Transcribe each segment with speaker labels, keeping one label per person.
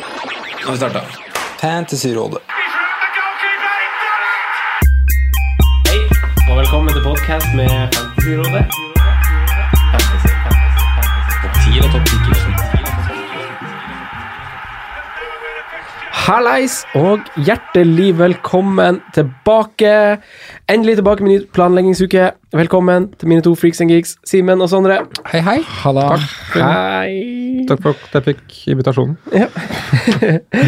Speaker 1: Nå har vi starta. Fantasyrådet.
Speaker 2: Hei, og velkommen til podcast med Fantasyrådet. Hallais, og hjertelig velkommen tilbake. Endelig tilbake med ny planleggingsuke. Velkommen til mine to freaks and geeks, Simen og Sondre.
Speaker 1: Hei, hei.
Speaker 3: Halla.
Speaker 2: Hei.
Speaker 3: Takk for at jeg fikk invitasjonen.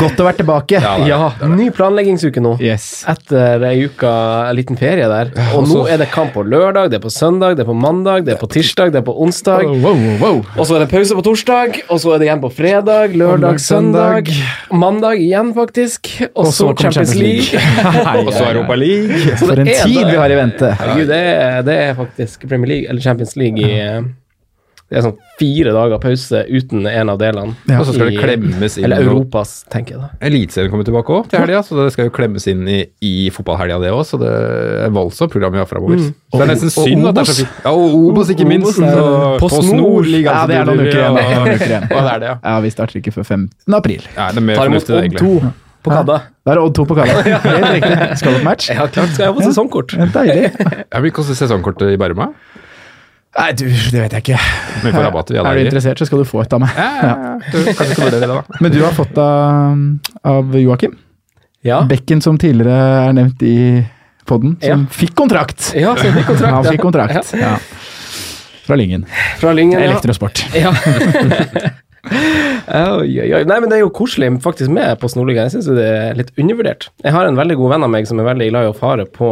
Speaker 4: Godt å være tilbake.
Speaker 2: Ja, ny planleggingsuke nå.
Speaker 3: Yes.
Speaker 2: Etter ei uke, en liten ferie der. Og nå er det kamp på lørdag, det er på søndag, det er på mandag, det er på tirsdag, det er på onsdag.
Speaker 3: Wow, wow.
Speaker 2: Og så er det pause på torsdag, og så er det igjen på fredag, lørdag,
Speaker 3: Mandag,
Speaker 2: søndag.
Speaker 3: søndag.
Speaker 2: Mandag igjen, faktisk. Og så Champions League.
Speaker 3: Og så Europa League.
Speaker 2: Så
Speaker 4: For
Speaker 2: det
Speaker 4: en
Speaker 2: er
Speaker 4: tid
Speaker 2: det.
Speaker 4: vi har i vente.
Speaker 2: Herregud, det er, det er faktisk Premier League, eller Champions League i eh, Det er sånn fire dager pause uten en av delene.
Speaker 3: Og så skal
Speaker 2: I-
Speaker 3: det klemmes inn
Speaker 2: Eller
Speaker 3: noe-
Speaker 2: Europas, tenker jeg da.
Speaker 3: Eliteserien kommer tilbake òg til helga, så det skal jo klemmes inn i, i fotballhelga, det òg. Så det er voldsomt program vi har framover. Det er nesten
Speaker 4: Mm. Og- og
Speaker 3: synd at det er så
Speaker 4: Obos.
Speaker 3: fint. Ja, og Obos, ikke minst.
Speaker 4: er-
Speaker 3: og
Speaker 4: På Snor.
Speaker 3: ligger
Speaker 4: Ja,
Speaker 3: altså
Speaker 4: det er noen
Speaker 3: til-
Speaker 4: uker igjen.
Speaker 3: ja,
Speaker 4: Noen uker igjen.
Speaker 3: Ja, det er det, ja.
Speaker 4: Ja, Vi starter ikke før 15. april.
Speaker 3: Ja, det er mer
Speaker 2: Tar imot
Speaker 3: fornuftig, det,
Speaker 2: Odd
Speaker 3: egentlig.
Speaker 2: 2 på Kadda.
Speaker 4: Da er det Odd 2 på kalla. Helt riktig. Skal du på match?
Speaker 2: Ja, klart skal jeg få sesongkort.
Speaker 4: Deilig.
Speaker 3: Ja, vi koster sesongkortet i Berma.
Speaker 4: Nei, du, det vet jeg ikke.
Speaker 3: Men vi får rabatt. Vi
Speaker 4: Er du
Speaker 3: er der.
Speaker 4: interessert, så skal du få et av meg. Ja.
Speaker 3: Kanskje skal vurdere det, da.
Speaker 4: Men du har fått av, av Joakim.
Speaker 2: Ja.
Speaker 4: Bekken som tidligere er nevnt i poden, som
Speaker 2: Ja.
Speaker 4: fikk kontrakt.
Speaker 2: Ja, så jeg fikk kontrakt.
Speaker 4: Han fikk
Speaker 2: Ja.
Speaker 4: kontrakt. Ja. Fra Lyngen.
Speaker 2: Fra Lyngen, ja.
Speaker 4: Elektrosport.
Speaker 2: Ja. oi, oi, oi. Nei, men det er jo koselig faktisk med på Snorliga. Jeg syns det er litt undervurdert. Jeg har en veldig god venn av meg som er veldig glad i å fare på,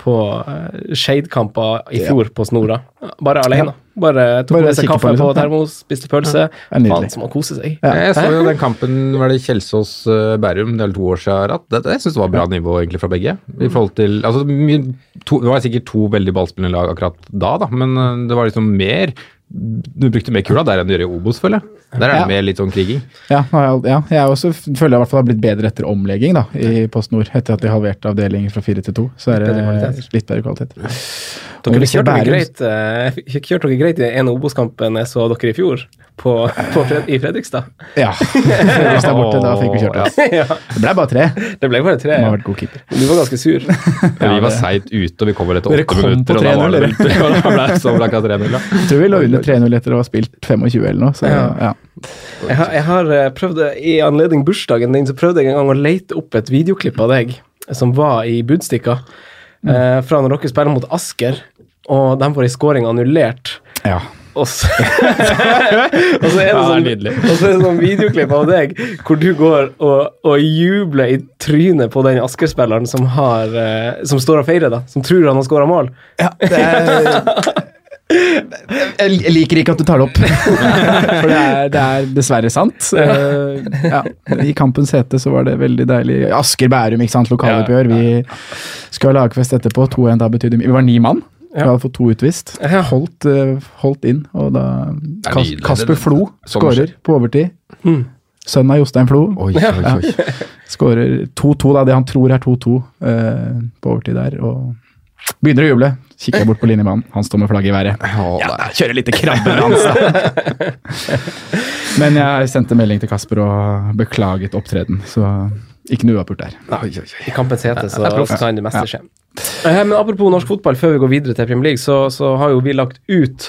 Speaker 2: på eh, Shade-kamper i fjor på Snora. Bare alene. Bare tok
Speaker 4: Bare
Speaker 2: med seg
Speaker 4: kikke på,
Speaker 2: kaffe på
Speaker 4: liksom.
Speaker 2: termos, spiste pølse.
Speaker 4: er nydelig.
Speaker 2: Faen, som å kose seg.
Speaker 4: Ja.
Speaker 3: Jeg så jo den kampen var det Kjelsås-Bærum det er vel to år siden. At det, det synes jeg var bra nivå egentlig fra begge. I forhold til, altså, mye- to, det var sikkert to veldig ballspillende lag akkurat da, da, men eh, det var liksom mer Du brukte mer kula der enn du gjør i Obos, føler jeg. Der er det
Speaker 4: Ja.
Speaker 3: mer litt sånn kriging.
Speaker 4: Ja, og jeg- ja, jeg er også, føler jeg i hvert fall har blitt bedre etter omlegging da, i Post Nord. Etter at de halverte avdelingen fra fire til to. Så er
Speaker 2: Bedre kvalitet.
Speaker 4: det litt bedre kvalitet.
Speaker 2: Dere
Speaker 4: Men
Speaker 2: kjørte dere
Speaker 4: Bærum-
Speaker 2: greit, eh, f- kjørte dere greit i en av Obos-kampene jeg så dere i fjor, på, på Fred i Fredrikstad.
Speaker 4: Ja. Hvis det er borte, da fikk vi kjørt oss.
Speaker 2: ja.
Speaker 4: Det ble bare tre.
Speaker 2: Det ble bare tre.
Speaker 4: Han
Speaker 2: ja.
Speaker 4: har vært god keeper.
Speaker 2: Du var ganske sur.
Speaker 3: Ja, vi var seigt ute, og vi kom vel etter
Speaker 4: Dere
Speaker 3: åtte
Speaker 4: kom på
Speaker 3: minutter. Og da var
Speaker 4: 3-0,
Speaker 3: det vel og da ble sånn det så blakka 3-0. ja.
Speaker 4: Jeg tror vi lå under 3-0 etter å ha spilt 25 eller noe. Så,
Speaker 2: Ja.
Speaker 4: ja.
Speaker 2: Jeg har, jeg har eh, prøvd, I anledning bursdagen din så prøvde jeg en gang å lete opp et videoklipp av deg som var i Budstikka, eh, fra når dere spiller mot Asker, og de får ei scoring annullert.
Speaker 4: ja.
Speaker 2: Og så, og så er det
Speaker 3: Ja,
Speaker 2: sånn,
Speaker 3: det er nydelig.
Speaker 2: og så er det sånn videoklipp av deg hvor du går og, og jubler i trynet på den Asker-spilleren som, har, eh, som står og feirer, da, som tror han har skåra mål.
Speaker 4: Det er, jeg liker ikke at du tar det opp. For det er, det er dessverre sant. Eh, Ja. I kampens hete så var det veldig deilig. Asker Bærum, ikke sant. Lokaloppgjør. Vi skal ha lagfest etterpå. 2-1 da betydde mye. Vi var ni mann. Vi hadde fått to utvist.
Speaker 2: Ja.
Speaker 4: Holdt, eh, holdt inn, og da
Speaker 3: er
Speaker 4: Kas
Speaker 3: nydelig.
Speaker 4: Kasper
Speaker 3: Det-
Speaker 4: Flo
Speaker 3: sånn skjer.
Speaker 4: skårer på overtid. Sønnen av Jostein Flo
Speaker 3: Oi, oi, oi.
Speaker 4: skårer 2-2, da, det han tror er 2-2 eh, på overtid der, og begynner å juble. Kikker jeg bort på linjemannen, han står med flagget i været.
Speaker 3: Å,
Speaker 4: Ja,
Speaker 3: nei.
Speaker 4: da, kjører litt krabbedans, da. Men jeg sendte melding til Kasper og beklaget opptreden, så ikke noe uavgjort der.
Speaker 3: Oi, oi, oi.
Speaker 2: I kampens hete
Speaker 3: Det er
Speaker 2: så
Speaker 3: proft.
Speaker 2: kan det meste skje. Eh, Men apropos norsk fotball, før vi går videre til Premier League, så, så har jo vi lagt ut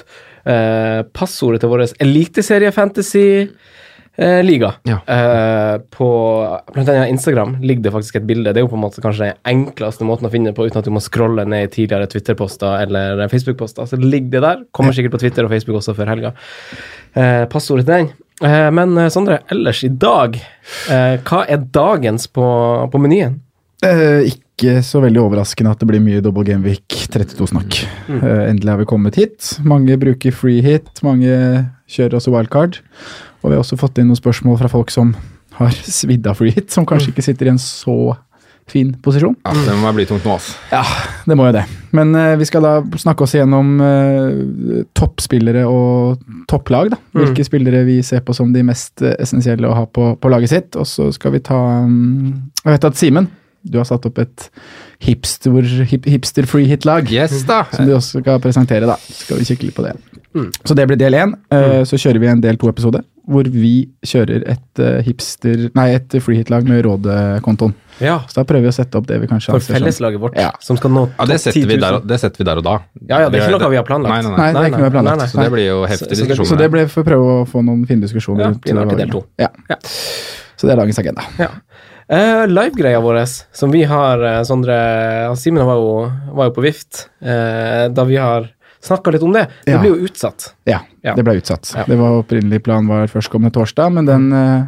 Speaker 2: eh, passordet til vår eliteserie-fantasy-liga.
Speaker 3: Ja.
Speaker 2: Eh, på blant annet Instagram ligger det faktisk et bilde. Det er jo på en måte kanskje den enkleste måten å finne det på uten at du må scrolle ned i tidligere Twitter-poster eller Facebook-poster. Så ligger det der. Kommer sikkert på Twitter og Facebook også før helga. Eh, passordet til den. Eh, men eh, Sondre, ellers i dag, eh, hva er dagens på, på menyen?
Speaker 4: Eh, ikke så veldig overraskende at det blir mye double game week 32-snakk. Eh, endelig har vi kommet hit. Mange bruker free hit, mange kjører også wildcard. Og vi har også fått inn noen spørsmål fra folk som har svidd av free hit, som kanskje ikke sitter i en så fin posisjon.
Speaker 3: Ja, det må bli tungt nå, ass.
Speaker 4: Ja, det må jo det. Men eh, vi skal da snakke oss igjennom eh, toppspillere og topplag. da. Hvilke spillere vi ser på som de mest eh, essensielle å ha på, på laget sitt. Og så skal vi ta mm, Jeg vet at Simen, du har satt opp et hipster, hip, hipster free hit-lag.
Speaker 3: Yes, da.
Speaker 4: Som du også skal presentere, da. Skal vi kikke litt på det. Så det blir del én. Eh, Så kjører vi en del to-episode hvor vi kjører et eh, hipster Nei, et freehit-lag med Rådekontoen.
Speaker 2: Ja,
Speaker 4: Så da prøver vi å sette opp det vi kanskje
Speaker 2: For
Speaker 4: anser som-
Speaker 2: felleslaget vårt,
Speaker 4: Ja.
Speaker 2: som skal nå
Speaker 3: Ja, det setter, vi der, og- det setter vi der og da.
Speaker 2: Ja, ja, det er ikke noe vi har planlagt.
Speaker 3: Nei, nei, nei.
Speaker 4: Nei, det er ikke noe vi
Speaker 2: Nei,
Speaker 4: har
Speaker 2: nei,
Speaker 4: planlagt.
Speaker 3: Så det blir jo
Speaker 2: Så-
Speaker 3: heftige
Speaker 2: så det-
Speaker 3: diskusjoner.
Speaker 4: Så det ble for å prøve å få noen fine diskusjoner.
Speaker 2: Ja,
Speaker 4: rundt
Speaker 2: blir nok
Speaker 4: det.
Speaker 2: del to.
Speaker 4: Ja.
Speaker 2: Ja.
Speaker 4: Så det er dagens agenda.
Speaker 2: Ja. Eh, Livegreia vår, som vi har eh, Sondre han Simen var, jo- var jo på vift eh, da vi har snakka litt om det. Det
Speaker 4: Ja.
Speaker 2: blir jo utsatt.
Speaker 4: Ja,
Speaker 2: Ja.
Speaker 4: det ble utsatt.
Speaker 2: Ja.
Speaker 4: Det var opprinnelig plan var førstkommende torsdag, men den eh,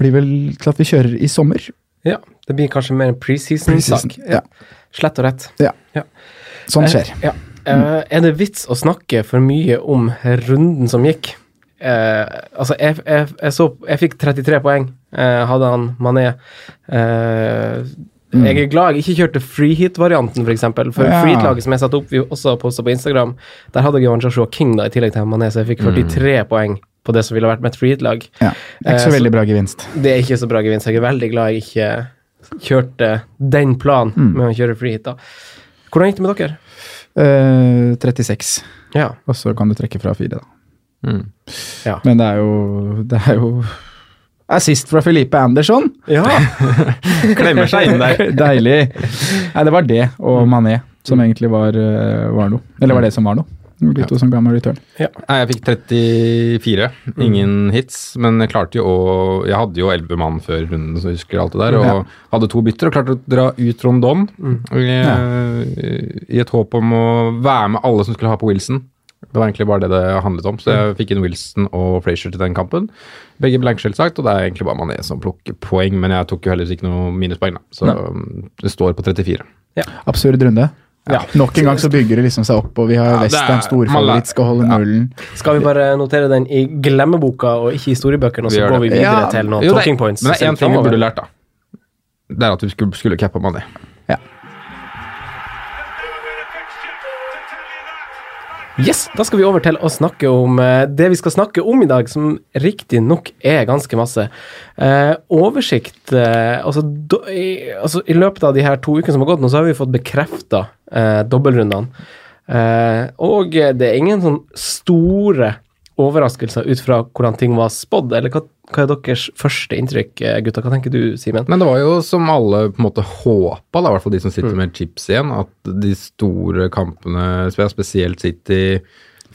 Speaker 4: blir vel til at vi kjører i sommer.
Speaker 2: Ja, Det blir kanskje mer en preseason-sak.
Speaker 4: Preseason, ja.
Speaker 2: Slett og rett.
Speaker 4: Ja.
Speaker 2: Ja.
Speaker 4: Sånt Sånn skjer.
Speaker 2: Eh, ja. Eh, er det vits å snakke for mye om runden som gikk? Eh, altså, jeg, jeg, jeg, så, jeg fikk 33 poeng, eh, hadde han Mané. Eh, Jeg er glad jeg ikke kjørte freehit-varianten, f.eks. For, eksempel, for
Speaker 4: Mm. Ja.
Speaker 2: freehit-laget som jeg satte opp, vi også posta på Instagram, der hadde jeg jo han Joshua King da, i tillegg til han Mané, så jeg
Speaker 4: Mm.
Speaker 2: fikk 43 poeng på det som ville vært mitt freehit-lag.
Speaker 4: Ja. Det er Ikke
Speaker 2: Eh,
Speaker 4: så
Speaker 2: så-
Speaker 4: veldig bra gevinst.
Speaker 2: Det er ikke så bra gevinst. Jeg er veldig glad jeg ikke kjørte den planen
Speaker 4: Mm.
Speaker 2: med å kjøre freehit. da. Hvordan gikk det med dere?
Speaker 4: Eh, 36,
Speaker 2: Ja.
Speaker 4: og så kan du trekke fra fire, da.
Speaker 3: Mm.
Speaker 2: Ja.
Speaker 4: Men det er jo Det er jo Assist fra Felipe Andersson!
Speaker 2: ja.
Speaker 3: Klemmer seg inn der.
Speaker 4: Deilig. Nei, det var det og Mané som
Speaker 2: Mm.
Speaker 4: egentlig var, eh, var noe. Eller var det som var noe. De to som ga meg return.
Speaker 3: Nei, jeg fikk 34. Ingen hits, men jeg klarte jo å Jeg hadde jo 11 mann før runden, så jeg husker alt det der. Og hadde to bytter og klarte å dra ut Rondon eh, i et håp om å være med alle som skulle ha på Wilson. Det var egentlig bare det det handlet om, så jeg fikk inn Wilson og Frazier til den kampen. Begge blank, selvsagt, og det er egentlig bare Mané som plukker poeng, men jeg tok jo heldigvis ikke noe minuspoeng, da. Så um, det står på 34.
Speaker 4: Absurd runde.
Speaker 2: Ja.
Speaker 4: Nok en gang så bygger det liksom seg opp, og vi har
Speaker 3: Ja, det
Speaker 4: Westham
Speaker 3: er-
Speaker 4: storfavoritt, skal holde nullen.
Speaker 2: Skal vi bare notere den i glemmeboka og ikke i historiebøkene, og
Speaker 3: Vi
Speaker 2: så
Speaker 3: gjør
Speaker 2: går
Speaker 3: det.
Speaker 2: vi videre
Speaker 4: Ja.
Speaker 2: til noen
Speaker 3: Jo, det-
Speaker 2: talking points?
Speaker 3: Men det er én ting vi
Speaker 2: fremover?
Speaker 3: burde lært, da. Det er at vi skulle, skulle cappa Mané.
Speaker 2: Yes, Da skal vi over til å snakke om eh, det vi skal snakke om i dag, som riktignok er ganske masse. Eh, oversikt eh, altså, do, i, altså, I løpet av de her to ukene som har gått nå, så har vi fått bekrefta eh, dobbeltrundene. Eh, og eh, det er ingen sånn store overraskelser ut fra hvordan ting var spådd. Eller hva, hva er deres første inntrykk, eh, gutta? Hva tenker du, Simen?
Speaker 3: Men det var jo som alle på en måte håpa, da, i hvert fall de som
Speaker 2: Mm.
Speaker 3: sitter med chips igjen, at de store kampene, spesielt City,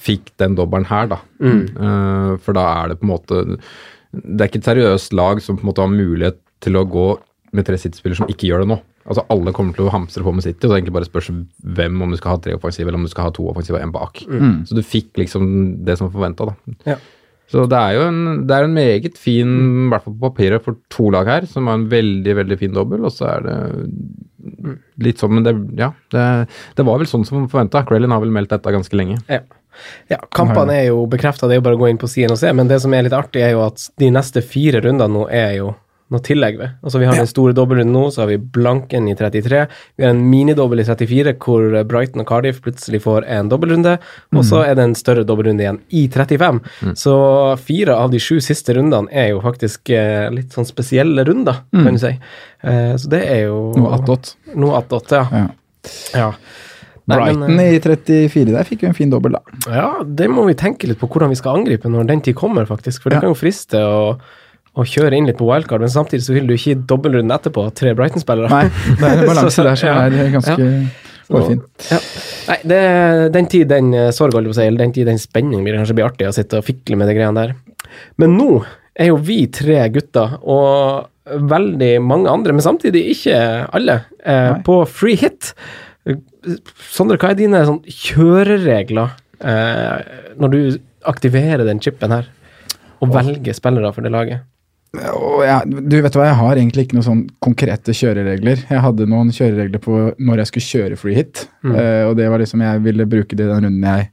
Speaker 3: fikk den dobbelen her, da.
Speaker 2: Mm.
Speaker 3: Eh, for da er det på en måte Det er ikke et seriøst lag som på en måte har mulighet til å gå med tre City-spillere som ikke gjør det nå. Altså Alle kommer til å hamstre på med City, og det er egentlig bare spørs hvem, om du skal ha tre offensive, eller om du skal ha to offensive og én bak.
Speaker 2: Mm.
Speaker 3: Så du fikk liksom det som forventa, da. Så det er jo en, det er en meget fin, i hvert fall på papiret, for to lag her, som er en veldig, veldig fin dobbel, og så er det litt sånn, men det, ja, det, det var vel sånn som forventa. Crellin har vel meldt dette ganske lenge.
Speaker 2: Ja. ja, kampene er jo bekrefta, det er jo bare å gå inn på siden og se. Men det som er litt artig, er jo at de neste fire rundene nå er jo noe tillegg ved. Altså Vi har den store dobbeltrunden nå, så har vi blanken i 33. Vi har en minidobbel i 34, hvor Brighton og Cardiff plutselig får en dobbeltrunde. Og så
Speaker 4: Mm.
Speaker 2: er det en større dobbeltrunde igjen i 35. Så fire av de sju siste rundene er jo faktisk eh, litt sånn spesielle runder, kan du si. Eh, så det er jo
Speaker 4: Mm. Noe attåt.
Speaker 2: Noe attåt, ja.
Speaker 4: Ja.
Speaker 2: ja. Nei, men,
Speaker 4: Brighton
Speaker 2: eh,
Speaker 4: i 34 der fikk jo en fin dobbel, da.
Speaker 2: ja, det må vi tenke litt på hvordan vi skal angripe når den tid kommer, faktisk. For det
Speaker 4: Ja.
Speaker 2: kan jo friste å, å kjøre inn litt på wildcard, men samtidig så vil du ikke gi dobbeltrunden etterpå tre Brighton-spillere.
Speaker 4: Nei, det er en balanse der som
Speaker 2: Ja.
Speaker 4: er ganske hårfin.
Speaker 2: Ja. Nei, det, den tid den eh, sorg, holdt jeg på å si, eller den tid den spenning vil det kanskje bli artig å sitte og fikle med de greiene der. Men nå er jo vi tre gutter, og veldig mange andre, men samtidig ikke alle, eh,
Speaker 4: Nei.
Speaker 2: på free hit. Sondre, hva er dine sånn, kjøreregler eh, når du aktiverer den chipen her, og velger spillere for det laget?
Speaker 4: Og jeg, du vet hva, jeg har egentlig ikke noen sånn konkrete kjøreregler. Jeg hadde noen kjøreregler på når jeg skulle kjøre free hit, eh, og det var liksom jeg ville bruke det i den runden jeg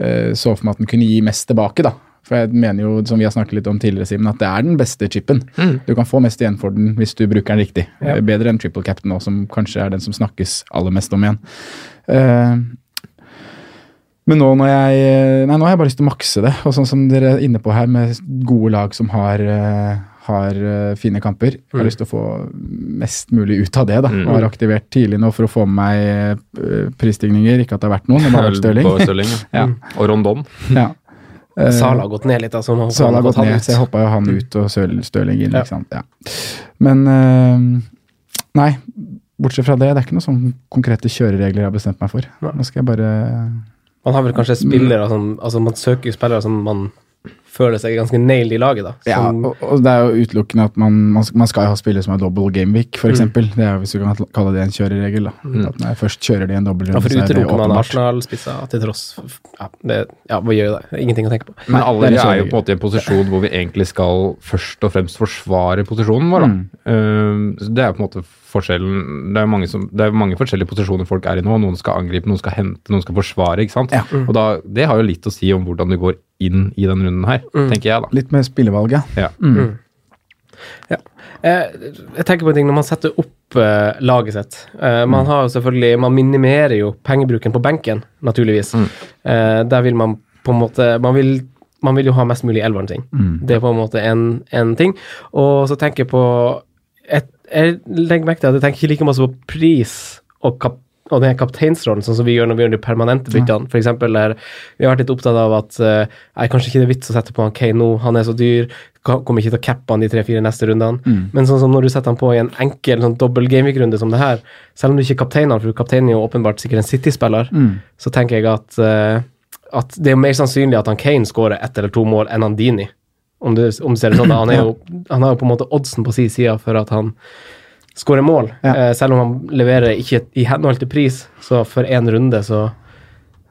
Speaker 4: eh, så for meg at den kunne gi mest tilbake, da. For jeg mener jo, som vi har snakket litt om tidligere, Simen, at det er den beste chipen. Du kan få mest igjen for den hvis du bruker den riktig. Eh, Bedre enn triple captain nå, som kanskje er den som snakkes aller mest om igjen. Eh, men nå når jeg Nei, nå har jeg bare lyst til å makse det. Og sånn som dere er inne på her, med gode lag som har, eh, har eh, fine kamper. Jeg har lyst til å få mest mulig ut av det. da, og Har aktivert tidlig nå for å få med meg eh, prisstigninger. Ikke at det har vært noen, men bare Stirling.
Speaker 3: På Stirling,
Speaker 4: Ja.
Speaker 3: Og Rondon.
Speaker 4: Ja. Eh,
Speaker 2: Sala har gått ned litt, altså. Man håper
Speaker 4: Sala
Speaker 2: han
Speaker 4: har
Speaker 2: har
Speaker 4: gått
Speaker 2: fått han
Speaker 4: ned,
Speaker 2: ut.
Speaker 4: så jeg hoppa jo han ut og Søl- Stirling inn.
Speaker 2: Ja.
Speaker 4: ikke sant? Ja. Men eh, Nei, bortsett fra det, det er ikke noen sånne konkrete kjøreregler jeg har bestemt meg for. Nå skal jeg bare
Speaker 2: Man har vel kanskje
Speaker 4: Mm.
Speaker 2: spillere som Altså, man søker jo spillere som man føler seg ganske nailed i laget, da.
Speaker 4: ja,
Speaker 2: Som,
Speaker 4: og, og det er jo utelukkende at man, man, skal, man skal jo ha spillere som er double gameweek, f.eks. eksempel. Det er jo hvis du kan kalle det en kjøreregel. da. At når jeg først kjører de en
Speaker 2: ja,
Speaker 4: dobbeltrunde,
Speaker 2: for
Speaker 4: så er det
Speaker 2: utelukker man
Speaker 4: åpenbart.
Speaker 2: Arsenal-spisser til tross for- Ja, det, ja, hva gjør det? Det er Ingenting å tenke på.
Speaker 3: Men
Speaker 4: Nei,
Speaker 3: alle
Speaker 4: det er
Speaker 3: vi er jo
Speaker 4: kjøreregel.
Speaker 3: på en måte i en posisjon hvor vi egentlig skal først og fremst forsvare posisjonen vår. Da.
Speaker 4: Mm.
Speaker 3: Eh, så det er jo på en måte forskjellen. Det er jo mange, som, det er jo mange forskjellige posisjoner folk er i nå. Noen skal angripe, noen skal hente, noen skal forsvare. ikke sant?
Speaker 4: Ja.
Speaker 3: Og da, Det har jo litt å si om hvordan du går inn i den runden her, tenker jeg da.
Speaker 4: Litt med spillevalget.
Speaker 3: Ja.
Speaker 4: Mm.
Speaker 2: Ja. Eh, jeg tenker på en ting når man setter opp eh, laget sitt. Eh,
Speaker 4: Mm.
Speaker 2: man har jo selvfølgelig Man minimerer jo pengebruken på benken, naturligvis.
Speaker 4: Mm.
Speaker 2: Eh, der vil man på en måte Man vil, man vil jo ha mest mulig elveren ting.
Speaker 4: Mm.
Speaker 2: Det er på en måte en, en ting. Og så tenker jeg på et, Jeg legger merke til at jeg tenker ikke like masse på pris og kap og den kapteinsrollen, sånn som vi gjør når vi gjør de permanente byttene. For eksempel, der, vi har vært litt opptatt av at eh, nei, kanskje ikke det er vits å sette på han Kane nå, han er så dyr, ka- kommer ikke til å cappe han de tre-fire neste rundene. Men sånn som når du setter han på i en enkel sånn dobbel gameweek-runde som det her, selv om du ikke er kaptein han, for kapteinen er jo åpenbart sikkert en City-spiller, så tenker jeg at, eh, at det er jo mer sannsynlig at han Kane skårer ett eller to mål enn han Dini. Om du, om du ser det sånn, da. han, er jo, han har jo på en måte oddsen på sin side for at han skårer mål.
Speaker 4: Ja.
Speaker 2: Eh, selv om han leverer ikke i henhold til pris, så for én runde så,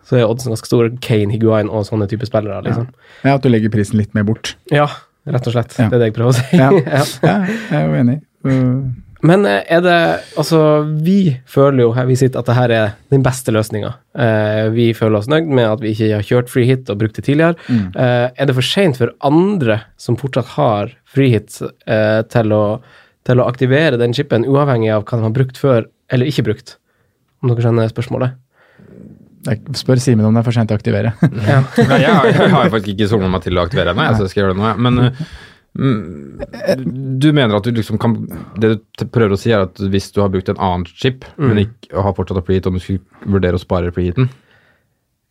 Speaker 2: så er oddsen ganske stor. Kane, Higuain og sånne type spillere, liksom.
Speaker 4: Ja, at du legger prisen litt mer bort.
Speaker 2: Ja, rett og slett.
Speaker 4: Ja.
Speaker 2: Det er det jeg prøver å si.
Speaker 4: Ja.
Speaker 2: Ja.
Speaker 4: Ja, jeg er jo enig. Uh,
Speaker 2: Men eh, er det Altså, vi føler jo her vi sitter at det her er den beste løsninga. vi føler oss nøyd med at vi ikke har kjørt free hit og brukt det tidligere.
Speaker 3: Mm.
Speaker 2: Eh, er det for seint for andre som fortsatt har free hit, eh, til, å, til å aktivere den chipen, uavhengig av hva de har brukt før eller ikke brukt? Om dere skjønner spørsmålet?
Speaker 4: jeg spør Simen om det er for sent å aktivere.
Speaker 2: Ja.
Speaker 3: Nei, jeg, har- jeg har jo faktisk ikke sonet meg til å aktivere ennå, jeg, så jeg skal gjøre det nå. jeg. Men eh, mm, du mener at du liksom kan Det du t- prøver å si, er at hvis du har brukt en annen chip,
Speaker 4: Mm.
Speaker 3: men ikke og har fortsatt å preheat, om du skulle vurdere å spare preheaten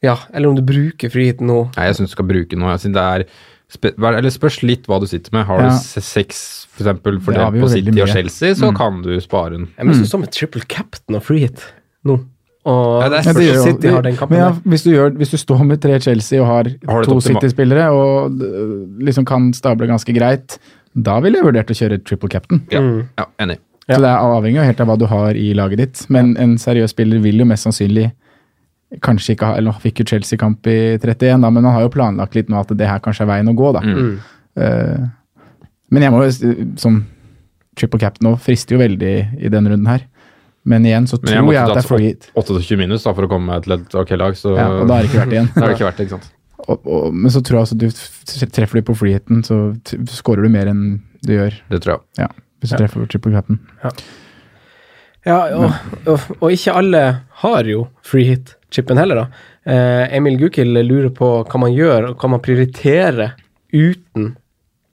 Speaker 2: ja, eller om du bruker free hit nå.
Speaker 3: Nei, jeg syns du skal bruke noe. Siden det er spe, hva- eller spørs litt hva du sitter med. Har
Speaker 4: Ja.
Speaker 3: du se- seks for eksempel, for
Speaker 4: Det
Speaker 3: det
Speaker 4: har vi jo
Speaker 3: på
Speaker 4: veldig
Speaker 3: City og
Speaker 4: mye. Mm.
Speaker 3: Chelsea, så kan du spare den.
Speaker 2: Jeg synes det som et triple captain og free hit nå. Og
Speaker 3: Mm. Ja, det er
Speaker 4: Ja, det gjør jo-
Speaker 2: City har den kampen.
Speaker 4: Men ja,
Speaker 2: der.
Speaker 4: hvis, du gjør, hvis du står med tre Chelsea og
Speaker 3: Har
Speaker 4: har,
Speaker 3: du
Speaker 4: to
Speaker 3: et optima-
Speaker 4: City-spillere og øh, liksom kan stable ganske greit, da ville jeg vurdert å kjøre triple captain.
Speaker 3: Ja, ja enig.
Speaker 4: Så det er avhengig av helt av hva du har i laget ditt. Men en seriøs spiller vil jo mest sannsynlig kanskje ikke ha Eller han fikk jo Chelsea-kamp i 31, da, men han har jo planlagt litt nå at det her kanskje er veien å gå, da.
Speaker 3: Mm.
Speaker 4: Eh, men jeg må jo s- som triple captain nå frister jo veldig i denne runden her. Men igjen så
Speaker 3: Men jeg
Speaker 4: tror jeg,
Speaker 3: måtte
Speaker 4: at det er free hit.
Speaker 3: tatt 28 minus da, for å komme meg til et ok lag, så
Speaker 4: Ja, og da har det ikke vært igjen.
Speaker 3: da har det ikke vært det, ikke sant.
Speaker 4: Og, og, men så tror jeg altså du f- treffer du på freeheaten, så t- scorer du mer enn du gjør.
Speaker 3: Det tror jeg.
Speaker 4: Ja, hvis du treffer triple cap'n.
Speaker 2: Ja, og, og, og ikke alle har jo free hit-chipen heller, da. Eh, Emil Gukild lurer på hva man gjør, og hva man prioriterer uten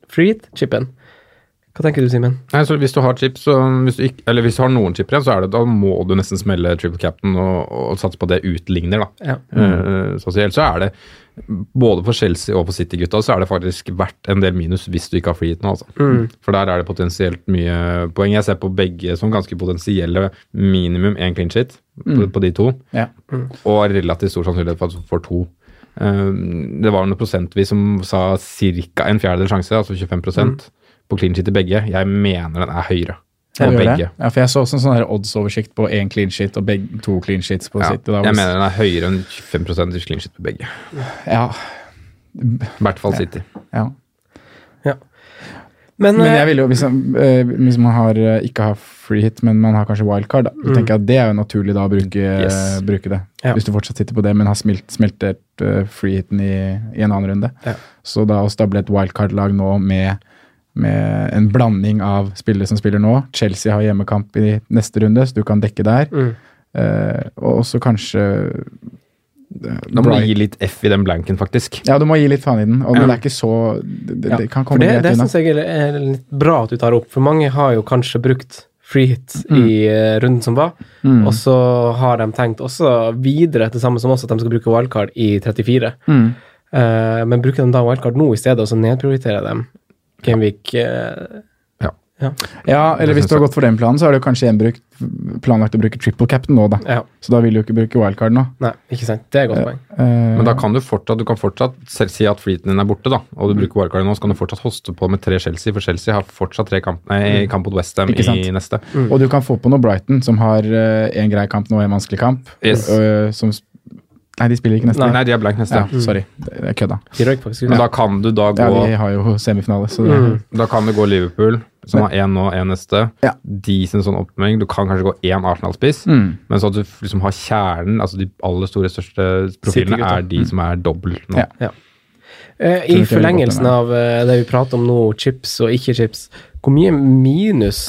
Speaker 2: free hit-chipen. Hva tenker du, Simen?
Speaker 3: Nei, så hvis du har chips, så hvis du ikke, eller hvis du har noen chipper igjen, så er det, da må du nesten smelle triple cap'n og, og satse på at det utligner, da.
Speaker 2: Ja.
Speaker 4: Mm.
Speaker 3: Eh, så å si. Ellers så er det, både for Chelsea og for City-gutta, så er det faktisk verdt en del minus hvis du ikke har free hit nå, altså.
Speaker 4: Mm.
Speaker 2: Mm.
Speaker 3: For der er det potensielt mye poeng. Jeg ser på begge som ganske potensielle minimum én clean shit på, på de to,
Speaker 4: Mm. Ja.
Speaker 3: og relativt stor sannsynlighet for, at du får to. Eh, det var noe prosentvis som sa ca. en fjerdedel sjanse, altså 25 på clean shit i begge. Jeg mener den er høyere.
Speaker 4: Ja,
Speaker 3: på
Speaker 4: gjør
Speaker 3: begge.
Speaker 4: det. ja, for Mm. jeg så også en sånn her oddsoversikt på én clean shit og begge, to clean shits på
Speaker 3: Ja,
Speaker 4: sitt. og da
Speaker 3: jeg
Speaker 4: var-
Speaker 3: mener den er høyere enn 25 i clean shit på begge.
Speaker 4: ja,
Speaker 3: I hvert fall City.
Speaker 4: ja.
Speaker 2: Men,
Speaker 4: Men
Speaker 2: eh,
Speaker 4: jeg ville jo, hvis, man- eh, hvis man har, eh, ikke har free hit, men man har kanskje wildcard, da, så tenker jeg at det er jo naturlig da å bruke, eh,
Speaker 3: Yes.
Speaker 4: bruke det.
Speaker 2: Ja.
Speaker 4: Hvis du fortsatt sitter på det, men har smelt, smeltet eh, free hiten i, i en annen runde.
Speaker 2: Ja.
Speaker 4: Så da å stable et wildcard-lag nå med, med en blanding av spillere som spiller nå Chelsea har hjemmekamp i neste runde, så du kan dekke der.
Speaker 2: Mm.
Speaker 4: Eh, og også kanskje
Speaker 3: Da må
Speaker 4: Bright-
Speaker 3: du gi litt F i den blanken, faktisk.
Speaker 4: Ja, du må gi litt faen i den. Og
Speaker 3: Ja.
Speaker 4: det er ikke så Det, det,
Speaker 2: Ja,
Speaker 4: det kan
Speaker 2: for
Speaker 4: komme
Speaker 2: det,
Speaker 4: greit
Speaker 2: det
Speaker 4: unna.
Speaker 2: syns jeg er- sånn er litt bra at du tar opp, for mange har jo kanskje brukt free hit i eh, runden som var,
Speaker 4: Mm.
Speaker 2: og så har de tenkt også videre til samme som oss at de skal bruke wildcard i 34,
Speaker 4: Mm.
Speaker 2: Eh, men bruker de da wildcard nå i stedet, og så nedprioriterer de Gameweek eh,
Speaker 3: Ja.
Speaker 4: Ja, eller
Speaker 3: Det
Speaker 4: hvis
Speaker 3: syns
Speaker 4: du har
Speaker 3: jeg.
Speaker 4: gått for den planen, så er det jo kanskje gjenbrukt, planlagt å bruke triple cap'n nå, da.
Speaker 2: Ja,
Speaker 4: Så da vil du ikke bruke wildcard nå.
Speaker 2: nei, ikke sant. Det er et godt poeng.
Speaker 4: Eh,
Speaker 3: Men da kan du fortsatt, du kan fortsatt selv si at fleeten din er borte, da, og
Speaker 4: Mm.
Speaker 3: du bruker wildcardet nå, så kan du fortsatt hoste på med tre Chelsea, for Chelsea har fortsatt tre kamp, nei, kamp mot Westham
Speaker 4: Mm. Ikke sant?
Speaker 3: i neste.
Speaker 4: Og du kan få på noe Brighton, som har eh, en grei kamp nå og en vanskelig kamp.
Speaker 3: Yes.
Speaker 4: Eh, som sp- Nei, de spiller ikke neste.
Speaker 3: Nei, Mm. de er blank neste.
Speaker 4: Ja, sorry, det det er kødda.
Speaker 2: De røyk faktisk ut.
Speaker 3: Men da kan du da gå
Speaker 4: Ja, vi har jo semifinale, så det,
Speaker 2: Mm.
Speaker 3: Da kan du gå Liverpool, som har én nå, én neste.
Speaker 4: Ja.
Speaker 3: Decent sånn oppmengd. Du kan kanskje gå én Arsenal-spiss,
Speaker 4: Mm.
Speaker 3: men så at du f- liksom har kjernen, altså de aller store, største profilene,
Speaker 2: City-gutta.
Speaker 3: er de som er dobbelt nå.
Speaker 4: Mm. Ja.
Speaker 2: Eh,
Speaker 4: Tror
Speaker 2: I
Speaker 4: ikke jeg vil
Speaker 2: forlengelsen
Speaker 4: gå
Speaker 2: av eh, det vi prater om nå, chips og ikke chips, hvor mye minus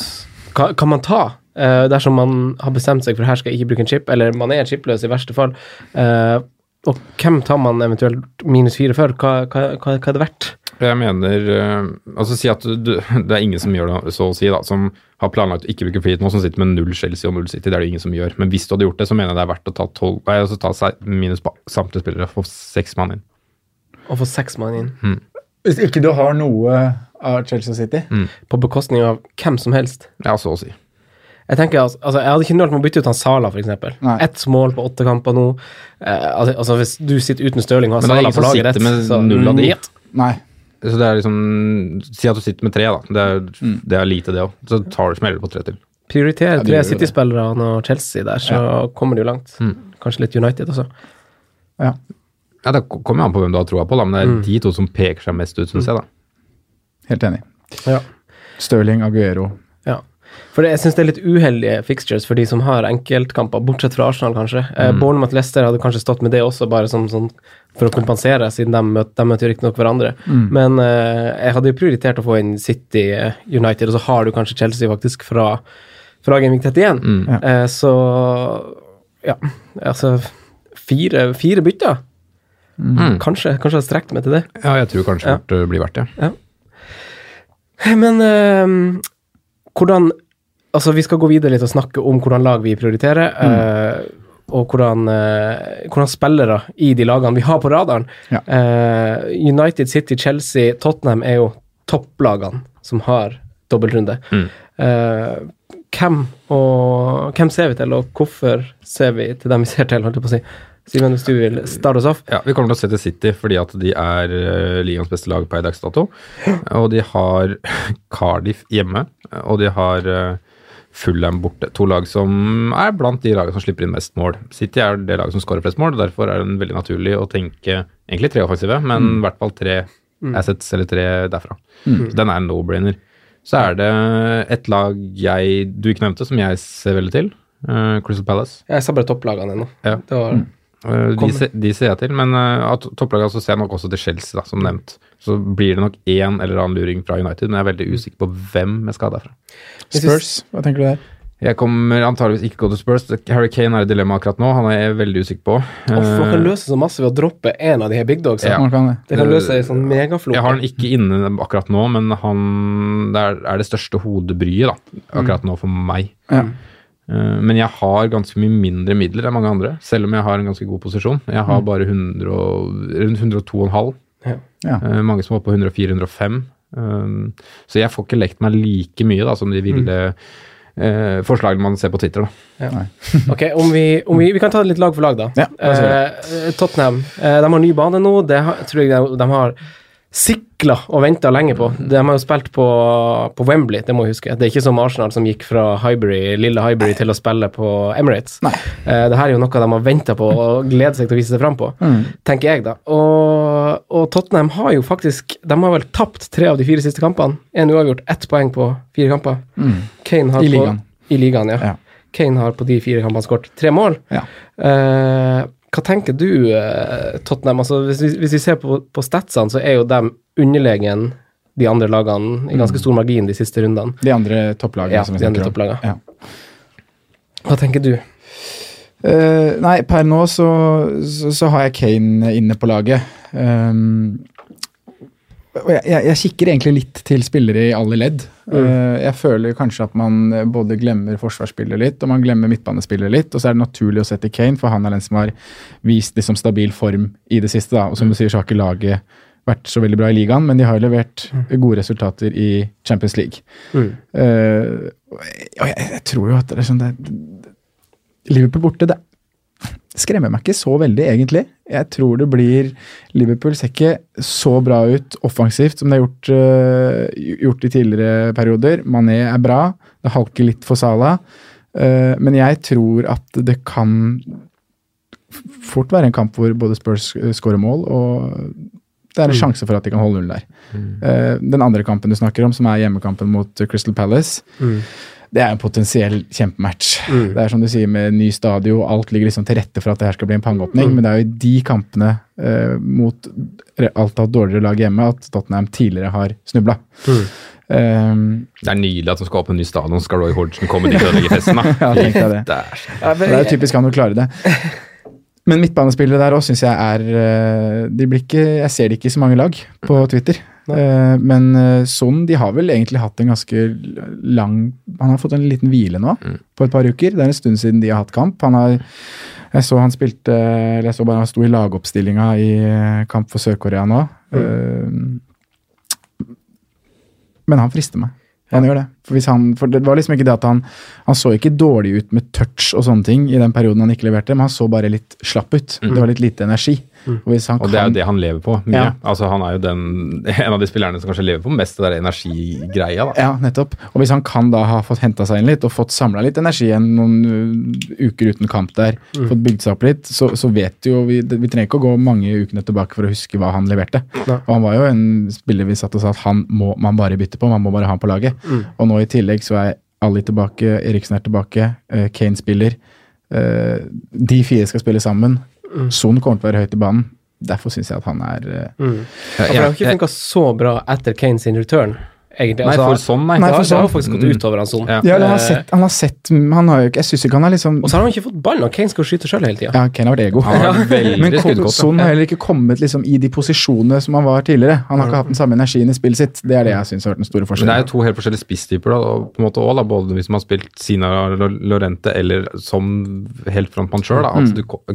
Speaker 2: kan, kan man ta eh, dersom man har bestemt seg for her skal jeg ikke bruke en chip, eller man er chipløs i verste fall? eh, og hvem tar man eventuelt minus fire for? Hva, hva, hva, hva er det verdt?
Speaker 3: Jeg mener eh, Altså, si at du, du Det er ingen som gjør det, så å si, da, som har planlagt å ikke bruke frihet nå, som sitter med null Chelsea og null City. Det er det ingen som gjør. Men hvis du hadde gjort det, så mener jeg det er verdt å ta, 12, nei, altså, ta seg minus på samtlige spillere og få seks mann inn.
Speaker 2: Å få seks mann inn,
Speaker 3: Hm.
Speaker 4: Hvis ikke du har noe av Chelsea City
Speaker 3: Mm.
Speaker 2: på bekostning av hvem som helst.
Speaker 3: Ja, så å si.
Speaker 2: Jeg tenker, altså, altså, jeg hadde ikke nølt med å bytte ut han Sala, f.eks.
Speaker 4: Nei.
Speaker 2: Ett mål på åtte kamper nå. Eh, altså, altså, Hvis du sitter uten Stirling og har
Speaker 3: Men det er
Speaker 2: Sala
Speaker 3: ingen
Speaker 2: på
Speaker 3: som
Speaker 2: laget
Speaker 3: sitter med
Speaker 2: ditt, så Mm.
Speaker 3: null av de.
Speaker 2: njet.
Speaker 4: Nei.
Speaker 3: Så det er liksom Si at du sitter med tre, da. Det er, det er lite, det òg. Så tar du smeller på tre til.
Speaker 2: prioritere
Speaker 4: de gjør
Speaker 2: tre
Speaker 4: jo det.
Speaker 2: City-spillere og Chelsea der, så kommer de jo langt.
Speaker 3: Mm.
Speaker 2: Kanskje litt United også.
Speaker 4: Ja.
Speaker 3: Ja, Det kommer jo an på hvem du har troa på, da, men det er de to som peker seg mest ut, syns jeg. da.
Speaker 4: Helt enig.
Speaker 2: Ja.
Speaker 4: Stirling, Aguero.
Speaker 2: For det, jeg syns det er litt uheldige fixtures for de som har enkeltkamper, bortsett fra Arsenal, kanskje. Eh, Bournemouth Leicester hadde kanskje stått med det også, bare som, sånn for å kompensere, siden de møter, de møter riktignok hverandre. Men eh, jeg hadde jo prioritert å få inn City, eh, United, og så har du kanskje Chelsea faktisk fra, fra Gaming 31. Eh, så ja, altså Fire, fire bytter? Kanskje. Kanskje jeg har strekt meg til det.
Speaker 3: Ja, jeg tror kanskje
Speaker 2: Ja.
Speaker 3: fort det blir verdt det.
Speaker 2: Men eh, hvordan Altså, vi skal gå videre litt og snakke om hvordan lag vi prioriterer. eh, og hvordan, eh, hvordan spillere i de lagene vi har på radaren.
Speaker 4: Ja.
Speaker 2: Eh, United, City, Chelsea, Tottenham er jo topplagene som har dobbeltrunde.
Speaker 3: Mm.
Speaker 2: Eh, hvem, og, hvem ser vi til, og hvorfor ser vi til dem vi ser til, holdt jeg på å si. Simen, hvis du vil starte oss off.
Speaker 3: Ja, Vi kommer til å se til City fordi at de er uh, ligaens beste lag per dags dato. Og de har Cardiff hjemme, og de har eh, Fulham borte. To lag som er blant de lagene som slipper inn mest mål. City er det laget som skårer flest mål, og derfor er det veldig naturlig å tenke egentlig tre offensive, men i hvert fall tre assets eller tre derfra. Så den er en no-brainer. Så er det et lag jeg, du ikke nevnte, som jeg ser veldig til. eh, Crystal Palace.
Speaker 2: Jeg sa bare topplagene ennå.
Speaker 3: Ja.
Speaker 2: Det var
Speaker 3: Eh, De,
Speaker 2: Kommer.
Speaker 3: se- de ser jeg til, men uh, at topplaget så ser jeg nok også til Chelsea, da, som nevnt. Så blir det nok én eller annen luring fra United, men jeg er veldig usikker på hvem jeg skal ha derfra.
Speaker 2: Jeg
Speaker 4: Spurs, hva tenker du der?
Speaker 3: Jeg kommer antageligvis ikke gå til Spurs. Harry Kane er i dilemma akkurat nå, han er jeg veldig usikker på.
Speaker 2: Uff, man kan
Speaker 3: Eh,
Speaker 2: løse så masse ved å droppe en av de her big dogs.
Speaker 3: Ja.
Speaker 4: Man kan det.
Speaker 2: Det kan løse ei sånn megaflok.
Speaker 3: Eh, jeg har han ikke inne akkurat nå, men han det er, er det største hodebryet da, akkurat nå for meg.
Speaker 4: Ja.
Speaker 3: Eh, Men jeg har ganske mye mindre midler enn mange andre, selv om jeg har en ganske god posisjon. Jeg har bare 100 og, rundt 102,5.
Speaker 2: Ja.
Speaker 4: Ja.
Speaker 3: Eh, mange som var på 104-105. Um, så jeg får ikke lekt meg like mye da, som de ville eh, forslagene man ser på Twitter. Da.
Speaker 2: Ok, om vi, om vi, vi kan ta det litt lag for lag, da.
Speaker 4: Ja, la oss
Speaker 2: eh, Tottenham eh, de har ny bane nå. Det har, tror jeg de, de har sikla og venta lenge på. De har jo spilt på, på Wembley, det må jeg huske. Det er ikke som Arsenal som gikk fra Highbury, lille Highbury til å spille på Emirates.
Speaker 4: Nei.
Speaker 2: Eh, det her er jo noe de har venta på og gleder seg til å vise seg fram på,
Speaker 4: Mm.
Speaker 2: tenker jeg, da. Og, og Tottenham har jo faktisk De har vel tapt tre av de fire siste kampene. Én uavgjort, ett poeng på fire kamper.
Speaker 4: Mm.
Speaker 2: Kane har
Speaker 4: I
Speaker 2: på-
Speaker 4: ligaen.
Speaker 2: I ligaen, ja.
Speaker 4: Ja.
Speaker 2: Kane har på de fire kampene skåret tre mål.
Speaker 4: Ja.
Speaker 2: Eh, hva tenker du, eh, Tottenham? Altså, hvis, vi, hvis vi ser på, på statsene, så er jo de underlegen de andre lagene i ganske stor margin de siste rundene.
Speaker 4: De andre topplagene.
Speaker 2: Ja,
Speaker 4: som vi
Speaker 2: de andre
Speaker 4: snakker
Speaker 2: topplagene.
Speaker 4: om. Ja.
Speaker 2: Hva tenker du?
Speaker 4: Eh, nei, per nå så, så, så har jeg Kane inne på laget. Ehm, og jeg, jeg, jeg kikker egentlig litt til spillere i alle ledd. Eh, jeg føler kanskje at man både glemmer forsvarsspillet litt og man glemmer midtbanespillet litt. Og så er det naturlig å sette Kane, for han er den som har vist liksom stabil form i det siste. da, Og som du sier, så har ikke laget vært så veldig bra i ligaen, men de har jo levert gode resultater i Champions League.
Speaker 2: Mm.
Speaker 4: Eh, og jeg, og jeg, jeg tror jo at det er sånn det, Liverpool borte, det skremmer meg ikke så veldig, egentlig. Jeg tror det blir Liverpool ser ikke så bra ut offensivt som det er gjort, øh, gjort i tidligere perioder. Mané er bra, det halker litt for Salah. øh, men jeg tror at det kan f- fort være en kamp hvor både Spurs øh, skårer mål, og det er en sjanse for at de kan holde null der. Eh, den andre kampen du snakker om, som er hjemmekampen mot øh, Crystal Palace,
Speaker 2: Mm.
Speaker 4: det er en potensiell kjempematch.
Speaker 2: Mm.
Speaker 4: Det er som du sier med ny stadio, alt ligger liksom til rette for at det her skal bli en pangeåpning,
Speaker 2: Mm.
Speaker 4: men det er jo i de kampene eh, mot re- alt av dårligere lag hjemme at Tottenham tidligere har snubla.
Speaker 2: Mm.
Speaker 4: Um,
Speaker 3: Det er nydelig at de skal åpne en ny stadion, skal Roy Hodgson komme dit og ødelegge festen, da.
Speaker 4: ja, tenkte jeg det.
Speaker 3: Det er så-
Speaker 4: For det er jo typisk han å klare det. Men midtbanespillere der òg syns jeg er eh, de blir ikke, Jeg ser det ikke i så mange lag på Twitter. Eh, Men eh, Son de har vel egentlig hatt en ganske lang Han har fått en liten hvile nå på et par uker. Det er en stund siden de har hatt kamp. Han har, jeg så han spilte eller jeg så bare han sto i lagoppstillinga i eh, kamp for Sør-Korea nå.
Speaker 3: Mm.
Speaker 4: Eh, Men han frister meg. Han gjør det. For, hvis han, for det var liksom ikke det at han Han så ikke dårlig ut med touch og sånne ting i den perioden han ikke leverte, men han så bare litt slapp ut. Det var litt lite energi. Og hvis han
Speaker 3: Mm. Og det er
Speaker 4: kan-
Speaker 3: jo det han lever på mye.
Speaker 4: Ja.
Speaker 3: Altså, han er jo den, en av de spillerne som kanskje lever på mest det der energigreia, da.
Speaker 4: Ja, nettopp. Og hvis han kan da ha fått henta seg inn litt og fått samla litt energi igjen noen ø, uker uten kamp der, fått bygd seg opp litt, så, så vet jo vi det- Vi trenger ikke å gå mange ukene tilbake for å huske hva han leverte. Og han var jo en spiller vi satt og sa at han må man bare bytte på, man må bare ha han på laget. Og nå i tillegg så er Ali tilbake, Eriksen er tilbake, eh, Kane spiller. Eh, De fire skal spille sammen. Son kommer til å være høyt i banen. Derfor syns jeg at han er eh,
Speaker 2: Ja, for det har ikke funka så bra etter Kane sin return, egentlig.
Speaker 3: Nei,
Speaker 2: Altså,
Speaker 3: for sånn, nei.
Speaker 4: Nei,
Speaker 2: det
Speaker 4: for
Speaker 2: har- det har
Speaker 4: sånn.
Speaker 2: faktisk gått utover han sånn.
Speaker 3: Ja.
Speaker 4: Ja, han har sett, han har sett han har jo ikke, Jeg syns ikke han er liksom
Speaker 2: Og så har han ikke fått ballen, og Kane skal jo skyte sjøl hele tida.
Speaker 4: Ja, Kane har vært ego.
Speaker 3: Han har veldig
Speaker 4: Men
Speaker 3: skuddgodt, da.
Speaker 4: Son har heller ikke kommet liksom, i de posisjonene som han var tidligere. Han har ikke hatt den samme energien i spillet sitt. Det er det jeg syns har vært den store
Speaker 3: Men det er
Speaker 4: forskjellen.
Speaker 3: jo to helt forskjellige spisstyper, da, og på en måte også, da, både hvis man har spilt Sina Lorente eller som helt frontmann sjøl.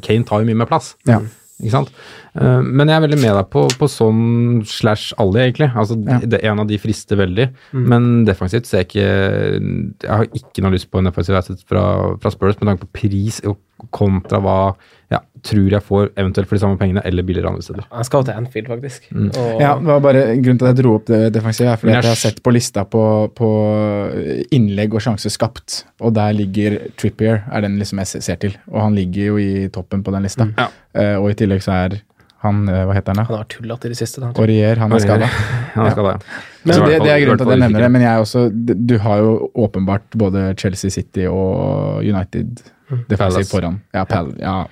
Speaker 3: Kane tar jo mye mer plass.
Speaker 4: Mm. Ja.
Speaker 3: Ikke sant? Eh, Men jeg er veldig med deg på, på sånn slash alle, egentlig. Altså,
Speaker 4: Ja. Mm.
Speaker 3: det, en av de frister veldig. Men defensivt ser jeg ikke Jeg har ikke noe lyst på en defensiv asset fra, fra Spurs med tanke på pris og kontra hva jeg tror jeg får eventuelt for de samme pengene, eller billigere andre steder.
Speaker 2: Han skal jo til Anfield, faktisk. Og,
Speaker 4: Ja, det var bare Grunnen til at jeg dro opp det defensive, er fordi
Speaker 3: Men jeg
Speaker 4: at jeg har
Speaker 3: skj-
Speaker 4: sett på lista på, på eh, innlegg og sjanser skapt, og der ligger Trippier, er den liksom jeg se- ser til. Og han ligger jo i toppen på den lista.
Speaker 3: Mm. Ja.
Speaker 4: Eh, og i tillegg så er han eh, Hva heter han, da?
Speaker 2: Han har tulla til det siste. da.
Speaker 4: Aurier, han er
Speaker 3: Aurier.
Speaker 4: skada.
Speaker 3: Ja, skal det.
Speaker 4: Men
Speaker 3: Så i hvert
Speaker 4: det, det er
Speaker 3: fall-
Speaker 4: grunnen til at
Speaker 3: i
Speaker 4: jeg
Speaker 3: hvert fall
Speaker 4: nevner
Speaker 3: usikker.
Speaker 4: det, men jeg er også, d- du har jo åpenbart både Chelsea City og United defensivt
Speaker 3: Palace.
Speaker 4: foran. Ja, Pal ja.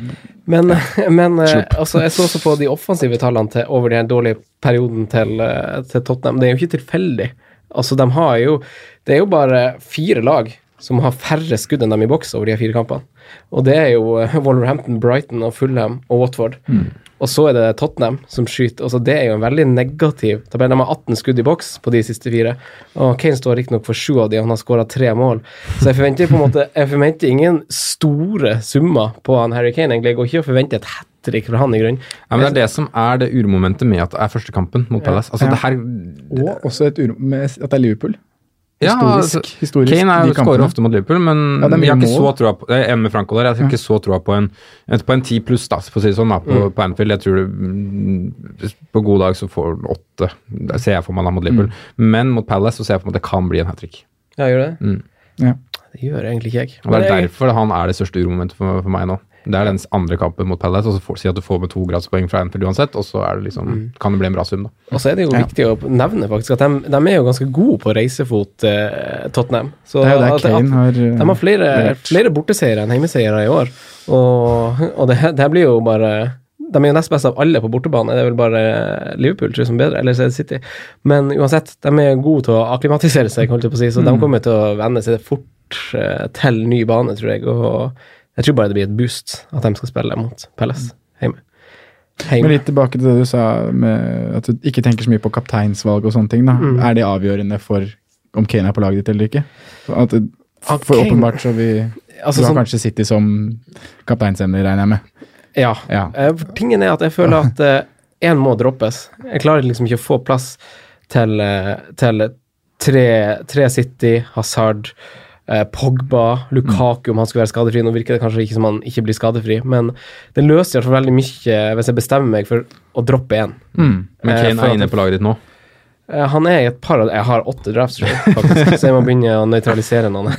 Speaker 2: Men, men eh, altså, jeg så også på de offensive tallene til, over den dårlige perioden til, eh, til Tottenham. Det er jo ikke tilfeldig. Altså, de har jo Det er jo bare fire lag som har færre skudd enn dem i boks over de her fire kampene. Og det er jo eh, Wolverhampton, Brighton og Fulham og Watford.
Speaker 4: Mm.
Speaker 2: Og så er det Tottenham som skyter. Altså, det er jo en veldig negativ tabell. De har 18 skudd i boks på de siste fire. Og Kane står riktignok for sju av de, og han har skåra tre mål. Så jeg forventer på en måte Jeg forventer ingen store summer på han Harry Kane, egentlig. Jeg går ikke og forventer et hat trick fra han i grunnen.
Speaker 3: Ja, men Det er det som er det uromomentet med at det er første kampen mot Palace. Altså,
Speaker 4: Ja.
Speaker 3: det her,
Speaker 4: Og også et uro med at det er Liverpool.
Speaker 3: ja,
Speaker 4: Historisk.
Speaker 3: altså,
Speaker 4: historisk
Speaker 3: Kane er
Speaker 4: de
Speaker 3: jo
Speaker 4: kampene.
Speaker 3: skårer ofte mot Liverpool, men
Speaker 4: Ja, det er mye
Speaker 3: jeg har ikke
Speaker 4: mål.
Speaker 3: så troa på, jeg er enig med Franco der, jeg har ikke så troa på en et- på en 10 pluss, da, for å si det sånn, da, på, på Anfield. Jeg tror det, mm, På god dag så får han åtte, det ser jeg for meg da
Speaker 4: Mm.
Speaker 3: mot Liverpool. Men mot Palace så ser jeg for meg at det kan bli en hat trick.
Speaker 2: Ja, gjør det?
Speaker 4: Mm. Ja.
Speaker 2: Det gjør egentlig ikke jeg.
Speaker 3: Og Det er
Speaker 2: jeg,
Speaker 3: derfor han er det største uromomentet for, for meg nå. Det er den andre kampen mot Palace, og så får, si at du får med to gradspoeng fra Anfield uansett, og så er det liksom,
Speaker 4: Mm.
Speaker 3: kan det bli en bra sum, da.
Speaker 2: Og så er det jo viktig å nevne faktisk at de, de er jo ganske gode på reisefot, eh, Tottenham. Så
Speaker 4: Det er jo der
Speaker 2: at- at-
Speaker 4: Kane har, eh,
Speaker 2: De har flere, flere borteseiere enn hjemmeseiere i år, og, og det, her- det her blir jo bare de er jo nest best av alle på bortebane, det er vel bare Liverpool tror jeg, som er bedre, eller så er det City. Men uansett, de er gode til å
Speaker 4: Mm.
Speaker 2: akklimatisere seg, holdt jeg på å si, så de kommer til å venne seg fort eh, til ny bane, tror jeg. Og Jeg tror bare det blir et boost at de skal spille mot Palace hjemme.
Speaker 4: Mm. Men
Speaker 2: hjemme.
Speaker 4: litt tilbake til det du sa med at du ikke tenker så mye på kapteinsvalg og sånne ting. da. Er det avgjørende for om Kane er på laget ditt eller ikke? At, det-
Speaker 2: At
Speaker 4: for
Speaker 2: Kane-
Speaker 4: åpenbart så vi
Speaker 2: Altså,
Speaker 4: Du har
Speaker 2: sånn-
Speaker 4: kanskje City som kapteinsemne, regner jeg med.
Speaker 2: Ja.
Speaker 4: Ja.
Speaker 2: Eh, for Tingen er at jeg føler at én må droppes. Jeg klarer liksom ikke å få plass til, eh, til tre, tre City, Hazard, eh, Pogba, Lukaku om han skulle være skadefri. Nå virker det kanskje ikke som han ikke blir skadefri, men det løser i hvert fall veldig mye hvis jeg bestemmer meg for å droppe én.
Speaker 3: Men
Speaker 2: Eh, for
Speaker 3: Kane
Speaker 2: at-
Speaker 3: er inne på laget ditt nå.
Speaker 2: Eh, Han er i et par av Jeg har åtte drafts, tror jeg, faktisk, så jeg må begynne å nøytralisere noen.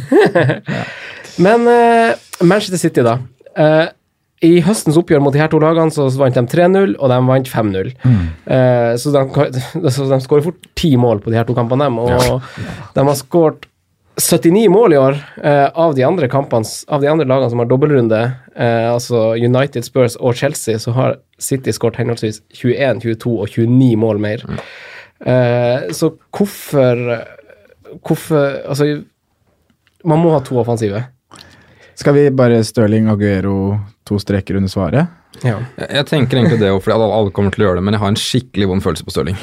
Speaker 2: Men eh, Manchester City, da. Eh, I høstens oppgjør mot de her to lagene så vant de 3-0, og de vant 5-0. Eh, så de, kan- så de skårer fort ti mål på de her to kampene, dem, og de har skåret 79 mål i år eh, av, de andre kampene, s- av de andre lagene som har dobbeltrunde, eh, altså United, Spurs og Chelsea, så har City skåret henholdsvis 21, 22 og 29 mål mer. Eh, så hvorfor Hvorfor Altså, man må ha to offensive.
Speaker 4: Skal vi bare Stirling Aguero to streker under svaret?
Speaker 2: Ja.
Speaker 3: Jeg, jeg tenker egentlig det, fordi alle- alle kommer til å gjøre det, men jeg har en skikkelig vond følelse på Stirling.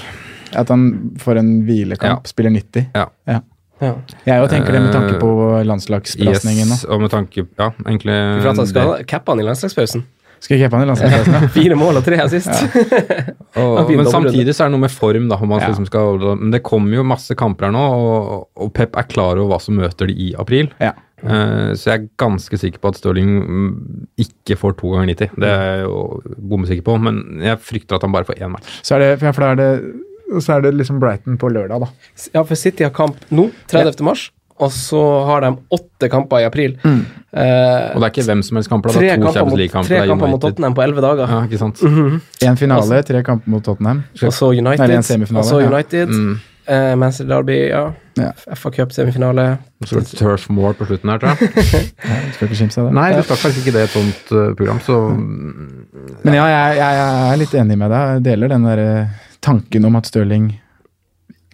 Speaker 4: At han får en hvilekamp,
Speaker 3: Ja.
Speaker 4: spiller 90.
Speaker 3: Ja. Eh,
Speaker 2: ja.
Speaker 4: Jeg òg tenker det med tanke på
Speaker 3: Yes,
Speaker 4: landslagsbelastningen nå.
Speaker 3: og med tanke Ja, egentlig
Speaker 2: For at han skal cappe han i landslagspausen.
Speaker 4: Skal ikke heppe han i landslagsbelastningen.
Speaker 2: Fire mål og tre her sist. Han
Speaker 3: eh, Og,
Speaker 2: vinner
Speaker 3: men
Speaker 2: over
Speaker 3: samtidig så er det noe med form, da. Om man
Speaker 4: Ja.
Speaker 3: liksom skal, men det kommer jo masse kamper her nå, og, og Pep er klar over hva som møter de i april.
Speaker 4: Ja.
Speaker 3: Eh, så jeg er ganske sikker på at Stirling mm, ikke får to ganger 90. Det er jeg jo bombesikker på, men jeg frykter at han bare får én match.
Speaker 4: Så er det, for for da er det så er det liksom Brighton på lørdag, da.
Speaker 2: Ja, for City har kamp nå, 30. mars, og så har de åtte kamper i april. Eh,
Speaker 3: Mm. Og det er ikke hvem som helst kamper, da.
Speaker 2: tre
Speaker 3: det er to
Speaker 2: kamper
Speaker 3: Champions
Speaker 2: mot,
Speaker 3: League-kamper.
Speaker 2: tre
Speaker 3: det er
Speaker 2: kamper mot
Speaker 3: United.
Speaker 2: Tottenham Mhm. på elleve dager.
Speaker 3: Ja, ikke sant?
Speaker 4: Én finale, tre kamper mot Tottenham.
Speaker 2: Og så United.
Speaker 4: Nei, det er en semifinale,
Speaker 2: og så
Speaker 4: ja.
Speaker 2: United
Speaker 3: Mm.
Speaker 2: eh, Manchester Derby, ja.
Speaker 4: Ja.
Speaker 2: FA Cup-semifinale.
Speaker 3: Og så er det Turf Moor på slutten her, tror jeg.
Speaker 4: Skal ikke kimse av det.
Speaker 3: Nei, du stakk faktisk ikke det i et sånt eh, program, så mm,
Speaker 4: Men ja, jeg, jeg, jeg er litt enig med deg. Jeg deler den der eh, tanken om at Stirling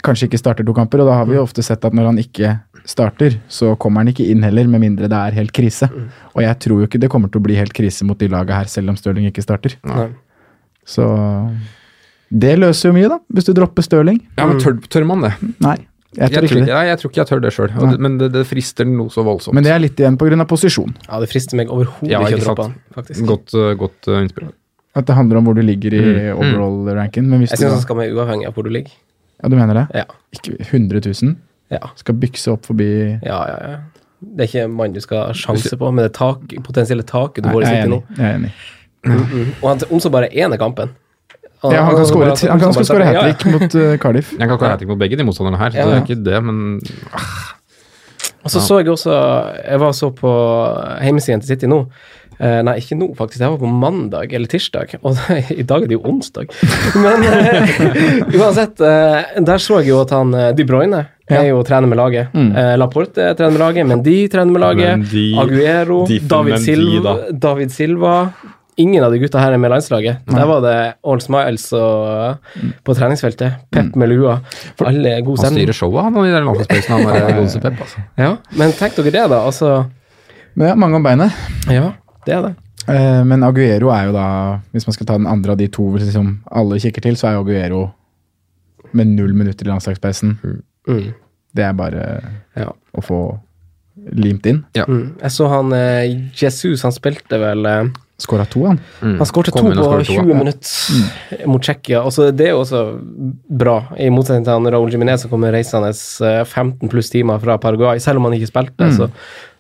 Speaker 4: kanskje ikke starter to kamper. Og da har vi jo ofte sett at når han ikke starter, så kommer han ikke inn heller, med mindre det er helt krise.
Speaker 2: Mm.
Speaker 4: Og jeg tror jo ikke det kommer til å bli helt krise mot de laga her, selv om Stirling ikke starter.
Speaker 2: Nei.
Speaker 4: Så det løser jo mye, da, hvis du dropper Stirling.
Speaker 3: Ja, men tør, tør man det?
Speaker 4: Nei, jeg tror ikke det.
Speaker 3: Nei, jeg tror ikke jeg tør det sjøl, men det, det frister noe så voldsomt.
Speaker 4: Men det er litt igjen pga. posisjon.
Speaker 2: Ja, det frister meg overhodet
Speaker 3: Ja,
Speaker 2: ikke å
Speaker 3: ikke
Speaker 2: droppe
Speaker 3: sant.
Speaker 2: han, faktisk.
Speaker 3: Godt, uh, godt uh, innspill.
Speaker 4: At det handler om hvor du ligger i overall-ranken. Men hvis
Speaker 2: Mm. Jeg
Speaker 4: du,
Speaker 2: syns han
Speaker 4: da-
Speaker 2: skal være uavhengig av hvor du ligger.
Speaker 4: ja, du mener det?
Speaker 2: Ja.
Speaker 4: Ikke 100 000?
Speaker 2: Ja,
Speaker 4: Skal bykse opp forbi
Speaker 2: ja, ja. ja. Det er ikke en mann du skal ha sjanse på, men det er tak, potensielle taket du
Speaker 4: Nei,
Speaker 2: får i
Speaker 4: jeg er
Speaker 2: City nå.
Speaker 4: enig. Jeg er enig.
Speaker 2: Og han om så bare én er kampen.
Speaker 4: Ja, han kan skåre
Speaker 2: bare-
Speaker 4: han kan
Speaker 2: bare-
Speaker 4: skåre hat
Speaker 2: Ja, ja.
Speaker 4: trick mot eh, Cardiff.
Speaker 3: Jeg kan ikke ha mot begge de motstanderne her, så
Speaker 2: Ja.
Speaker 3: det er ikke det, men
Speaker 2: Og så så jeg også Jeg var og så på hjemmesiden til City nå. Eh, nei, ikke nå, faktisk. Jeg var på mandag eller tirsdag. Og i dag er det jo onsdag. Men eh, uansett, eh, der så jeg jo at han eh, De Bruyne er jo trener med laget.
Speaker 3: Mm.
Speaker 2: Eh, Laporte er trener med laget, Mendy trener med laget.
Speaker 3: Mendy,
Speaker 2: Aguero,
Speaker 3: Diffen
Speaker 2: David
Speaker 3: Mendy,
Speaker 2: Silva,
Speaker 3: da.
Speaker 2: David Silva Ingen av de gutta her er med landslaget. Der var det All Smiles og, på treningsfeltet. Pep med lua. Alle er god
Speaker 3: Mm. han
Speaker 2: stemning.
Speaker 3: styrer showet, han, i den landslagsplassen. Han er Godse Pep, altså.
Speaker 2: Ja, men tenk dere det, da. Altså
Speaker 4: Men ja, mange om beinet.
Speaker 2: Ja, det er det.
Speaker 4: Eh, Men Aguero er jo da Hvis man skal ta den andre av de to liksom, alle kikker til, så er jo Aguero med null minutter i landslagspausen.
Speaker 2: Mm.
Speaker 4: Det er bare
Speaker 2: Ja.
Speaker 4: å få limt inn.
Speaker 2: Mm. Jeg så han eh, Jesus, han spilte vel eh,
Speaker 4: Skåra to, han.
Speaker 3: Mm.
Speaker 2: Han skårte to
Speaker 3: Kom inn og
Speaker 2: på
Speaker 3: skåret to, ja. Mm.
Speaker 2: 20 minutter mot Tsjekkia. Og så det er jo også bra, i motsetning til han Raúl Jiménez som kommer reisende eh, 15 pluss timer fra Paraguay. Selv om han ikke spilte,
Speaker 3: Mm.
Speaker 2: så,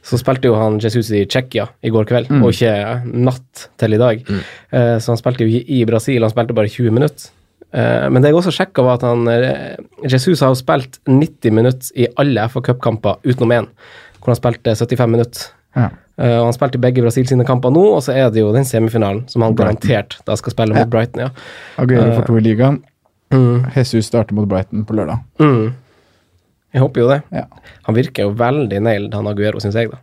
Speaker 2: så spilte jo han Jesus i Tsjekkia i går kveld,
Speaker 3: Mm.
Speaker 2: og ikke natt til i dag. Eh, så han spilte jo ikke i Brasil, han spilte bare 20 minutter. Eh, Men det jeg også sjekka, var at han, eh, Jesus har jo spilt 90 minutter i alle FA Cup-kamper utenom én, hvor han spilte 75 minutter.
Speaker 4: Ja.
Speaker 2: Eh, og han spilte begge Brasil sine kamper nå, og så er det jo den semifinalen som han garantert da skal spille mot Brighton. ja.
Speaker 4: Aguero får to i ligaen.
Speaker 2: Mm.
Speaker 4: Jesus starter mot Brighton på lørdag.
Speaker 2: Mm. Jeg håper jo det.
Speaker 4: Ja.
Speaker 2: Han virker jo veldig nailed, han Aguero, syns jeg, da.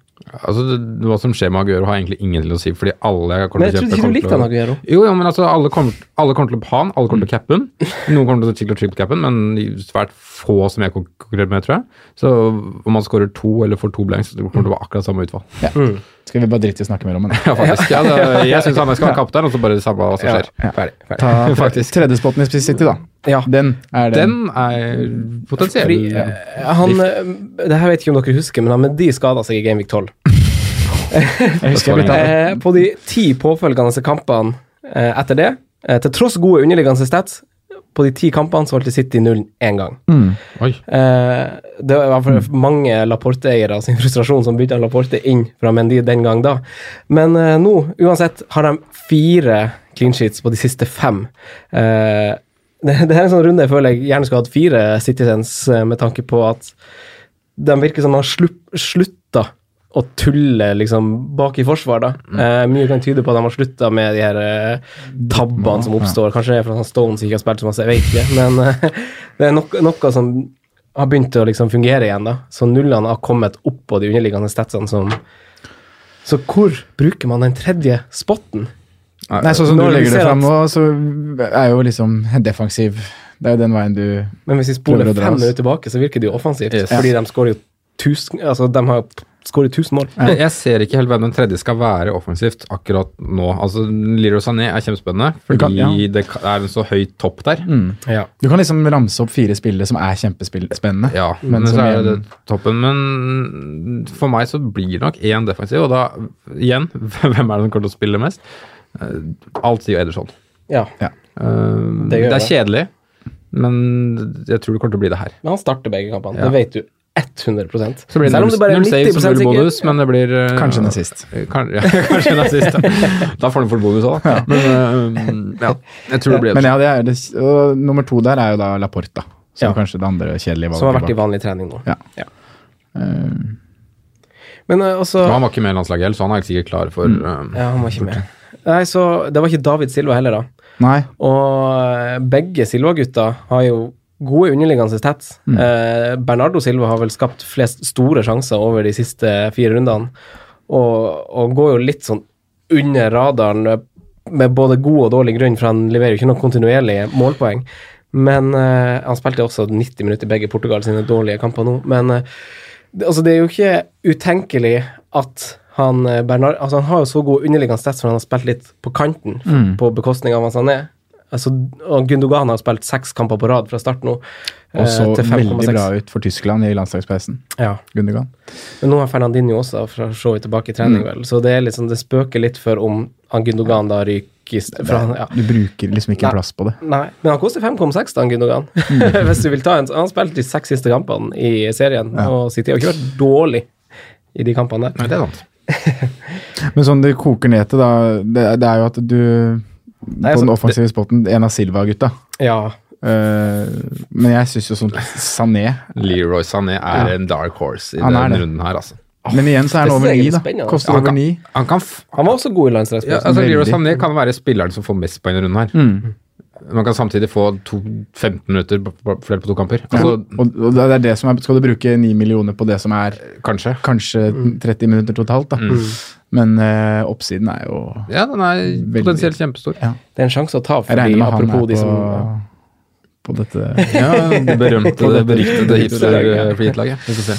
Speaker 3: Altså, det, hva som skjer med Aguero, har egentlig ingenting å si, fordi alle jeg
Speaker 2: Men
Speaker 3: kommer
Speaker 2: jeg
Speaker 3: til å
Speaker 2: trodde
Speaker 3: kjøpe
Speaker 2: ikke du
Speaker 3: kommer
Speaker 2: likte
Speaker 3: til å-
Speaker 2: han Aguero.
Speaker 3: Jo, jo, men altså, alle kommer, alle kommer til å ha han, alle kommer til å cappe han. Noen kommer til å chicle triple cappe han, men de svært få som jeg konkurrerer med, tror jeg. Så om han scorer to eller får to blanks, så kommer det til å være akkurat samme utfall.
Speaker 4: Skal vi bare drite i å snakke mer om den?
Speaker 3: Ja, faktisk. Ja, det, jeg syns han skal være kaptein, og så bare samme hva som skjer.
Speaker 2: Ferdig. ferdig.
Speaker 4: Ta
Speaker 3: Faktisk.
Speaker 4: tredjespotten i Spis City, da.
Speaker 2: Ja.
Speaker 4: Den er den.
Speaker 3: Den er potensiell.
Speaker 2: Fordi, eh, han, eh, det her vet ikke om dere husker, men han med de skada seg i Gameweek 12.
Speaker 4: Jeg husker jeg bytta den.
Speaker 2: Eh, på de ti påfølgende kampene eh, etter det, eh, til tross gode underliggende stats, på de ti kampene så holdt de City nullen én gang.
Speaker 3: Oi.
Speaker 2: Eh, det var for mange Laporte-eiere sin frustrasjon som bytta Laporte inn fra Mendy den gang da. Men eh, nå, uansett, har de fire clean sheets på de siste fem. Eh, det, det her er en sånn runde jeg føler jeg gjerne skulle hatt fire Citizens, eh, med tanke på at de virker som de har slupp- slutta å tulle liksom bak i forsvar, da.
Speaker 4: Mm.
Speaker 2: Eh, mye kan tyde på at de har slutta med de her eh, tabbene
Speaker 4: Mm.
Speaker 2: som oppstår. Kanskje det er fordi han Stones ikke har spilt så masse, jeg vet ikke. Men eh, det er nok, noe som har begynt å liksom fungere igjen, da. Så nullene har kommet opp på de underliggende statsene som Så hvor bruker man den tredje spotten?
Speaker 4: Nei, sånn som du
Speaker 2: Når vi
Speaker 4: legger det
Speaker 2: ser
Speaker 4: fram
Speaker 2: at-
Speaker 4: nå, så er jo liksom defensiv Det er jo den veien du
Speaker 2: Men hvis vi spoler
Speaker 4: Prøver å dra
Speaker 2: fem
Speaker 4: oss.
Speaker 2: minutter tilbake, så virker det jo offensivt.
Speaker 3: Yes.
Speaker 2: Fordi de skårer jo tusen Altså, de har skåret 1000 mål.
Speaker 3: Jeg jeg ser ikke helt hvem den tredje skal være offensivt akkurat nå. Altså, Leroy Sané er kjempespennende, fordi
Speaker 4: kan- ja.
Speaker 3: det ka- er en så høy topp der.
Speaker 2: Ja.
Speaker 4: Du kan liksom ramse opp fire spillere som er kjempespennende.
Speaker 3: Ja,
Speaker 4: Men
Speaker 3: men,
Speaker 4: som
Speaker 3: så er det
Speaker 4: igjen-
Speaker 3: toppen. Men for meg så blir det nok én defensiv, og da igjen Hvem er det som kommer til å spille mest? Eh, Alt sier jo Ederson.
Speaker 2: ja.
Speaker 3: Eh,
Speaker 2: Det
Speaker 3: det,
Speaker 2: gjør
Speaker 3: er
Speaker 2: det.
Speaker 3: kjedelig, men jeg tror det kommer til å bli det her.
Speaker 2: Men han starter begge kampene.
Speaker 3: Ja.
Speaker 2: Det vet du 100
Speaker 3: Så blir
Speaker 2: Selv
Speaker 3: det
Speaker 2: om
Speaker 3: null,
Speaker 2: du bare er 90
Speaker 3: null saves og null
Speaker 2: sikker.
Speaker 3: bonus, men det blir eh,
Speaker 4: Kanskje den sist.
Speaker 3: Kan, ja, kanskje den er sist. Da. da får den for bonus òg, da. Men eh, ja, jeg tror det blir
Speaker 4: Men ja, det er det, og nummer to der er jo da Laporta, som
Speaker 2: Ja.
Speaker 4: kanskje det andre kjedelige valget Eh,
Speaker 2: Som har vært i
Speaker 4: bak.
Speaker 2: vanlig trening nå.
Speaker 4: Ja.
Speaker 2: Men eh, også
Speaker 3: Men Han var ikke med i landslaget heller, så han er ikke sikkert klar for eh,
Speaker 2: Ja, han var ikke med. Nei, så Det var ikke David Silva heller, da.
Speaker 4: Nei,
Speaker 2: Eh, Og begge Silva-gutta har jo gode underliggende stats. Eh, Bernardo Silva har vel skapt flest store sjanser over de siste fire rundene, og, og går jo litt sånn under radaren eh, med både god og dårlig grunn, for han leverer jo ikke noe kontinuerlig målpoeng. Men eh, han spilte også 90 minutter i begge Portugal sine dårlige kamper nå. Men eh, det, altså, det er jo ikke utenkelig at han eh, Bernard altså, Han har jo så god underliggende stats, for han har spilt litt på kanten på bekostning av hva han er. Altså, og Gundogan har spilt seks kamper på rad fra start nå. eh,
Speaker 4: og så
Speaker 2: til
Speaker 4: veldig
Speaker 2: 5,6.
Speaker 4: bra ut for Tyskland i landslagspausen.
Speaker 2: Ja.
Speaker 4: Gundergan.
Speaker 2: Men nå er Fernandinho også fra så vidt tilbake i trening,
Speaker 4: Mm.
Speaker 2: vel. Så det, er litt sånn, det spøker litt for om han Gundogan da ryker i st- fra, ja.
Speaker 4: Du bruker liksom ikke
Speaker 2: Nei.
Speaker 4: plass på det.
Speaker 2: Nei, men han koster 5,6 da, han Gundogan.
Speaker 4: Mm.
Speaker 2: Hvis du vil ta en. Han spilte de seks siste kampene i serien, og City har ikke vært dårlig i de kampene der.
Speaker 3: Nei, det er sant.
Speaker 4: Men sånn det koker ned til, da, det, det er jo at du På
Speaker 2: altså,
Speaker 4: den offensive spotten, en av Silva-gutta.
Speaker 2: Ja,
Speaker 4: Eh, men jeg syns jo sånn Sané
Speaker 3: Leroy Sané er en dark horse i den
Speaker 4: Han er det.
Speaker 3: runden her, altså.
Speaker 4: Men igjen så
Speaker 2: Det
Speaker 4: er han over
Speaker 2: synes jeg er
Speaker 4: ni, da.
Speaker 2: spennende.
Speaker 4: Koster
Speaker 3: Ja,
Speaker 4: over
Speaker 3: kan-
Speaker 4: ni.
Speaker 3: Han kan f
Speaker 2: han var også god i
Speaker 3: ja,
Speaker 2: landslagsplassen.
Speaker 3: altså, Leroy
Speaker 4: Veldig.
Speaker 3: Sané kan være spilleren som får mest poeng i runden her. Man kan samtidig få to, 15 minutter på- på- fordelt på to kamper. Altså,
Speaker 4: og, og det er det som er, Skal du bruke ni millioner på det som er
Speaker 3: Kanskje.
Speaker 4: kanskje 30 minutter totalt, da. Men eh, oppsiden er jo
Speaker 3: Ja, den er potensielt kjempestor.
Speaker 4: Ja.
Speaker 2: Det er en sjanse å ta,
Speaker 4: Jeg
Speaker 2: fordi
Speaker 4: regner med han
Speaker 2: apropos
Speaker 4: er
Speaker 2: de
Speaker 4: på,
Speaker 2: som
Speaker 4: på dette
Speaker 3: Ja, det berømte, eh, det beryktede hipster-flitlaget. Vi får se.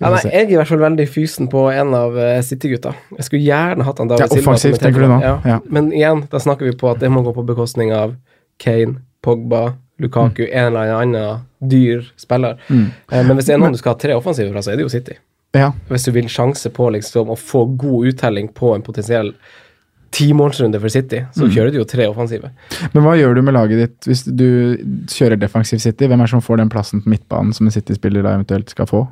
Speaker 2: ja, nei, Jeg er i hvert fall veldig fysen på en av eh, City-gutta. Jeg skulle gjerne hatt han David
Speaker 4: Ja,
Speaker 2: Silva. som
Speaker 4: offensivt,
Speaker 2: jeg
Speaker 4: tenker du nå?
Speaker 2: på. Ja.
Speaker 4: Ja.
Speaker 2: Men igjen, da snakker vi på at det må gå på bekostning av Kane, Pogba, Lukaku,
Speaker 4: Mm.
Speaker 2: en eller annen dyr spiller. Eh, Men hvis det er noen du skal ha tre offensive fra, så er det jo City.
Speaker 4: Ja.
Speaker 2: hvis du vil sjanse på liksom, å få god uttelling på en potensiell timålsrunde for City,
Speaker 4: Mm.
Speaker 2: så kjører du jo tre offensive.
Speaker 4: Men hva gjør du med laget ditt hvis du kjører defensiv City? Hvem er det som får den plassen på midtbanen som en City-spiller da eventuelt skal få?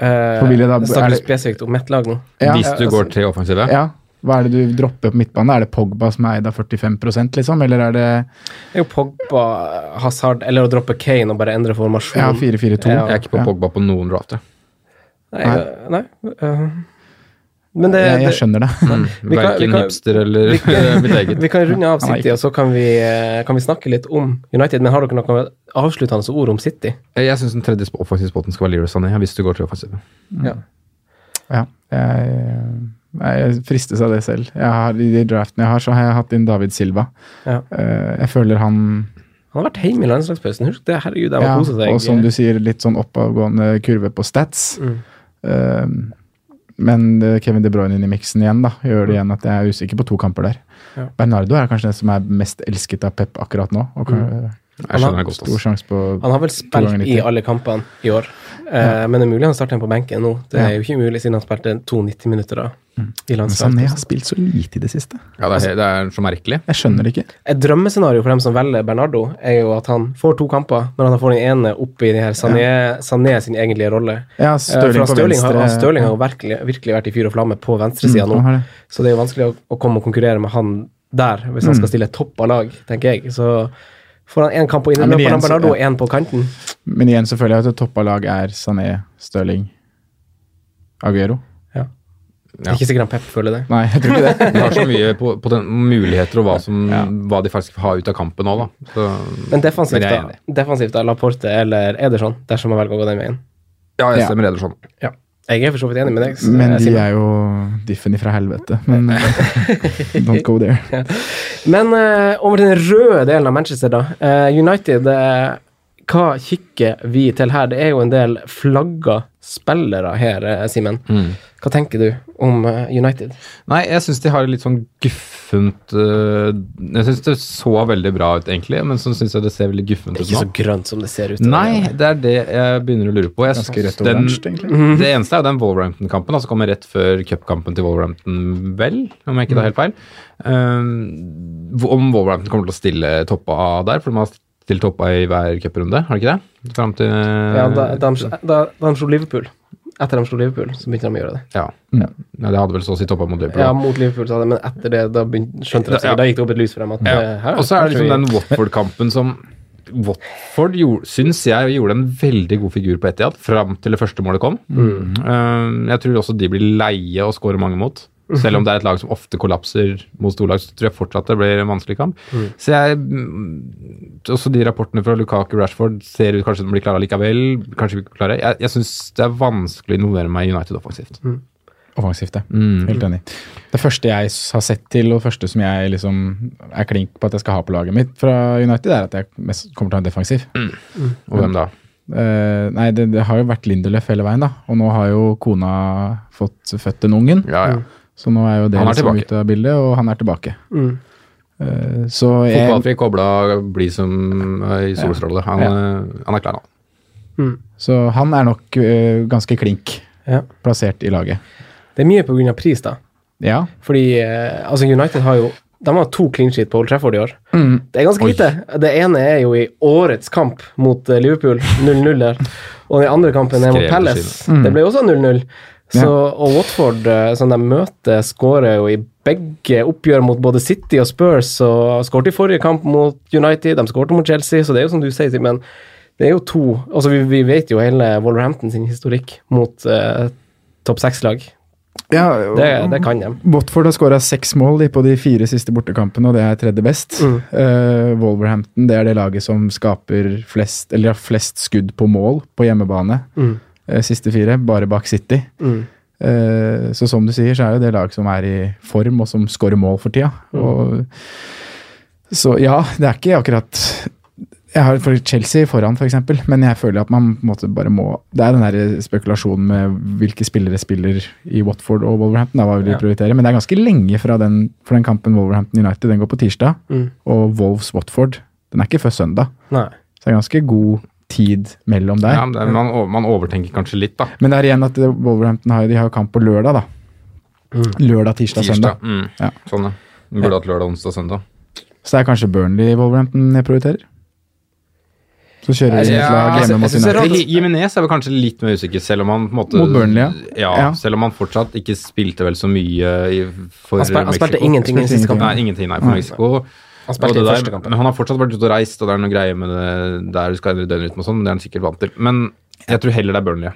Speaker 2: Eh,
Speaker 4: For vil jeg da- er
Speaker 2: snakker du
Speaker 4: det-
Speaker 2: spesifikt om ett lag nå?
Speaker 4: Ja,
Speaker 3: Hvis du går til offensivet.
Speaker 4: ja. Hva er det du dropper på midtbanen? Er det Pogba som er eid av 45 liksom? Eller er det
Speaker 2: Det er jo Pogba, Hazard, eller å droppe Kane og bare endre formasjon.
Speaker 4: ja, 4-4-2?
Speaker 2: Ja.
Speaker 3: Jeg er ikke på Pogba på noen drafter.
Speaker 2: Nei, eh, nei. eh, men det,
Speaker 4: Jeg, jeg
Speaker 2: det
Speaker 4: skjønner det.
Speaker 2: Vi kan- vi
Speaker 3: Verken
Speaker 2: kan-
Speaker 3: hipster eller
Speaker 2: vi kan-
Speaker 3: mitt eget.
Speaker 2: vi kan runde av
Speaker 4: Han er
Speaker 2: City, og så kan vi, eh, kan vi snakke litt om United. Men har dere noen avsluttende ord om City?
Speaker 3: Jeg syns den tredje sp- offensive spotten skal være Leroy Sané, hvis du går til offensivet.
Speaker 4: Mm.
Speaker 2: Ja.
Speaker 4: Ja, jeg, jeg fristes av det selv. Jeg har, I de draftene jeg har, så har jeg hatt inn David Silva.
Speaker 2: Ja.
Speaker 4: Eh, jeg føler han
Speaker 2: Han har vært hjemme i landslagspausen. Husk det, herregud, de har
Speaker 4: ja,
Speaker 2: koset seg.
Speaker 4: Og som du sier, litt sånn oppadgående kurve på stats.
Speaker 2: Mm.
Speaker 4: Eh, Men eh, Kevin De Bruyne inn i miksen igjen da, gjør det igjen at jeg er usikker på to kamper der.
Speaker 2: Ja.
Speaker 4: Bernardo er kanskje den som er mest elsket av Pep akkurat nå.
Speaker 2: Mm.
Speaker 4: og kan,
Speaker 3: Jeg skjønner det godt.
Speaker 4: Stor
Speaker 3: ass.
Speaker 4: sjanse på
Speaker 2: Han har vel
Speaker 4: To ganger
Speaker 2: spilt i
Speaker 4: nitti.
Speaker 2: alle kampene i år, eh, men det er mulig han starter en på benken nå. Det er
Speaker 4: Ja. Mm.
Speaker 2: jo ikke umulig siden han spilte to 90 minutter da, i
Speaker 4: Men sånn Sané
Speaker 2: landslaget.
Speaker 4: har spilt så lite i det siste.
Speaker 3: Ja, det, er, det er så merkelig.
Speaker 4: Jeg skjønner det ikke.
Speaker 2: Et drømmescenario for dem som velger Bernardo, er jo at han får to kamper, men han får den ene opp i den her Sané, Sané sin egentlige rolle.
Speaker 4: Ja,
Speaker 2: Eh, for
Speaker 4: Stirling
Speaker 2: han
Speaker 4: på
Speaker 2: Stirling har,
Speaker 4: venstre.
Speaker 2: han Stirling har jo virkelig, virkelig vært i fyr og flamme på venstresida
Speaker 4: Mm, han
Speaker 2: nå,
Speaker 4: har det.
Speaker 2: så det er jo vanskelig å, å komme og konkurrere med han der, hvis
Speaker 4: Mm.
Speaker 2: han skal stille topp av lag, tenker jeg. Så får han én kamp på
Speaker 4: Ja, men
Speaker 2: innløpet,
Speaker 4: igjen
Speaker 2: ja,
Speaker 4: så-
Speaker 2: Bernardo og
Speaker 4: ja.
Speaker 2: én på kanten.
Speaker 4: Men igjen så føler jeg at det toppa lag er Sané, Stirling, Aguero.
Speaker 3: Ja.
Speaker 2: Ikke sikkert han Pep føler det.
Speaker 4: Nei, jeg tror ikke det.
Speaker 3: De har så mye på, på den, muligheter og hva, som,
Speaker 4: Ja.
Speaker 3: hva de faktisk har ut av kampen nå, da. Så,
Speaker 2: Men defensivt,
Speaker 3: Men jeg er
Speaker 2: da. Defensivt da, Laporte eller Ederson, dersom man velger å gå den veien.
Speaker 3: ja, jeg
Speaker 4: Ja.
Speaker 3: stemmer sånn. Ederson.
Speaker 2: Jeg er for så vidt enig med deg. s-
Speaker 4: Men
Speaker 2: eh,
Speaker 4: de
Speaker 2: Simen.
Speaker 4: er jo diffen ifra helvete. Men eh, don't go there.
Speaker 2: Men eh, over til den røde delen av Manchester, da. Eh, United, eh, hva kikker vi til her? Det er jo en del flagga spillere her, eh, Simen.
Speaker 3: Mm.
Speaker 2: Hva tenker du om eh, United?
Speaker 3: Nei, jeg syns de har et litt sånn guffent øh, Jeg syns det så veldig bra ut, egentlig, men så syns jeg det ser veldig guffent ut
Speaker 2: Ikke så
Speaker 3: nå.
Speaker 2: grønt som det ser ut.
Speaker 3: Nei, det er det jeg begynner å lure på. Jeg
Speaker 4: Ganske
Speaker 3: synes
Speaker 4: rett og oransje,
Speaker 3: den,
Speaker 4: egentlig.
Speaker 2: Mhm.
Speaker 3: Det eneste er jo den Wolverhampton-kampen, altså kommer rett før cupkampen til Wolverhampton, vel, om jeg ikke tar helt feil. Um, hvor- om Wolverhampton kommer til å stille toppa der, for de har stilt toppa i hver cuprunde, har de ikke det? Fram til
Speaker 2: Ja, da, da, de- da, da de slo Liverpool, etter de slo Liverpool, så begynte de å gjøre det.
Speaker 3: ja.
Speaker 4: Ja.
Speaker 3: Nei, det hadde vel så å si toppa mot Liverpool.
Speaker 2: Mm. Ja, mot Liverpool, sa de, men etter det, da begynte, skjønte de
Speaker 3: Da- ja.
Speaker 2: sikkert. Da gikk det opp et lys for dem. at eh, her
Speaker 3: Ja.
Speaker 2: er
Speaker 3: Og så er det
Speaker 2: kanskje vi-
Speaker 3: liksom den Watford-kampen som Watford gjorde, syns jeg gjorde en veldig god figur på Etihad fram til det første målet kom. Um, jeg tror også de blir leie og scorer mange mot. Selv om det er et lag som ofte kollapser mot storlag, så tror jeg fortsatt det blir en vanskelig kamp. Så jeg, mm, Også de rapportene fra Lukaku Rashford ser ut kanskje de blir klare likevel. Kanskje vi ikke klarer. Jeg, jeg syns det er vanskelig å involvere meg i United offensivt. Mm.
Speaker 4: Offensivt, ja.
Speaker 3: Mhm.
Speaker 4: Helt enig. Det første jeg s- har sett til, og det første som jeg liksom er klink på at jeg skal ha på laget mitt fra United, er at jeg mest kommer til å ha en defensiv.
Speaker 3: Og hvem da?
Speaker 4: Eh, nei, det, det har jo vært Lindelöf hele veien, da. Og nå har jo kona fått født en ungen,
Speaker 3: Ja, ja.
Speaker 4: så nå er jo det
Speaker 3: Han er
Speaker 4: liksom
Speaker 3: tilbake.
Speaker 4: ute av bildet, og han er tilbake.
Speaker 2: Mm.
Speaker 4: Eh, så jeg,
Speaker 3: Fotballfri kobla, bli som eh, i solstråle. Han, eh, han er klar, han.
Speaker 4: Så han er nok eh, ganske klink
Speaker 2: Ja.
Speaker 4: plassert i laget.
Speaker 2: Det er mye på grunn av pris, da.
Speaker 4: Ja.
Speaker 2: Fordi eh, altså United har jo de har to clean sheet på Old Trafford i år.
Speaker 4: Mm.
Speaker 2: Det er ganske lite. Det ene er jo i årets kamp mot eh, Liverpool, 0-0 der. Og den andre kampen er mot
Speaker 3: Skrevet på
Speaker 2: Palace. Det ble også 0-0. Så, og Watford, eh, som de møter, skårer jo i begge oppgjør mot både City og Spurs. Og skåret i forrige kamp mot United, de skåret mot Chelsea, så det er jo som du sier, Simen. Det er jo to altså Vi, vi vet jo hele Wolverhampton sin historikk mot eh, topp seks-lag.
Speaker 4: ja
Speaker 2: Det, det kan de.
Speaker 4: Watford har skåra seks mål de, på de fire siste bortekampene, og det er tredje best.
Speaker 2: Mm.
Speaker 4: Eh, Wolverhampton det er det laget som skaper flest, eller har flest skudd på mål på hjemmebane.
Speaker 2: Mm.
Speaker 4: eh, siste fire, bare bak City.
Speaker 2: Mm.
Speaker 4: Eh, så som du sier, så er jo det lag som er i form, og som skårer mål for tida.
Speaker 2: Mm.
Speaker 4: Og, så ja, det er ikke akkurat jeg har for Chelsea foran, f.eks., for eksempel, men jeg føler at man på en måte bare må Det er den der spekulasjonen med hvilke spillere spiller i Watford og Wolverhampton, da, hva vil de
Speaker 2: Ja.
Speaker 4: prioritere, men det er ganske lenge fra den, for den kampen Wolverhampton United. Den går på tirsdag,
Speaker 2: Mm.
Speaker 4: og Wolves-Watford den er ikke før søndag.
Speaker 2: Nei.
Speaker 4: Så det er ganske god tid mellom der.
Speaker 3: Ja, men det er- man, over- man overtenker kanskje litt, da.
Speaker 4: Men det er igjen at eh, Wolverhampton har, de har kamp på lørdag, da. Lørdag, tirsdag,
Speaker 3: Mm. Tirsdag.
Speaker 4: søndag.
Speaker 3: Mm.
Speaker 4: Ja.
Speaker 3: Sånn, ja. Man Burde hatt lørdag, onsdag, søndag.
Speaker 4: Så det er kanskje Burnley Wolverhampton jeg prioriterer. Så kjører de et lag
Speaker 3: Eh, altså, jeg
Speaker 4: hjemme mot
Speaker 3: synes det er
Speaker 4: United.
Speaker 3: rart. Jimenez er vel kanskje litt mer usikker, selv om han på en måte
Speaker 4: Mot Burnley, ja.
Speaker 3: Ja,
Speaker 4: Ja.
Speaker 3: Selv om han fortsatt ikke spilte vel så mye i, for
Speaker 2: Han, spil, han
Speaker 3: Mexico.
Speaker 2: spilte ingenting i
Speaker 4: Spilte
Speaker 2: siste kamp.
Speaker 3: Nei, ingenting, nei, for Mexico.
Speaker 2: Han
Speaker 3: Og
Speaker 2: spilte
Speaker 3: det
Speaker 2: i
Speaker 3: der-
Speaker 2: første kampen.
Speaker 3: Men han har fortsatt vært ute og reist, og det er noen greier med det der du skal endre døgnrytme og sånn, det er han sikkert vant til. Men jeg tror heller det er Burnley.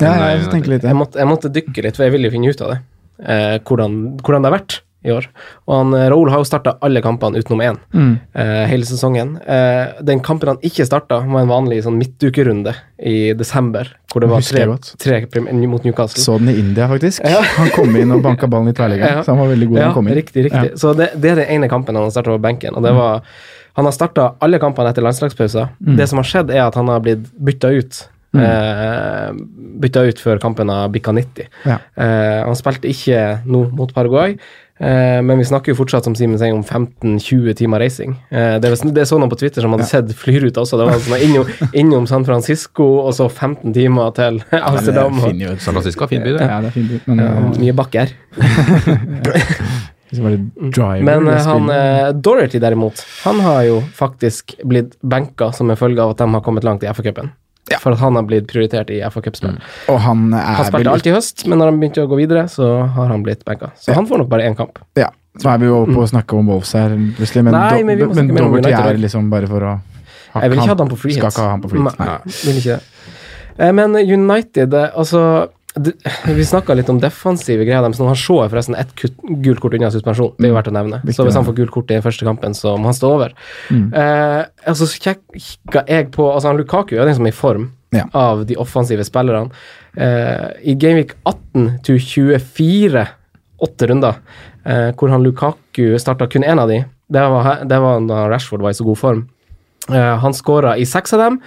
Speaker 4: Ja,
Speaker 3: Nei,
Speaker 4: jeg
Speaker 3: United.
Speaker 4: tenker litt
Speaker 2: Jeg
Speaker 4: ja.
Speaker 2: måtte, jeg måtte dykke litt, for jeg ville jo finne ut av det. Eh, hvordan, hvordan det har vært i år. Og han, eh, Raoul har jo starta alle kampene utenom én
Speaker 4: Mm.
Speaker 2: eh, hele sesongen. Eh, den kampen han ikke starta, var en vanlig sånn midtukerunde i desember, hvor det var
Speaker 4: Husker jeg
Speaker 2: tre,
Speaker 4: godt.
Speaker 2: tre prim- mot Newcastle.
Speaker 4: Så den i India, faktisk. Han kom inn og banka ballen i tverrliggeren,
Speaker 2: Ja.
Speaker 4: så han var veldig god da
Speaker 2: ja,
Speaker 4: han kom inn. Mm.
Speaker 2: riktig, riktig. Så det, det er den ene kampen han har starta på benken. Og det var, han har starta alle kampene etter landslagspausen. Det som har skjedd, er at han har blitt bytta ut
Speaker 4: Mm.
Speaker 2: Eh, bytta ut før kampen har bikka 90.
Speaker 4: Ja.
Speaker 2: Eh, han spilte ikke nå mot Paraguay, eh, men vi snakker jo fortsatt som Simen sier, om 15-20 timer reising. Eh, det, er vel- det så noen på Twitter som hadde sett flyruta også. Det var sånn innom, innom San Francisco og så 15 timer til Amsterdam. Og,
Speaker 4: jo
Speaker 3: San Francisco er fin by, det.
Speaker 4: Ja, det er fin by, men
Speaker 2: eh,
Speaker 4: eh,
Speaker 2: mye bakker.
Speaker 4: hvis det var litt driver
Speaker 2: Men
Speaker 4: det
Speaker 2: eh, han,
Speaker 4: spillet-
Speaker 2: eh, Dorothy derimot, han har jo faktisk blitt benka som en følge av at de har kommet langt i FA-cupen. For at han har blitt prioritert i FA-cupspill.
Speaker 4: Og han eh, er
Speaker 2: Han spilte
Speaker 4: vel
Speaker 2: alt i høst, men når han begynte å gå videre, så har han blitt benka. Så han får nok bare én kamp.
Speaker 4: Ja, så er vi jo over på å snakke om Wolves her, plutselig. Men,
Speaker 2: Nei, men vi må
Speaker 4: do,
Speaker 2: snakke
Speaker 4: men
Speaker 2: mer om
Speaker 4: Doherty
Speaker 2: United
Speaker 4: er
Speaker 2: også.
Speaker 4: liksom bare for å ha-
Speaker 2: Jeg vil ikke
Speaker 4: han-
Speaker 2: ha han på free
Speaker 4: Skal
Speaker 2: hit.
Speaker 4: ikke ha han på free hit.
Speaker 2: Nei, vil ikke det. Eh, Men United, eh, altså d- vi snakka litt om defensive greier deres. Nå har Shaw forresten ett kut- gult kort unna suspensjon. Det er jo verdt å nevne.
Speaker 4: Mm. Viktig
Speaker 2: Så hvis han
Speaker 4: å
Speaker 2: får gult kort i første kampen, så må han stå over.
Speaker 4: Mm.
Speaker 2: Eh, altså, så kjek- kikka jeg på altså, han Lukaku er den som er i form
Speaker 4: Ja.
Speaker 2: av de offensive spillerne. Eh, I Gameweek 18 til 24, åtte runder, eh, hvor han Lukaku starta kun én av de. Det var, he- det var da Rashford var i så god form. Eh, han skåra i seks av dem,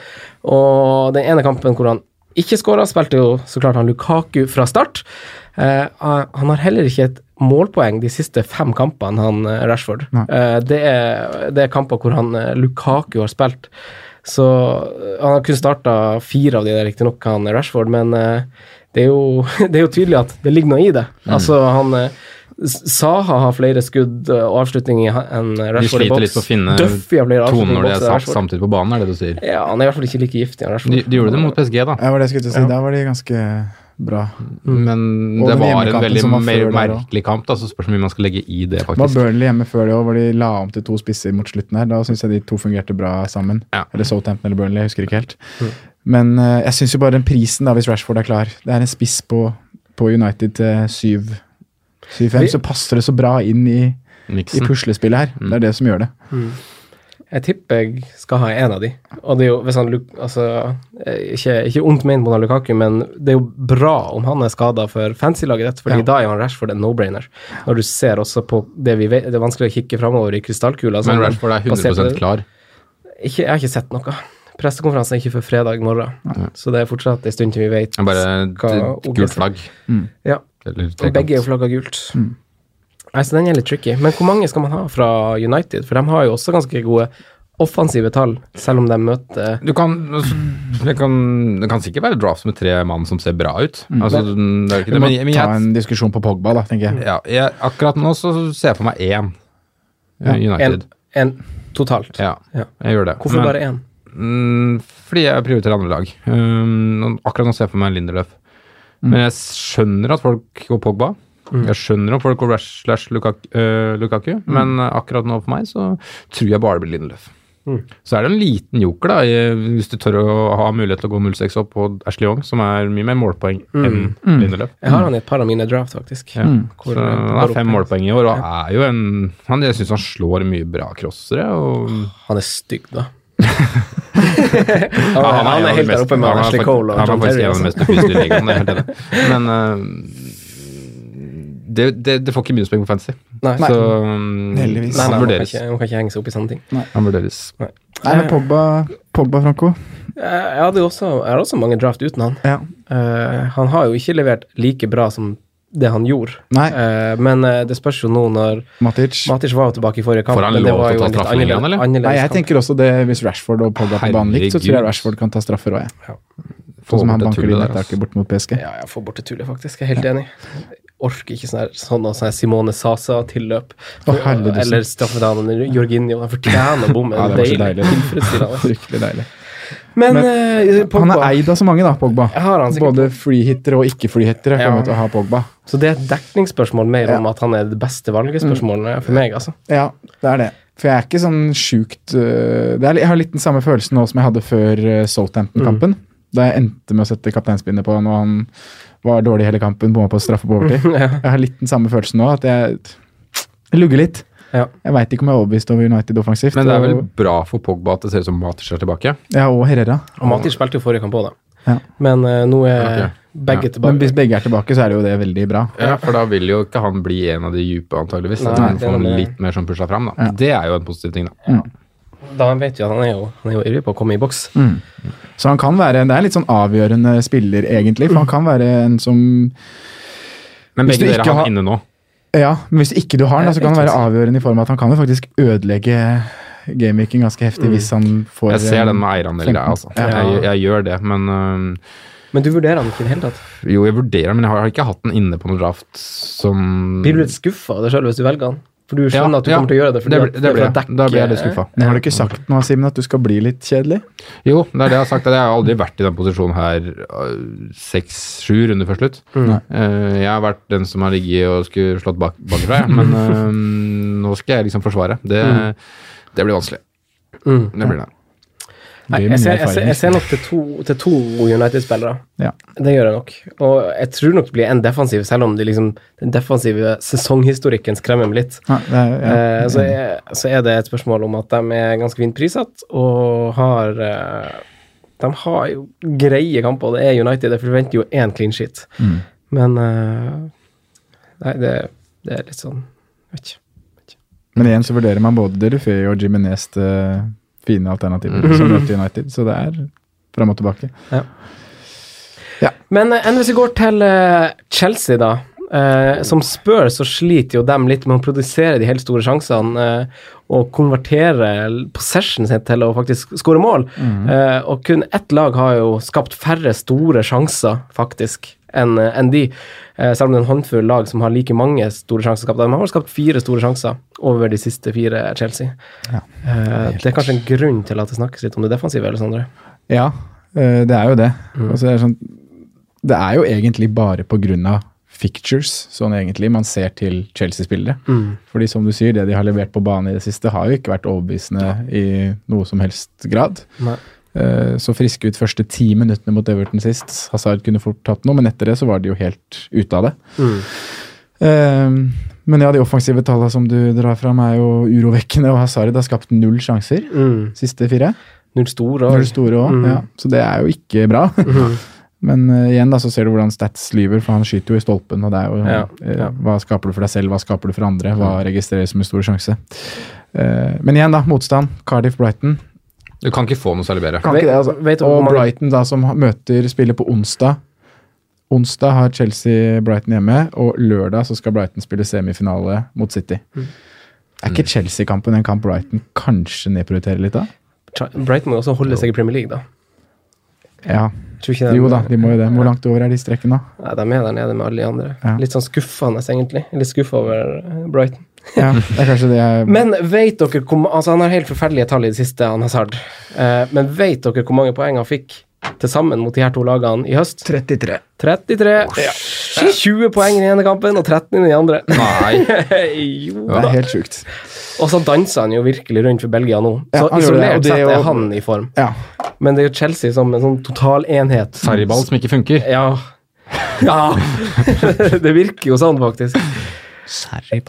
Speaker 2: og den ene kampen hvor han ikke skåra, spilte jo så klart han Lukaku fra start. Eh, han har heller ikke et målpoeng de siste fem kampene, han eh, Rashford.
Speaker 4: Nei.
Speaker 2: Eh, det, er, det er kamper hvor han eh, Lukaku har spilt. Så eh, han har kun starta fire av de, riktignok, han Rashford, men eh, det, er jo, det er jo tydelig at det ligger noe i det. Altså, han eh, S- Saha har flere skudd eh, og avslutninger i ha- enn
Speaker 3: De
Speaker 2: Rashford i
Speaker 3: sliter litt
Speaker 2: boks.
Speaker 3: på å finne
Speaker 2: Duffy har flere
Speaker 3: tonen
Speaker 2: avslutninger altså i
Speaker 3: når
Speaker 2: boks.
Speaker 3: de er
Speaker 2: enn
Speaker 3: sa-
Speaker 2: Rashford.
Speaker 3: samtidig på banen, er det du sier.
Speaker 2: Ja, han er i hvert fall ikke like giftig. han Rashford.
Speaker 3: De, de gjorde det mot PSG, da,
Speaker 4: Det var det jeg skulle til å si. Da var de ganske bra.
Speaker 3: men
Speaker 4: Og
Speaker 3: det
Speaker 4: den
Speaker 3: var en
Speaker 4: hjemmekampen
Speaker 3: veldig
Speaker 4: som var
Speaker 3: mer,
Speaker 4: før der også.
Speaker 3: merkelig kamp. da, Så spørs det hvor mye man skal legge i det,
Speaker 4: Det var
Speaker 3: faktisk.
Speaker 4: Burnley hjemme før det òg, hvor de la om til to spisser mot slutten her. Da syns jeg de to fungerte bra sammen.
Speaker 3: Ja. Mm.
Speaker 4: Eller Southampton eller Burnley, jeg husker ikke helt. Men eh, jeg syns jo bare den prisen, da, hvis Rashford er klar Det er en spiss på, på United til 7-5,
Speaker 2: Vi-
Speaker 4: så passer det så bra inn i, i
Speaker 3: Miksen.
Speaker 4: puslespillet her.
Speaker 3: Mm.
Speaker 4: Det er det som gjør det.
Speaker 2: Jeg tipper jeg skal ha en av de. Og det er jo, hvis han, Lu- altså, eh, ikke, ikke ondt ment mot han Lukaku, men det er jo bra om han er skada for fancy-laget ditt, fordi
Speaker 4: Ja.
Speaker 2: da er han Rashford en no-brainer. Når du ser også på det vi vet, det er vanskelig å kikke framover i krystallkula. så
Speaker 3: Men
Speaker 2: han-
Speaker 3: Rashford er
Speaker 2: sånn basert på
Speaker 3: 100
Speaker 2: det-
Speaker 3: klar.
Speaker 2: Ikke, jeg har ikke sett noe. Pressekonferansen er ikke før fredag morgen, så det er fortsatt en stund til vi vet.
Speaker 3: Bare et
Speaker 2: Skal-
Speaker 3: gult flagg.
Speaker 2: Ja,
Speaker 3: Eller
Speaker 2: og
Speaker 3: trekant.
Speaker 2: begge er jo flagga gult.
Speaker 3: Mm.
Speaker 2: Nei, så den er litt tricky. Men hvor mange skal man ha fra United? For de har jo også ganske gode offensive tall, selv om de møter
Speaker 3: Du kan, altså, det, kan, det kan sikkert være drafts med tre mann som ser bra ut. Altså, det er jo ikke
Speaker 4: Vi
Speaker 3: det,
Speaker 4: må
Speaker 3: men, jeg- men
Speaker 4: ta
Speaker 3: jeg,
Speaker 4: en diskusjon på Pogba, da, tenker jeg.
Speaker 3: ja, jeg, akkurat nå så ser jeg for meg én eh,
Speaker 2: En,
Speaker 3: United.
Speaker 2: en totalt.
Speaker 3: Ja,
Speaker 2: Ja.
Speaker 3: jeg gjør det.
Speaker 2: Hvorfor
Speaker 3: Men-
Speaker 2: bare én?
Speaker 3: Mm, fordi jeg prioriterer andre lag. Um, og akkurat nå ser jeg for meg Linderløf. Men jeg skjønner at folk går Pogba. Jeg skjønner at folk går Rash slash Lukak, øh, Lukaku, men eh, akkurat nå for meg så tror jeg bare det blir Linderløf. Så er det en liten joker, da, i, hvis du tør å ha mulighet til å gå 06 opp på Ashley Young, som er mye mer målpoeng enn Linderløf.
Speaker 2: Jeg har han i et par av mine draft, faktisk.
Speaker 3: Mm. Ja. Så
Speaker 2: Hvor, eh,
Speaker 3: han
Speaker 2: går
Speaker 3: har
Speaker 2: opp.
Speaker 3: fem målpoeng i år, og er jo en han, Jeg syns han slår mye bra crossere. Og,
Speaker 2: Han er stygg, da.
Speaker 3: Ja,
Speaker 2: han,
Speaker 3: en
Speaker 2: er
Speaker 3: av de
Speaker 2: helt der
Speaker 3: mest-
Speaker 2: oppe med
Speaker 3: han er
Speaker 2: Ashley
Speaker 3: fakt-
Speaker 2: Cole og
Speaker 3: Han
Speaker 2: John
Speaker 3: er faktisk
Speaker 2: Terry.
Speaker 3: en av de
Speaker 2: Altså.
Speaker 3: mest ufyselige ligaene, det er helt enig. Men eh, det, det, det får ikke minuspoeng på fantasy.
Speaker 2: Nei,
Speaker 3: Så
Speaker 2: nei,
Speaker 3: mm,
Speaker 4: Heldigvis.
Speaker 2: nei,
Speaker 3: han
Speaker 2: man, kan
Speaker 3: vurderes.
Speaker 2: ikke, man kan ikke henge seg opp i sånne ting. Eh,
Speaker 3: Han vurderes.
Speaker 4: Sånn Nei, men Pogba, Pogba Franco.
Speaker 2: Jeg, jeg hadde jo også, jeg har også mange draft uten han.
Speaker 4: Ja.
Speaker 2: Eh, han har jo ikke levert like bra som det han gjorde,
Speaker 4: Nei.
Speaker 2: Eh, men eh, det spørs jo nå når
Speaker 4: Matic.
Speaker 2: Matic var jo tilbake i forrige kamp,
Speaker 3: Får han
Speaker 2: men det
Speaker 3: lov
Speaker 2: var jo
Speaker 3: til å ta
Speaker 2: en litt
Speaker 3: straffen igjen, eller?
Speaker 2: annerledes, annerledes
Speaker 4: Nei, jeg
Speaker 2: kamp.
Speaker 4: tenker også det hvis Rashford og Pogba er på banen likt, så tror jeg
Speaker 3: Herregud.
Speaker 4: Rashford kan ta straffer òg, jeg.
Speaker 3: Få
Speaker 4: Sånn som han
Speaker 3: bort det
Speaker 4: banker
Speaker 3: tullet
Speaker 4: inn
Speaker 3: der,
Speaker 4: et tak
Speaker 3: altså.
Speaker 4: bort mot PSG.
Speaker 2: Ja, jeg får bort det tullet, faktisk. Jeg er helt enig. Jeg orker ikke sånn her- sånn og sånn her Simone Sasa-tilløp.
Speaker 4: Å, helvete.
Speaker 2: Eller straffedamen Jorginho. Han fortjener å bomme.
Speaker 4: Ja, det var så deilig.
Speaker 2: Tilfredsstillende.
Speaker 4: Fryktelig deilig.
Speaker 2: Men,
Speaker 4: Men
Speaker 2: eh,
Speaker 4: Han
Speaker 2: Pogba
Speaker 4: er eid av så mange, da, Pogba.
Speaker 2: Jeg har han sikkert
Speaker 4: Både freehittere og ikke-freehittere
Speaker 2: Ja.
Speaker 4: kommer til å ha Pogba.
Speaker 2: Så det er et dekningsspørsmål mer
Speaker 4: Ja. Mm.
Speaker 2: om at han er det beste valgespørsmålet for meg, altså.
Speaker 4: Ja, det er det. For jeg er ikke sånn sjukt øh, det er, Jeg har litt den samme følelsen nå som jeg hadde før øh, Southampton-kampen. Da jeg endte med å sette kapteinspinnet på han, og han var dårlig hele kampen, bomma på straffe på overtid.
Speaker 2: Ja.
Speaker 4: Jeg har litt den samme følelsen nå, at jeg, jeg lugger litt.
Speaker 2: Ja.
Speaker 4: Jeg veit ikke om jeg er overbevist over United offensivt.
Speaker 3: Men det er vel
Speaker 4: og,
Speaker 3: bra for Pogba at det ser ut som Matic er tilbake.
Speaker 4: ja, og Herrera.
Speaker 2: Og Matic spilte jo forrige kamp òg, da.
Speaker 4: Ja.
Speaker 2: Men eh, nå er
Speaker 3: Ja, ok.
Speaker 2: begge
Speaker 4: Men
Speaker 2: tilbake.
Speaker 4: hvis begge er tilbake, så er det jo det veldig bra.
Speaker 3: Ja, For da vil jo ikke han bli en av de dype, antageligvis.
Speaker 2: Nei,
Speaker 3: At han
Speaker 2: det er
Speaker 3: får
Speaker 2: noe med det.
Speaker 3: litt mer som pusha fram, da. Det er jo en positiv ting, da.
Speaker 2: da vet vi at han er jo, han er jo ivrig på å komme i boks.
Speaker 4: Så han kan være, det er litt sånn avgjørende spiller, egentlig. For han kan være en som
Speaker 3: Men
Speaker 4: Hvis
Speaker 3: begge
Speaker 4: du
Speaker 3: dere
Speaker 4: ikke
Speaker 3: har
Speaker 4: har-
Speaker 3: han inne nå.
Speaker 4: Ja, men hvis ikke du har den, da, så kan han være avgjørende i form av at han kan jo faktisk ødelegge gameweeken ganske heftig hvis han får
Speaker 3: Jeg ser
Speaker 4: eh,
Speaker 3: den med eierandeler, altså.
Speaker 4: Ja.
Speaker 3: Jeg, jeg gjør det, men øhm,
Speaker 2: Men du vurderer han ikke i det hele tatt.
Speaker 3: Jo, jeg vurderer, men jeg har ikke hatt den inne på noen draft som
Speaker 2: Blir du litt skuffa av deg sjøl hvis du velger han? For du skjønner
Speaker 3: Ja,
Speaker 2: at du
Speaker 3: ja.
Speaker 2: kommer til å gjøre det. fordi
Speaker 3: Det
Speaker 2: at
Speaker 3: blir- det
Speaker 2: er for å
Speaker 3: blir jeg.
Speaker 2: dekke-
Speaker 3: Da blir jeg litt skuffa.
Speaker 4: Men har du ikke sagt nå, Simen, at du skal bli litt kjedelig?
Speaker 3: Jo, det er det jeg har sagt. at Jeg har aldri vært i den posisjonen her øh, seks-sju runder før slutt.
Speaker 2: Mm.
Speaker 3: Eh, jeg har vært den som har ligget og skulle slått bak, bakfra, jeg. men øhm, nå skal jeg liksom forsvare. Det, det blir vanskelig.
Speaker 2: Mm.
Speaker 3: Det blir det.
Speaker 2: Nei,
Speaker 4: Det er
Speaker 2: jeg,
Speaker 4: min
Speaker 2: ser, jeg, ser,
Speaker 4: erfaring.
Speaker 2: jeg ser nok til to, til to United-spillere.
Speaker 4: Ja.
Speaker 2: Det gjør jeg nok. Og jeg tror nok det blir en defensiv, selv om de liksom, den defensive sesonghistorikken skremmer meg litt.
Speaker 4: Ja, det er, ja.
Speaker 2: Eh,
Speaker 3: altså,
Speaker 2: så, er, så er det et spørsmål om at de er ganske fint prissatt og har eh, De har jo greie kamper, og det er United. Jeg forventer jo én clean sheet. Men eh, Nei, det, det er litt sånn Vet ikke.
Speaker 4: Men igjen så vurderer man både Derufeu og Jimenez til fine alternativer
Speaker 3: Mm.
Speaker 4: som møter United, så det er fram og tilbake.
Speaker 2: Men eh, enn hvis vi går til eh, Chelsea, da. Eh, som spør, så sliter jo dem litt med å produsere de helt store sjansene eh, og konvertere l- possession sin til å faktisk skåre mål. Eh, og kun ett lag har jo skapt færre store sjanser, faktisk, enn eh, enn de. Eh, selv om det er en håndfull lag som har like mange store sjanser skapt. De har skapt fire store sjanser over de siste fire Chelsea.
Speaker 4: Ja.
Speaker 2: Eh, det er kanskje en grunn til at det snakkes litt om det defensive, Alexandre.
Speaker 4: Ja, eh, det er jo det.
Speaker 2: Mm.
Speaker 4: Og så er det, sånn, det er jo egentlig bare på grunn av fictures, sånn egentlig, man ser til Chelsea-spillere.
Speaker 2: Mm.
Speaker 4: Fordi som du sier, det de har levert på banen i det siste, har jo ikke vært overbevisende i noe som helst grad.
Speaker 2: Nei.
Speaker 4: Eh, Så friske ut første ti minuttene mot Everton sist. Hazard kunne fort tatt noe, men etter det så var de jo helt ute av det.
Speaker 2: Mm.
Speaker 4: Ehm, Men ja, de offensive tallene som du drar fram, er jo urovekkende, og Hazard har skapt null sjanser.
Speaker 2: Mm.
Speaker 4: Siste fire.
Speaker 2: Null store
Speaker 4: Null store òg,
Speaker 2: Mm.
Speaker 4: ja. så det er jo ikke bra.
Speaker 2: Mm-hmm.
Speaker 4: Men eh, igjen da, så ser du hvordan Stats lyver, for han skyter jo i stolpen. og det er jo,
Speaker 2: Ja,
Speaker 4: eh,
Speaker 2: ja. Mm.
Speaker 4: Hva skaper du for deg selv, hva skaper du for andre? Hva registreres som en stor sjanse? Eh, men igjen, da. Motstand. Cardiff-Brighton.
Speaker 3: Du kan ikke få noe særlig bedre.
Speaker 4: Kan
Speaker 2: Vet-
Speaker 4: ikke det, altså.
Speaker 2: vet du hvor
Speaker 4: og
Speaker 2: mange-
Speaker 4: Brighton, da, som ha- møter spiller på onsdag. Onsdag har Chelsea Brighton hjemme, og lørdag så skal Brighton spille semifinale mot City.
Speaker 2: Mm.
Speaker 4: Er ikke Chelsea-kampen en kamp Brighton kanskje nedprioriterer litt, da?
Speaker 2: Ch- Brighton må jo også holde seg i Premier League, da.
Speaker 4: Ja.
Speaker 2: Jeg Tror ikke de,
Speaker 4: Jo da, de må jo det. Hvor langt over er de strekkene, da?
Speaker 2: Nei, de er der nede med alle de andre.
Speaker 4: Ja.
Speaker 2: Litt sånn skuffende, egentlig. Litt skuffa over eh, Brighton.
Speaker 4: Ja, det er kanskje det jeg
Speaker 2: Men vet dere hvor ma- Altså, han har helt forferdelige tall i det siste, han Hazard. Eh, men vet dere hvor mange poeng han fikk til sammen mot de her to lagene i høst?
Speaker 4: 33.
Speaker 2: 33. Ja. 20 poeng i den ene kampen og 13 i den andre.
Speaker 3: Nei.
Speaker 2: jo
Speaker 4: Det er
Speaker 2: da.
Speaker 4: helt sjukt.
Speaker 2: Og så danser han jo virkelig rundt for Belgia nå. Så
Speaker 4: Ja, han gjør det, og
Speaker 2: isolert
Speaker 4: det er
Speaker 2: sett
Speaker 4: jo-
Speaker 2: er han i form.
Speaker 4: Ja.
Speaker 2: Men det er jo Chelsea som en sånn total enhet.
Speaker 3: Sarriball som ikke funker.
Speaker 2: Ja. Ja! det virker jo sånn, faktisk. Eh,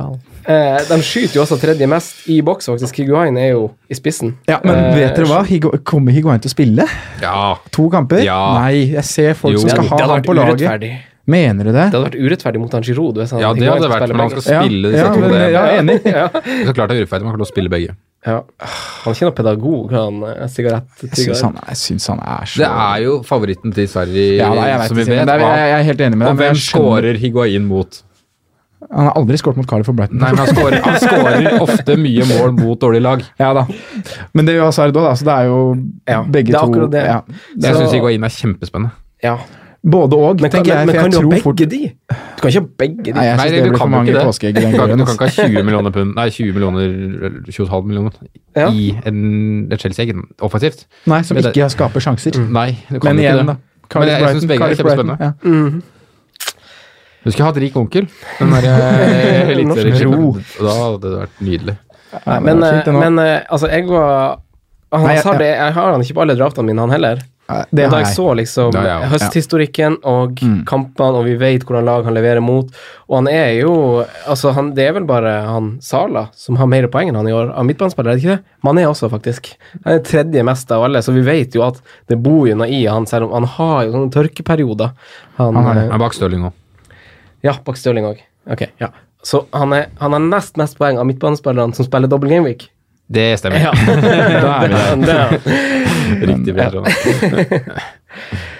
Speaker 2: de skyter jo også tredje mest i boks, faktisk. Higuain er jo i spissen.
Speaker 4: ja,
Speaker 2: Eh,
Speaker 4: Men vet dere hva? Higo, kommer Higuain til å spille?
Speaker 3: Ja.
Speaker 4: To kamper?
Speaker 3: Ja.
Speaker 4: Nei, jeg ser folk
Speaker 3: Jo.
Speaker 4: som skal
Speaker 2: det
Speaker 4: ha
Speaker 2: hadde
Speaker 4: ham
Speaker 2: vært
Speaker 4: på laget.
Speaker 2: urettferdig.
Speaker 4: Mener du det?
Speaker 2: Det hadde vært urettferdig mot han Giroud. hvis han-
Speaker 3: ja, det
Speaker 2: Higuain
Speaker 3: hadde det
Speaker 2: skal
Speaker 3: vært,
Speaker 2: spille
Speaker 3: men han
Speaker 2: begge.
Speaker 3: skal spille disse
Speaker 4: ja,
Speaker 3: to.
Speaker 4: men,
Speaker 3: Det
Speaker 4: ja, jeg er enig.
Speaker 3: det er så klart det er urettferdig, man kan lov å spille begge.
Speaker 2: Ja. Han er ikke noen pedagog, han eh, sigarett...
Speaker 4: Jeg syns han, jeg synes han er så
Speaker 3: Det er jo favoritten til Sarri,
Speaker 4: ja, da, jeg, vet,
Speaker 3: som vi
Speaker 4: ikke, men
Speaker 3: vet.
Speaker 4: det er, jeg, jeg er helt enig med deg.
Speaker 3: og
Speaker 4: men jeg
Speaker 3: hvem
Speaker 4: skjønner-
Speaker 3: skårer Higuain mot?
Speaker 4: Han har aldri skåret mot Cardiff for Brighton.
Speaker 3: Nei, men han skårer, han skårer ofte mye mål mot dårlige lag.
Speaker 4: Ja da. Men det er jo Hazard òg, da, så det er jo
Speaker 2: Ja,
Speaker 4: begge
Speaker 2: det er
Speaker 4: to
Speaker 2: akkurat det.
Speaker 4: Ja.
Speaker 3: Jeg
Speaker 2: Så-
Speaker 3: syns Higuain er kjempespennende.
Speaker 2: Ja.
Speaker 4: Både og,
Speaker 2: Men kan,
Speaker 4: tenker jeg.
Speaker 2: men,
Speaker 4: For
Speaker 2: kan
Speaker 4: jeg
Speaker 2: du ha
Speaker 4: tror
Speaker 2: begge
Speaker 4: fort
Speaker 2: de? Du kan ikke ha begge de.
Speaker 4: Nei, jeg
Speaker 3: Nei,
Speaker 4: syns
Speaker 3: det-
Speaker 4: det
Speaker 3: du kan
Speaker 4: blir for
Speaker 3: jo
Speaker 4: mange
Speaker 3: ikke det.
Speaker 4: påskeegg i
Speaker 3: Du
Speaker 4: den
Speaker 3: kan,
Speaker 4: gården.
Speaker 3: du kan
Speaker 4: ass.
Speaker 3: ikke ha 20 millioner pund, nei 20 millioner, eller 20,5 millioner
Speaker 2: Ja.
Speaker 3: i en et Chelsea-egg offensivt.
Speaker 4: Nei, som
Speaker 3: Men det- Mm.
Speaker 4: ikke skaper sjanser.
Speaker 3: Nei, du kan
Speaker 4: Men
Speaker 3: ikke
Speaker 4: igjen,
Speaker 3: det.
Speaker 4: da. Cardiff
Speaker 3: jeg synes
Speaker 4: Brighton,
Speaker 3: begge er
Speaker 4: Cardiff Brighton,
Speaker 3: kjempespennende.
Speaker 4: ja.
Speaker 2: Mm.
Speaker 3: Du skulle hatt rik onkel. Den derre
Speaker 2: Norsk
Speaker 4: ro.
Speaker 3: Da hadde det vært nydelig.
Speaker 4: Nei,
Speaker 2: Men,
Speaker 4: det er
Speaker 2: eh,
Speaker 4: fint, det nå.
Speaker 2: men eh, altså, jeg var han
Speaker 4: Nei, jeg-
Speaker 2: Hazard, jeg, jeg har han ikke på alle draftene mine, han heller.
Speaker 4: Nei,
Speaker 2: Det
Speaker 4: det
Speaker 2: da
Speaker 4: har
Speaker 2: jeg
Speaker 4: jeg.
Speaker 2: så liksom
Speaker 3: Det har jeg også.
Speaker 2: høsthistorikken og kampene, og vi vet hvordan lag han leverer mot. Og han er jo altså han, Det er vel bare han Sala som har mer poeng enn han i år av midtbanespillere, er det ikke det? Men han er også, faktisk. Han er tredje mest av alle, så vi vet jo at det bor jo noe i han, selv om han har jo sånne tørkeperioder. Han,
Speaker 4: har det.
Speaker 2: eh,
Speaker 3: Men bak Stirling nå.
Speaker 2: ja, bak Stirling òg. Ok, ja. Så han er, han har nest mest poeng av midtbanespillerne som spiller double gameweek.
Speaker 3: Det stemmer.
Speaker 2: Ja.
Speaker 3: da er vi der.
Speaker 2: Det-
Speaker 3: Riktig bra. Trond.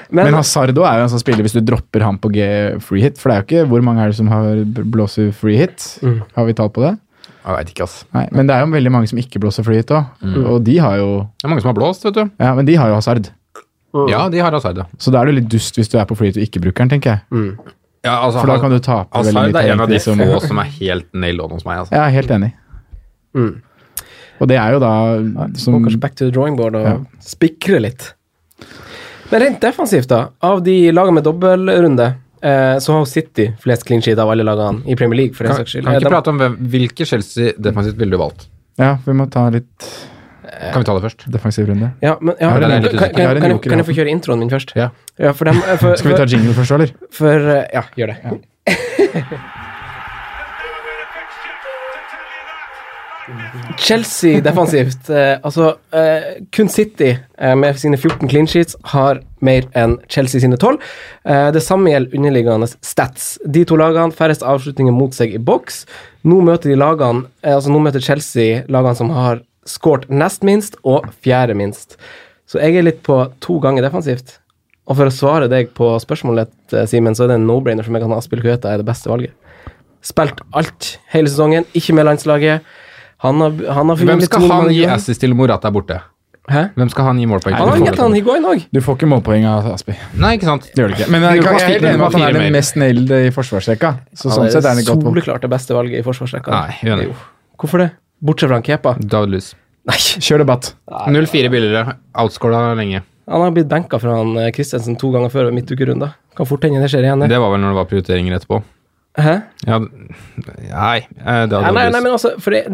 Speaker 2: Men,
Speaker 4: Men Hazardo er jo en sånn spiller hvis du dropper ham på G free hit. For det er jo ikke hvor mange er det som har b- blåser free hit.
Speaker 2: Mm.
Speaker 4: Har vi tall på det?
Speaker 3: Jeg veit ikke, ass.
Speaker 4: Nei, Men det er jo veldig mange som ikke blåser free hit òg. Og de har jo
Speaker 3: Det er mange som har blåst, vet du.
Speaker 4: Ja, men de har jo Hazard. Mm.
Speaker 3: Ja, de har Hazard, ja.
Speaker 4: Så da er du litt dust hvis du er på free hit og ikke bruker den, tenker jeg.
Speaker 3: ja altså,
Speaker 4: For da kan du tape veldig mye.
Speaker 3: Hazard er en av
Speaker 4: talent,
Speaker 3: de
Speaker 4: liksom.
Speaker 3: få som er helt nail on hos meg. Altså.
Speaker 4: Jeg er helt enig.
Speaker 2: Mm.
Speaker 4: Og det er jo da
Speaker 2: Gå
Speaker 4: som
Speaker 2: kanskje back to the drawing board og
Speaker 4: Mm. Ja.
Speaker 2: spikre litt. Men rent defensivt, da. Av de lagene med dobbeltrunde, eh, så har City flest clean sheet av alle lagene i Premier League, for den
Speaker 3: Kan,
Speaker 2: saks skyld.
Speaker 3: kan vi
Speaker 2: Eh,
Speaker 3: ikke
Speaker 2: de-
Speaker 3: prate om hvem, hvilke Chelsea defensivt ville du valgt?
Speaker 4: Ja, vi må ta litt
Speaker 3: Kan vi ta det først?
Speaker 4: defensiv runde.
Speaker 2: Ja, men, ja,
Speaker 4: Jeg
Speaker 3: er
Speaker 2: kan,
Speaker 3: litt
Speaker 2: kan,
Speaker 3: usikker.
Speaker 2: kan,
Speaker 4: Jeg er
Speaker 2: kan,
Speaker 4: en
Speaker 2: jeg-
Speaker 4: joker i
Speaker 2: kan jeg få
Speaker 4: hatten.
Speaker 2: kjøre introen min først?
Speaker 3: Ja.
Speaker 2: Ja, for dem, eh, for,
Speaker 4: Skal vi ta
Speaker 2: for,
Speaker 4: jingle først, eller?
Speaker 2: for, eh, Ja, gjør det. Chelsea defensivt. Eh, altså, eh, kun City eh, med sine 14 clean sheets har mer enn Chelsea sine 12. Eh, det samme gjelder underliggende stats. De to lagene færrest avslutninger mot seg i boks. Nå møter, de lagene, eh, altså, nå møter Chelsea lagene som har skåret nest minst og fjerde minst. Så jeg er litt på to ganger defensivt. Og for å svare deg på spørsmålet, eh, Simen, så er det en no-brainer for meg at Aspil Kueta er det beste valget. Spilt alt hele sesongen, ikke med landslaget. Han har, han har
Speaker 3: Hvem
Speaker 2: litt
Speaker 3: skal han
Speaker 2: målmann-
Speaker 3: gi assist til Morata er borte?
Speaker 2: Hæ?
Speaker 3: Hvem skal han gi målpoeng
Speaker 2: Han har
Speaker 3: til?
Speaker 2: gitt han Higuain òg.
Speaker 4: Du får ikke målpoeng av Aspi.
Speaker 3: Nei, ikke sant?
Speaker 4: Det gjør du ikke. Men jeg,
Speaker 3: Du kan
Speaker 4: kan- jeg er helt
Speaker 3: spille
Speaker 4: enig med at han
Speaker 3: fire
Speaker 4: er den
Speaker 3: mer.
Speaker 4: mest nailede i forsvarsrekka. Så sånn sett er han et godt valg.
Speaker 2: soleklart det beste valget i forsvarsrekka.
Speaker 3: Nei, uenig.
Speaker 2: Jo. Hvorfor det? Bortsett fra han Kepa.
Speaker 3: David Luz.
Speaker 2: Nei,
Speaker 4: Kjør debatt.
Speaker 3: 0-4 billigere. Outscora lenge.
Speaker 2: han har blitt benka fra han eh, Christensen to ganger før ved midtukerunda. Kan fort hende det skjer igjen. det.
Speaker 3: Det var vel når det var prioriteringer etterpå.
Speaker 2: Hæ?
Speaker 3: Ja, nei, eh, det
Speaker 2: Nei,
Speaker 3: hadde
Speaker 2: nei,
Speaker 3: David
Speaker 2: nei,
Speaker 3: Luz.
Speaker 2: men altså, for det,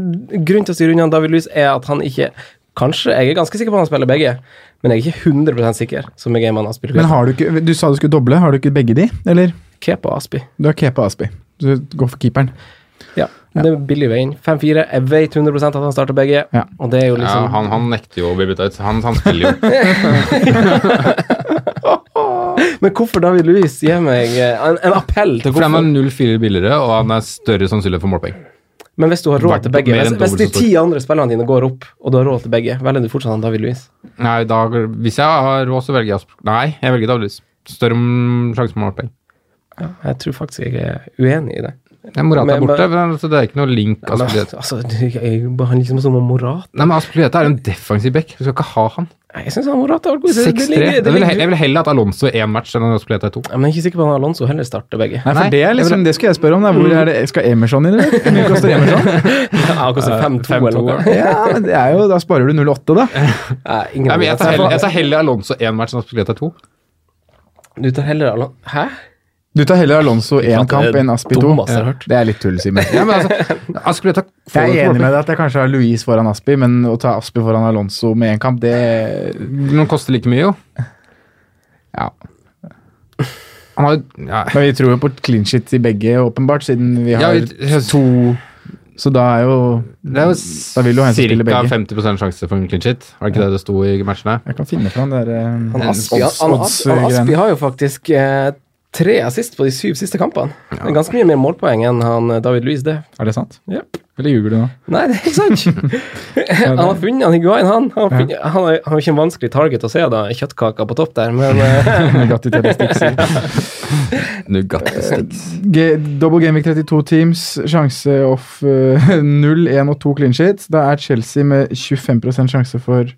Speaker 2: Grunnen til å styre unna David Lys er at han ikke Kanskje, jeg er ganske sikker på at han spiller begge, men jeg er ikke 100 sikker. Som jeg er med han Aspi.
Speaker 4: Men har du ikke Du sa du skulle doble. Har du ikke begge de, eller?
Speaker 2: Kepa og Aspi.
Speaker 4: Du har Kepa og Aspi. Du går for keeperen.
Speaker 2: Ja, Det er billig veien. 5-4. Jeg vet 100 at han starter begge.
Speaker 4: Ja.
Speaker 2: Og det er jo liksom
Speaker 3: ja, han, han nekter jo å bli bytta ut. Han, han spiller jo.
Speaker 2: Men hvorfor David Louis gir meg eh, en, en appell til
Speaker 3: For han er
Speaker 2: hvorfor
Speaker 3: 0-4 billigere, og han er større sannsynlighet for målpoeng.
Speaker 2: Men hvis du har
Speaker 3: Vært
Speaker 2: råd til begge
Speaker 3: mer
Speaker 2: Hvis,
Speaker 3: enn
Speaker 2: hvis
Speaker 3: dobbelt
Speaker 2: de
Speaker 3: så stor.
Speaker 2: ti andre spillerne dine går opp, og du har råd til begge, velger du fortsatt han David Louis?
Speaker 3: Nei, da, hvis jeg har råd, så velger jeg Asp- Nei, jeg velger David Luz. Større mm, sjanse for målpoeng.
Speaker 2: Jeg tror faktisk jeg er uenig i det.
Speaker 3: Ja, Morata
Speaker 2: Men-
Speaker 3: er
Speaker 2: men-
Speaker 3: borte, men, altså, det er ikke noe link.
Speaker 2: Men,
Speaker 3: Aspilieta.
Speaker 2: altså, jeg behandler liksom som om Morata
Speaker 3: Nei, men Aspilieta er en defensiv back. Du skal ikke ha han.
Speaker 2: Nei, Jeg syns Morata har vært god.
Speaker 3: 6-3.
Speaker 2: ligger-
Speaker 3: Jeg, vil he-
Speaker 2: ligger-
Speaker 3: jeg vil heller at Alonso én match enn at Aspilieta er to.
Speaker 2: Ja, men jeg er ikke sikker på at Alonso heller starter begge.
Speaker 4: Nei, for
Speaker 3: Nei,
Speaker 4: det er liksom Det skulle jeg spørre om. Da. Hvor er det, skal Emerson inn, eller? Hvor mye koster Emerson?
Speaker 2: Ja, han koster 5-2 eller noe.
Speaker 4: sånn. Ja, men det er jo Da sparer du 08,
Speaker 2: Nei,
Speaker 4: da.
Speaker 2: ingen
Speaker 3: Nei, men jeg, tar
Speaker 2: av dem.
Speaker 3: heller, jeg tar heller Alonso én match enn Aspilieta er to.
Speaker 2: Du tar heller Alonso Hæ?
Speaker 4: Du tar heller Alonso én
Speaker 2: at det er
Speaker 4: kamp enn Aspi to.
Speaker 2: dummeste jeg har hørt.
Speaker 4: Det er litt tull, Simen.
Speaker 3: Ja, men altså, Aspilieta får
Speaker 4: Jeg er
Speaker 3: jo
Speaker 4: enig
Speaker 3: målpoeng.
Speaker 4: med deg at jeg kanskje har Louise foran Aspi, men å ta Aspi foran Alonso med én kamp, det
Speaker 3: Men han koster like mye, jo.
Speaker 4: Ja.
Speaker 3: Han har jo ja.
Speaker 4: Men vi tror jo på clean shit i begge, åpenbart, siden vi
Speaker 3: Ja,
Speaker 4: har
Speaker 3: vi-
Speaker 4: to Så da er jo
Speaker 3: Det er jo
Speaker 4: Da vil jo han spille
Speaker 3: ca.
Speaker 4: begge.
Speaker 3: 50 sjanse for en clean shit. Var det ikke det det sto i matchene?
Speaker 4: Jeg kan finne fram det der
Speaker 2: Han
Speaker 4: eh,
Speaker 2: Aspi, han,
Speaker 4: odds-
Speaker 2: han,
Speaker 4: odds-
Speaker 2: Aspi, han Aspi
Speaker 4: greiene.
Speaker 2: har jo faktisk eh, tre assist på de syv siste kampene. Det er ganske mye mer målpoeng enn han eh, David Luiz, det.
Speaker 4: Er det sant?
Speaker 2: Ja.
Speaker 4: Eller ljuger du nå?
Speaker 2: Nei, det er ikke sant. han har funnet han Higuain, han. Han har, funnet, han har, han har ikke en vanskelig target å se, da. Kjøttkaka på topp der, men eh,
Speaker 4: Nugatti
Speaker 3: Nugatti-sticks.
Speaker 4: Double Game Week 32 teams, sjanse off eh, 0, 1 og 2 clean shit. Da er Chelsea med 25 sjanse for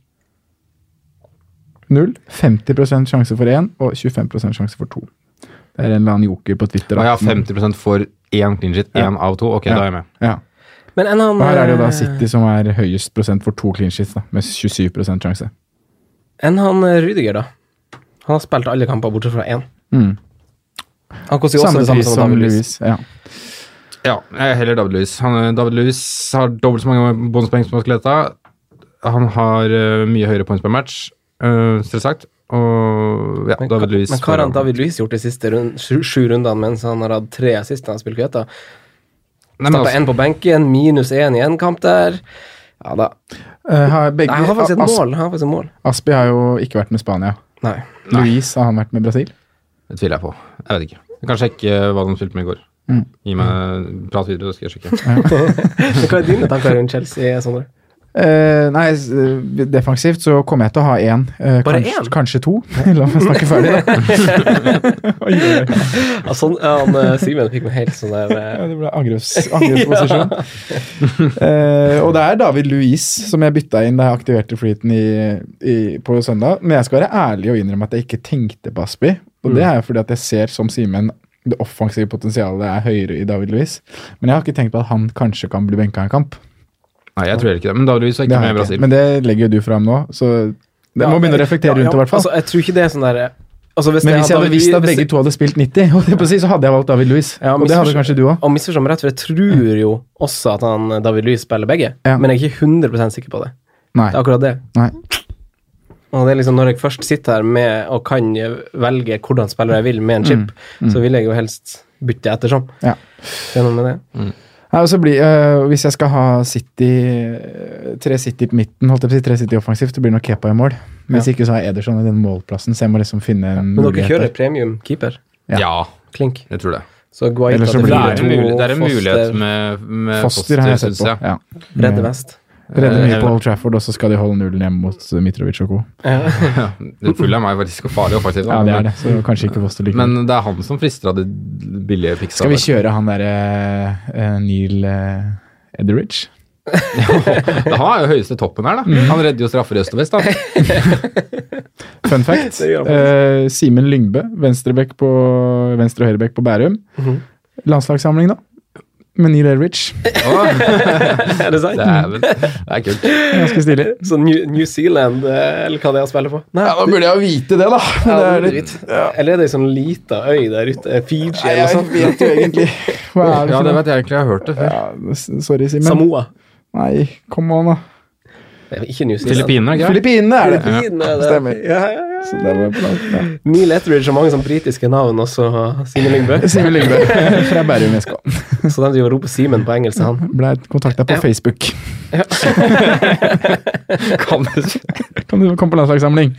Speaker 4: 0, 50 sjanse for 1 og 25 sjanse for 2. Det er en eller annen joker på Twitter.
Speaker 3: Og
Speaker 4: da.
Speaker 3: jeg har 50 for én clean shit, én av to. Ok,
Speaker 4: Ja.
Speaker 3: da er jeg med.
Speaker 4: Ja.
Speaker 2: Men enn han
Speaker 4: Og her er det jo da
Speaker 2: eh,
Speaker 4: City som er høyest prosent for to clean sheets, da, med 27 sjanse.
Speaker 2: Enn han eh, Rüdiger, da. Han har spilt alle kamper bortsett fra én.
Speaker 4: Mm.
Speaker 2: Han koster jo også
Speaker 4: Samme
Speaker 2: det samme
Speaker 4: pris
Speaker 2: som
Speaker 4: som
Speaker 2: David Luiz.
Speaker 4: Louis. Ja.
Speaker 3: Ja, jeg er heller David Lewis. Han, eh, David Lewis har dobbelt så mange bonuspoeng som Skeletta. Han har eh, mye høyere points per match, eh, selvsagt. Og ja,
Speaker 2: Men,
Speaker 3: David Lewis
Speaker 2: men hva har han David Luiz gjort de siste rund, sju, sju rundene mens han har hatt tre assist når han spiller Kveta?
Speaker 3: Nei, men
Speaker 2: Tappa
Speaker 3: altså,
Speaker 2: én på benken, minus én i én kamp der. Ja da.
Speaker 4: Eh, har begge,
Speaker 2: Nei, han har faktisk et
Speaker 4: As-
Speaker 2: mål. Han har faktisk et mål.
Speaker 4: Aspi har jo ikke vært med Spania.
Speaker 2: Nei.
Speaker 4: Louis har han vært med Brasil.
Speaker 3: Det tviler jeg på. Jeg vet ikke. Jeg kan sjekke eh, hva de spilte med i går.
Speaker 4: Mm.
Speaker 3: Gi meg Prat videre, så skal jeg sjekke.
Speaker 2: Men Hva er dine tanker rundt Chelsea, Sondre?
Speaker 4: Eh, nei, s- eh, defensivt så kommer jeg til å ha én. eh,
Speaker 2: Bare
Speaker 4: kanskje,
Speaker 2: én?
Speaker 4: kanskje to. La meg snakke ferdig, da. Oi, oi, oi.
Speaker 2: Ja, sånn, ja, han, eh, Simen fikk meg helt sånn der eh,
Speaker 4: Ja, det ble angrepsposisjon. Angrepsposisjon. Eh, og det er David Luiz som jeg bytta inn da jeg aktiverte flyten i, i, på søndag. Men jeg skal være ærlig og innrømme at jeg ikke tenkte på Aspi. Og
Speaker 2: Mm.
Speaker 4: det er jo fordi at jeg ser, som Simen, det offensive potensialet er høyere i David Luiz. Men jeg har ikke tenkt på at han kanskje kan bli benka i en kamp.
Speaker 3: Nei, jeg tror heller ikke det. Men Davidvis er
Speaker 4: Det
Speaker 3: ikke
Speaker 4: har
Speaker 3: med i
Speaker 4: jeg ikke.
Speaker 3: Brasil.
Speaker 4: Men det legger jo du fram nå, så du
Speaker 2: Ja,
Speaker 4: må begynne å reflektere
Speaker 2: ja,
Speaker 4: rundt det. i hvert fall.
Speaker 2: Altså, jeg tror ikke det er sånn der eh, altså, hvis
Speaker 4: Men
Speaker 2: jeg
Speaker 4: hvis jeg hadde visst at
Speaker 2: hvis-
Speaker 4: begge to hadde spilt 90, holdt jeg på å si, så hadde jeg valgt David Luiz.
Speaker 2: Ja,
Speaker 4: og det hadde
Speaker 2: misforstå-
Speaker 4: kanskje du òg.
Speaker 2: Og misforstå meg rett, for jeg tror jo også at han, eh, David Louis spiller begge,
Speaker 4: Ja.
Speaker 2: men jeg er ikke 100 sikker på det.
Speaker 4: Nei.
Speaker 2: Det er akkurat det.
Speaker 4: Nei.
Speaker 2: Og det er liksom Når jeg først sitter her med og kan velge hvordan spiller jeg vil med en chip, så vil jeg jo helst bytte ettersom.
Speaker 4: Ja.
Speaker 2: Det er noe med det.
Speaker 4: Nei, og så blir, øh, Hvis jeg skal ha City øh, tre City på midten, holdt jeg på å si tre City offensivt, det blir nok Kepa i mål. Hvis ikke så har jeg Ederson i den målplassen, så jeg må liksom finne en
Speaker 2: Men dere
Speaker 4: mulighet
Speaker 2: kjører
Speaker 4: der.
Speaker 2: premium keeper.
Speaker 4: Ja.
Speaker 3: Ja,
Speaker 2: Klink.
Speaker 3: jeg tror det.
Speaker 2: Så Guaita
Speaker 4: Eller så
Speaker 2: til
Speaker 3: Det
Speaker 4: blir
Speaker 3: er en,
Speaker 2: 4-2,
Speaker 3: mulighet, det er en mulighet
Speaker 2: Foster,
Speaker 3: med, med
Speaker 4: Foster har jeg sett
Speaker 3: Eh, synes
Speaker 4: på.
Speaker 3: jeg.
Speaker 4: Ja.
Speaker 2: Redde vest.
Speaker 4: Redder mye
Speaker 3: Eh,
Speaker 4: på Old Trafford, og så skal de holde nullen hjemme mot øh, Mitrovic og co.
Speaker 2: Ja.
Speaker 3: Ja, det fulle er meg faktisk og farlig offensivt.
Speaker 4: Ja, det er det, så kanskje ikke Foster like
Speaker 3: Mm. Men det er han som frister av det billige fiksa.
Speaker 4: Skal vi
Speaker 3: der.
Speaker 4: kjøre han derre øh, Neil øh, Edderidge?
Speaker 3: Han er jo høyeste toppen her, da.
Speaker 4: Mhm.
Speaker 3: Han redder jo straffer i øst og vest, da.
Speaker 4: Fun fact.
Speaker 2: Det gjør han
Speaker 4: eh, Simen Lyngbø, venstrebekk på venstre- og høyrebekk på Bærum.
Speaker 2: Mhm.
Speaker 4: Landslagssamling, da. Med Neil Edridge.
Speaker 3: Å,
Speaker 2: er det sant?
Speaker 3: det er vel Det er kult.
Speaker 4: Ganske stilig.
Speaker 2: Så New, New Zealand, eh, eller hva det er å spille på? Nei,
Speaker 4: da burde jeg jo vite det, da.
Speaker 2: ja, det er litt, Eller er det ei sånn lita øy der ute? eh, Fiji eller noe sånt?
Speaker 4: vet jo egentlig Hva er det sånn?
Speaker 3: Ja,
Speaker 4: for
Speaker 3: det
Speaker 4: noe?
Speaker 3: vet jeg egentlig. Jeg har hørt det før.
Speaker 4: Ja, s- sorry, Simen.
Speaker 2: Samoa.
Speaker 4: Nei, come on, da.
Speaker 2: Det er ikke New Zealand.
Speaker 3: Filippinene, ikke sant?
Speaker 4: Filippinene er det.
Speaker 2: Filippinene er det.
Speaker 4: Stemmer.
Speaker 2: Ja, ja, ja.
Speaker 4: Så det var bra.
Speaker 2: Neil Etheridge har mange sånn britiske navn, også Simen Lyngbø.
Speaker 4: Ja. Simen Lyngbø fra Bærum SK.
Speaker 2: Så de driver og roper Simen på engelsk, han.
Speaker 4: Ble kontakta på Facebook.
Speaker 3: Kan du si?
Speaker 4: Kan du komme på landslagssamling?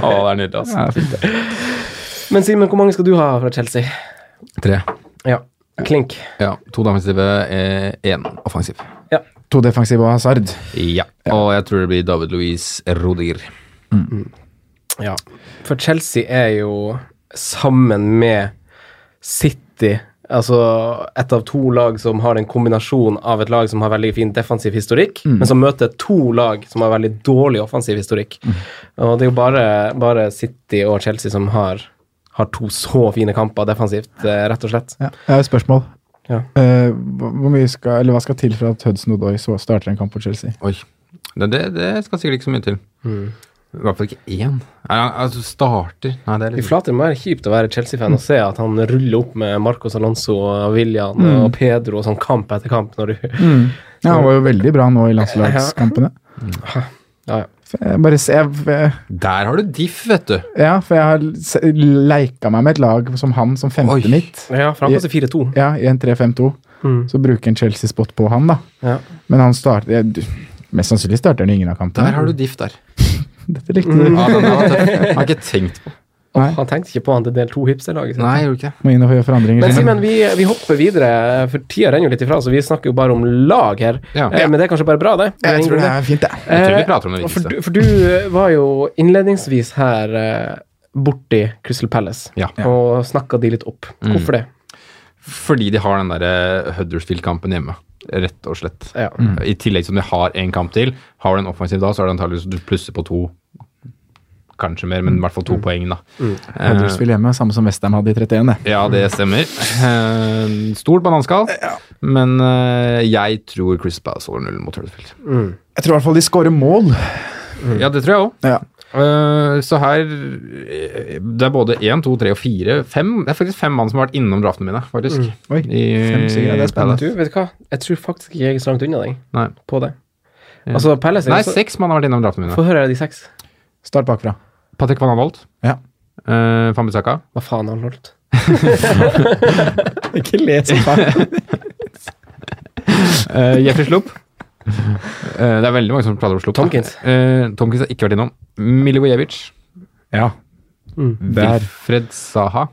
Speaker 3: Å, det er nydelig, altså.
Speaker 4: Ja, fint, det.
Speaker 2: Men Simen, hvor mange skal du ha fra Chelsea?
Speaker 3: Tre.
Speaker 2: Ja. Klink.
Speaker 3: Ja, to defensive, én eh, offensiv.
Speaker 4: To defensive og Hazard.
Speaker 3: Ja. Og jeg tror det blir David Louise Rodiger.
Speaker 2: Ja. For Chelsea er jo sammen med City Altså et av to lag som har en kombinasjon av et lag som har veldig fin defensiv historikk, men som møter to lag som har veldig dårlig offensiv historikk. Og det er jo bare, bare City og Chelsea som har, har to så fine kamper defensivt, eh, rett og slett.
Speaker 4: Ja. Jeg har et spørsmål.
Speaker 2: Ja.
Speaker 4: Eh, hvor hvor mye skal, eller Hva skal til for at Hudson Odoi starter en kamp for Chelsea?
Speaker 3: Oi. Det, det, det skal sikkert ikke så mye til.
Speaker 4: Mm.
Speaker 3: I hvert fall ikke én. Nei, han- altså, starter Nei, det er
Speaker 2: Fy
Speaker 3: litt
Speaker 2: flate, det må være kjipt å være Chelsea-fan og se at han ruller opp med Marcos Alonso og William og
Speaker 3: Mm.
Speaker 2: Pedro og sånn kamp etter kamp når du
Speaker 4: Mm. Ja, Han var jo veldig bra nå i landslagskampene.
Speaker 2: Ja, ja.
Speaker 4: For Jeg bare se, jeg,
Speaker 3: Der har du diff, vet du.
Speaker 4: ja, for jeg har se- leika meg med et lag som han som femte
Speaker 3: Oi.
Speaker 4: mitt.
Speaker 2: Ja, for han koster 4-2.
Speaker 4: Ja, i en 3-5-2.
Speaker 2: Mm.
Speaker 4: Så bruker en Chelsea-spot på han, da.
Speaker 2: Ja.
Speaker 4: Men han starter jeg- du- Mest sannsynlig starter han i ingen av kampene.
Speaker 3: Der har du Mm. diff der.
Speaker 4: Dette likte du.
Speaker 3: Ja, den er tøff. Jeg har ikke tenkt på
Speaker 4: Nei,
Speaker 2: Han tenkte ikke på han til del to hipsterlaget. sitt.
Speaker 3: Nei, jeg gjorde ikke det.
Speaker 4: må inn og gjøre forandringer.
Speaker 2: Men
Speaker 4: Simen.
Speaker 2: Simen, vi, vi hopper videre, for tida renner jo litt ifra, så vi snakker jo bare om lag her.
Speaker 3: Ja.
Speaker 2: Eh, Men det er kanskje bare bra, det?
Speaker 4: jeg
Speaker 2: Det er
Speaker 4: tror det
Speaker 2: ingen
Speaker 4: er fint, det.
Speaker 3: Jeg tror
Speaker 2: Eh,
Speaker 3: vi prater om det
Speaker 2: grunn. For,
Speaker 3: viktigste.
Speaker 2: du- for du eh, var jo innledningsvis her eh, borti Crystal Palace
Speaker 3: Ja. Mm.
Speaker 2: og snakka de litt opp. Hvorfor det?
Speaker 3: Fordi de har den derre Huddersfield-kampen hjemme. Rett og slett.
Speaker 2: Ja.
Speaker 3: I tillegg som de har én kamp til. Har du en offensiv da, så er det antakeligvis du plusser på to. Kanskje mer, men i hvert fall to poeng, da. Eh,
Speaker 4: Huddersfield hjemme, samme som Westham hadde i 31. det.
Speaker 3: ja, det stemmer. Eh, stort bananskall, men eh, jeg tror Chris Bass holder nullen mot Huddersfield.
Speaker 4: Jeg tror i hvert fall de scorer mål.
Speaker 3: Ja, det tror jeg òg.
Speaker 4: Ja.
Speaker 3: Eh, så her eh, Det er både én, to, tre og fire. Fem, det er faktisk fem mann som har vært innom draftene mine, faktisk.
Speaker 4: Oi,
Speaker 3: I-
Speaker 4: fem seire, det er spennende.
Speaker 2: Du, vet du hva? Jeg tror faktisk ikke jeg er så langt unna deg
Speaker 3: Nei.
Speaker 2: på det. Altså, Palace er
Speaker 3: Nei,
Speaker 2: jo så-
Speaker 3: seks mann har vært innom draftene mine.
Speaker 2: Få høre de seks.
Speaker 4: Start bakfra.
Speaker 3: Patrick van Anholt.
Speaker 4: Ja.
Speaker 3: Uh, Fambisaka.
Speaker 2: Hva faen har han holdt?
Speaker 4: Ikke let som faen.
Speaker 3: Uh, Jeffrey Slupp. Eh, det er veldig mange som prater om Slupp. da.
Speaker 2: Tomkins.
Speaker 3: Eh, Tomkins har ikke vært innom. Milivojevic.
Speaker 4: Ja, der. Mm.
Speaker 3: Wilfred Saha.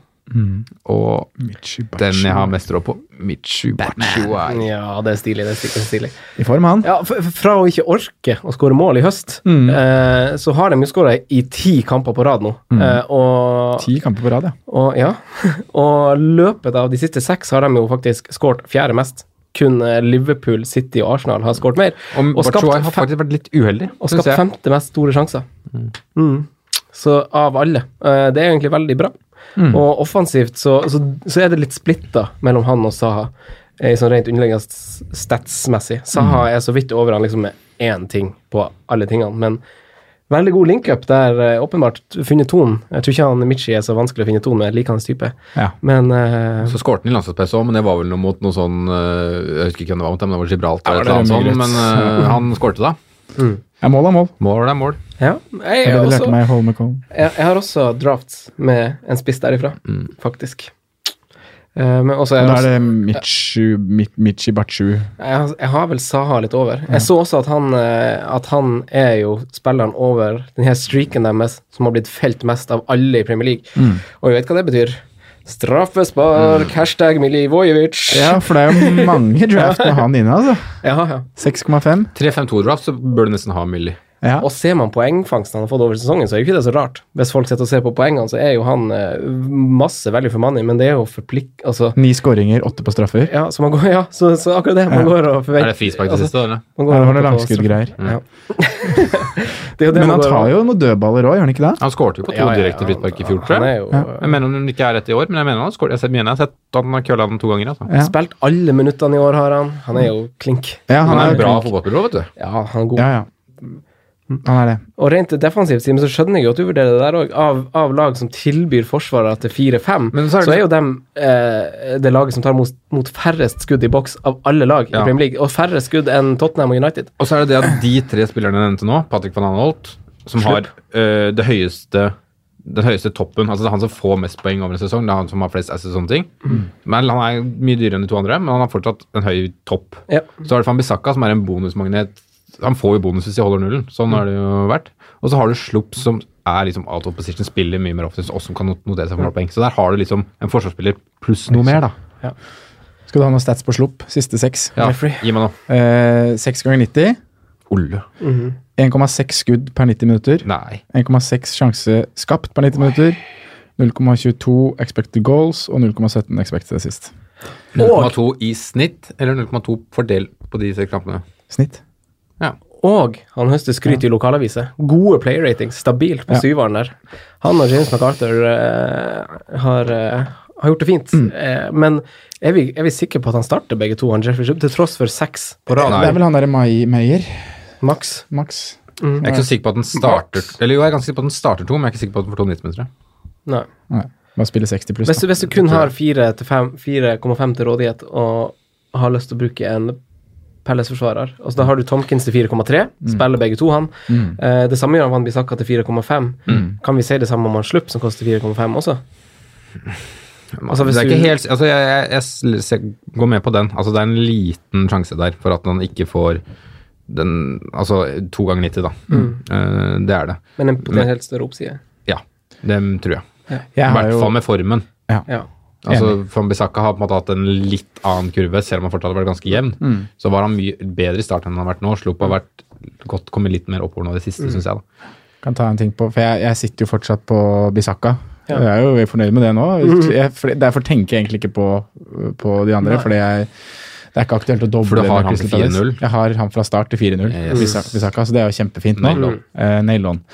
Speaker 3: Og
Speaker 4: Michibachi.
Speaker 3: den jeg har mest råd på, Michubachuai.
Speaker 2: Ja, det er stilig. det er stilig, det er stilig.
Speaker 4: I form, han.
Speaker 2: Ja, f- f- Fra å ikke orke å skåre mål i høst, eh, så har de jo skåra i ti kamper på rad nå. Eh, og,
Speaker 4: Ti kamper på rad, ja.
Speaker 2: og ja, og løpet av de siste seks har de jo faktisk skåret fjerde mest. Kun eh, Liverpool, City og Arsenal har skåret mer.
Speaker 3: Og
Speaker 2: Og skapt,
Speaker 3: Bachuai har
Speaker 2: fem,
Speaker 3: faktisk vært litt uheldig,
Speaker 2: og
Speaker 3: synes
Speaker 2: skapt
Speaker 3: jeg.
Speaker 2: femte mest store sjanser. Mm. Så av alle. Eh, det er egentlig veldig bra. Og offensivt så, så, så er det litt splitta mellom han og Saha, eh, sånn rent underliggende s- statsmessig. Saha er så vidt over han liksom med én ting på alle tingene, men veldig god link-up der, eh, åpenbart. Funnet tonen. Jeg tror ikke han Michi er så vanskelig å finne tonen med, jeg liker hans type.
Speaker 4: Ja.
Speaker 2: Men eh,
Speaker 3: Så skårte han i landslagspause òg, men det var vel noe mot noe sånn eh, Jeg husker ikke hvem det var mot, men det var Gibraltar
Speaker 4: Ja,
Speaker 3: eller noe
Speaker 4: det er
Speaker 3: sånt.
Speaker 4: mye
Speaker 3: Men eh, han skårte da.
Speaker 4: Ja, Mål er mål.
Speaker 3: Mål er mål.
Speaker 2: ja. Jeg,
Speaker 4: Det
Speaker 2: er
Speaker 4: er det du
Speaker 2: også,
Speaker 4: lærte meg i Holmenkollen.
Speaker 2: jeg, jeg har også drafts med en spiss derifra, faktisk. Eh, men også er
Speaker 4: Og
Speaker 2: jeg
Speaker 4: Da
Speaker 2: også-
Speaker 4: er det Michu, Mi- Michibachu.
Speaker 2: Jeg, har- jeg har vel Saha litt over.
Speaker 4: Mm.
Speaker 2: Jeg så også at han, eh, at han er jo spilleren over den her streaken deres som har blitt felt mest av alle i Premier League.
Speaker 4: Mm.
Speaker 2: Og vi vet hva det betyr. Straffespark, hashtag Milivojevic.
Speaker 4: Ja, for det er jo mange draft med han inne, altså.
Speaker 2: Ja, ja.
Speaker 4: 6,5.
Speaker 3: 3-5-2-draft, så bør du nesten ha Millie.
Speaker 4: Ja.
Speaker 2: Og ser man poengfangsten han har fått over sesongen, så er jo ikke det så rart. Hvis folk sitter og ser på poengene, så er jo han eh, masse value for money, men det er jo forplikt... Altså,
Speaker 4: Ni skåringer, åtte på straffer.
Speaker 2: ja, så man går, ja, så, så akkurat det. Man går og
Speaker 3: Er
Speaker 2: forventer
Speaker 3: det frispark det
Speaker 2: altså,
Speaker 3: siste? Eller?
Speaker 2: man går
Speaker 4: Ja, det var
Speaker 2: og
Speaker 4: noen
Speaker 2: venter på straff.
Speaker 4: langskuddgreier.
Speaker 2: Ja. det er jo det
Speaker 4: Mm. Men
Speaker 2: man går
Speaker 4: han
Speaker 2: og-
Speaker 4: tar jo noen dødballer òg, gjør han ikke det?
Speaker 3: Han skårte jo på to
Speaker 2: Ja, ja, ja,
Speaker 3: direkte frispark i fjor,
Speaker 2: han-
Speaker 3: tror jeg.
Speaker 2: Han er jo,
Speaker 4: Ja.
Speaker 3: Jeg mener om det ikke er rett i år, men jeg mener han har skåret. Jeg ser- mener jeg har sett at han har kølla den to ganger. Altså.
Speaker 4: Ja.
Speaker 2: eh, Spilt alle minuttene i år, har han. Han er jo klink.
Speaker 4: Ja,
Speaker 3: Han er en
Speaker 4: jo
Speaker 3: bra
Speaker 4: flink.
Speaker 3: fotballspiller, vet du.
Speaker 2: Ja, han er god.
Speaker 4: Ja, ja. Han er det.
Speaker 2: Og rent defensivt, Simen, så skjønner jeg jo at du vurderer det der òg. Av, av lag som tilbyr forsvarere til 4-5,
Speaker 3: Men så
Speaker 2: så,
Speaker 3: er det-
Speaker 2: er jo dem eh, det laget som tar mot, mot færrest skudd i boks av alle lag
Speaker 3: Ja.
Speaker 2: i Premier League. Og færre skudd enn Tottenham og United.
Speaker 3: Og så er det det at de tre spillerne jeg nevnte nå, Patrick van Anholt, som har øh, det høyeste den høyeste toppen, altså det er han som får mest poeng over en sesong, det er han som har flest asses og sånne ting. Men han er mye dyrere enn de to andre, men han har fortsatt en høy topp.
Speaker 2: Ja.
Speaker 3: Så er det Fambisaka som er en bonusmagnet. Han får jo bonus hvis de holder nullen, sånn har det jo vært. Og så har du Slupp som er liksom out of position, spiller mye mer offensivt, og som kan not- notere seg for målpoeng. Så der har du liksom en forsvarsspiller pluss noe mer, da.
Speaker 4: Skal du ha noen stats på slupp? Siste seks.
Speaker 3: Ja,
Speaker 2: Jeffrey.
Speaker 3: gi meg nå.
Speaker 4: Eh, Seks ganger 90.
Speaker 3: Olle.
Speaker 4: 1,6 skudd per 90 minutter.
Speaker 3: Nei.
Speaker 4: 1,6 sjanse skapt per 90 minutter. 0,22 expected goals og 0,17 expected assist.
Speaker 3: 0,2 i snitt, eller 0,2 fordelt på de tre kampene.
Speaker 4: Snitt.
Speaker 3: Ja.
Speaker 2: Og han høster skryt i lokalaviser. Gode player ratings, stabilt på
Speaker 4: Ja.
Speaker 2: syveren der. Han og James MacArthur eh, har, eh, har gjort det fint. Eh, men er vi, er vi sikre på at han starter begge to, han Jeffrey Shubb, til tross for seks på rad?
Speaker 3: Nei.
Speaker 4: Det er vel han derre Mai Meyer,
Speaker 2: Maks.
Speaker 4: Max.
Speaker 3: Jeg er ikke så sikker på at den starter Eller jo, jeg er ganske sikker på at den starter to, men jeg er ikke sikker på at den får to 90-minutter.
Speaker 2: Nei.
Speaker 4: Nei, bare spille 60 pluss.
Speaker 2: Hvis
Speaker 4: da.
Speaker 2: du, hvis du kun har 4 til fem- 4,5 til rådighet og har lyst til å bruke en Pelles-forsvarer altså, Da har du Tomkins til 4,3,
Speaker 3: Mm.
Speaker 2: spiller begge to, han. Eh, det samme gjør Van Bissaka til 4,5.
Speaker 3: Mm.
Speaker 2: Kan vi si det samme om han Slupp, som koster 4,5 også? Altså, hvis
Speaker 3: det er
Speaker 2: du-
Speaker 3: ikke helt, altså, jeg, jeg, jeg, s- jeg går med på den. Altså, det er en liten sjanse der for at han ikke får den Altså to ganger 90, da. Eh, det er det.
Speaker 2: Men en potensielt større oppside.
Speaker 3: Ja. Det tror jeg. I
Speaker 4: Jeg har
Speaker 3: hvert
Speaker 4: jo-
Speaker 3: fall med formen.
Speaker 2: Ja.
Speaker 3: Altså, Fambisaka har på en måte hatt en litt annen kurve, selv om han fortsatt har vært ganske jevn. Så var han mye bedre i starten enn han har vært nå. Slupp har vært godt kommet litt mer oppover nå i det siste, synes jeg. da.
Speaker 4: kan ta en ting på, for jeg, jeg sitter jo fortsatt på Bisakka.
Speaker 2: Ja.
Speaker 4: Jeg er jo veldig fornøyd med det nå. Jeg, for, derfor tenker jeg egentlig ikke på, på de andre. fordi jeg, det er ikke aktuelt å doble
Speaker 3: For du har
Speaker 4: med
Speaker 3: han
Speaker 4: Crystal
Speaker 3: til
Speaker 4: Palace.
Speaker 3: 4-0.
Speaker 4: Jeg har han fra start til 4-0,
Speaker 3: Yes.
Speaker 4: Bisak- Bisakka, så det er jo kjempefint nå.
Speaker 3: Nail on.
Speaker 4: Eh, nail on.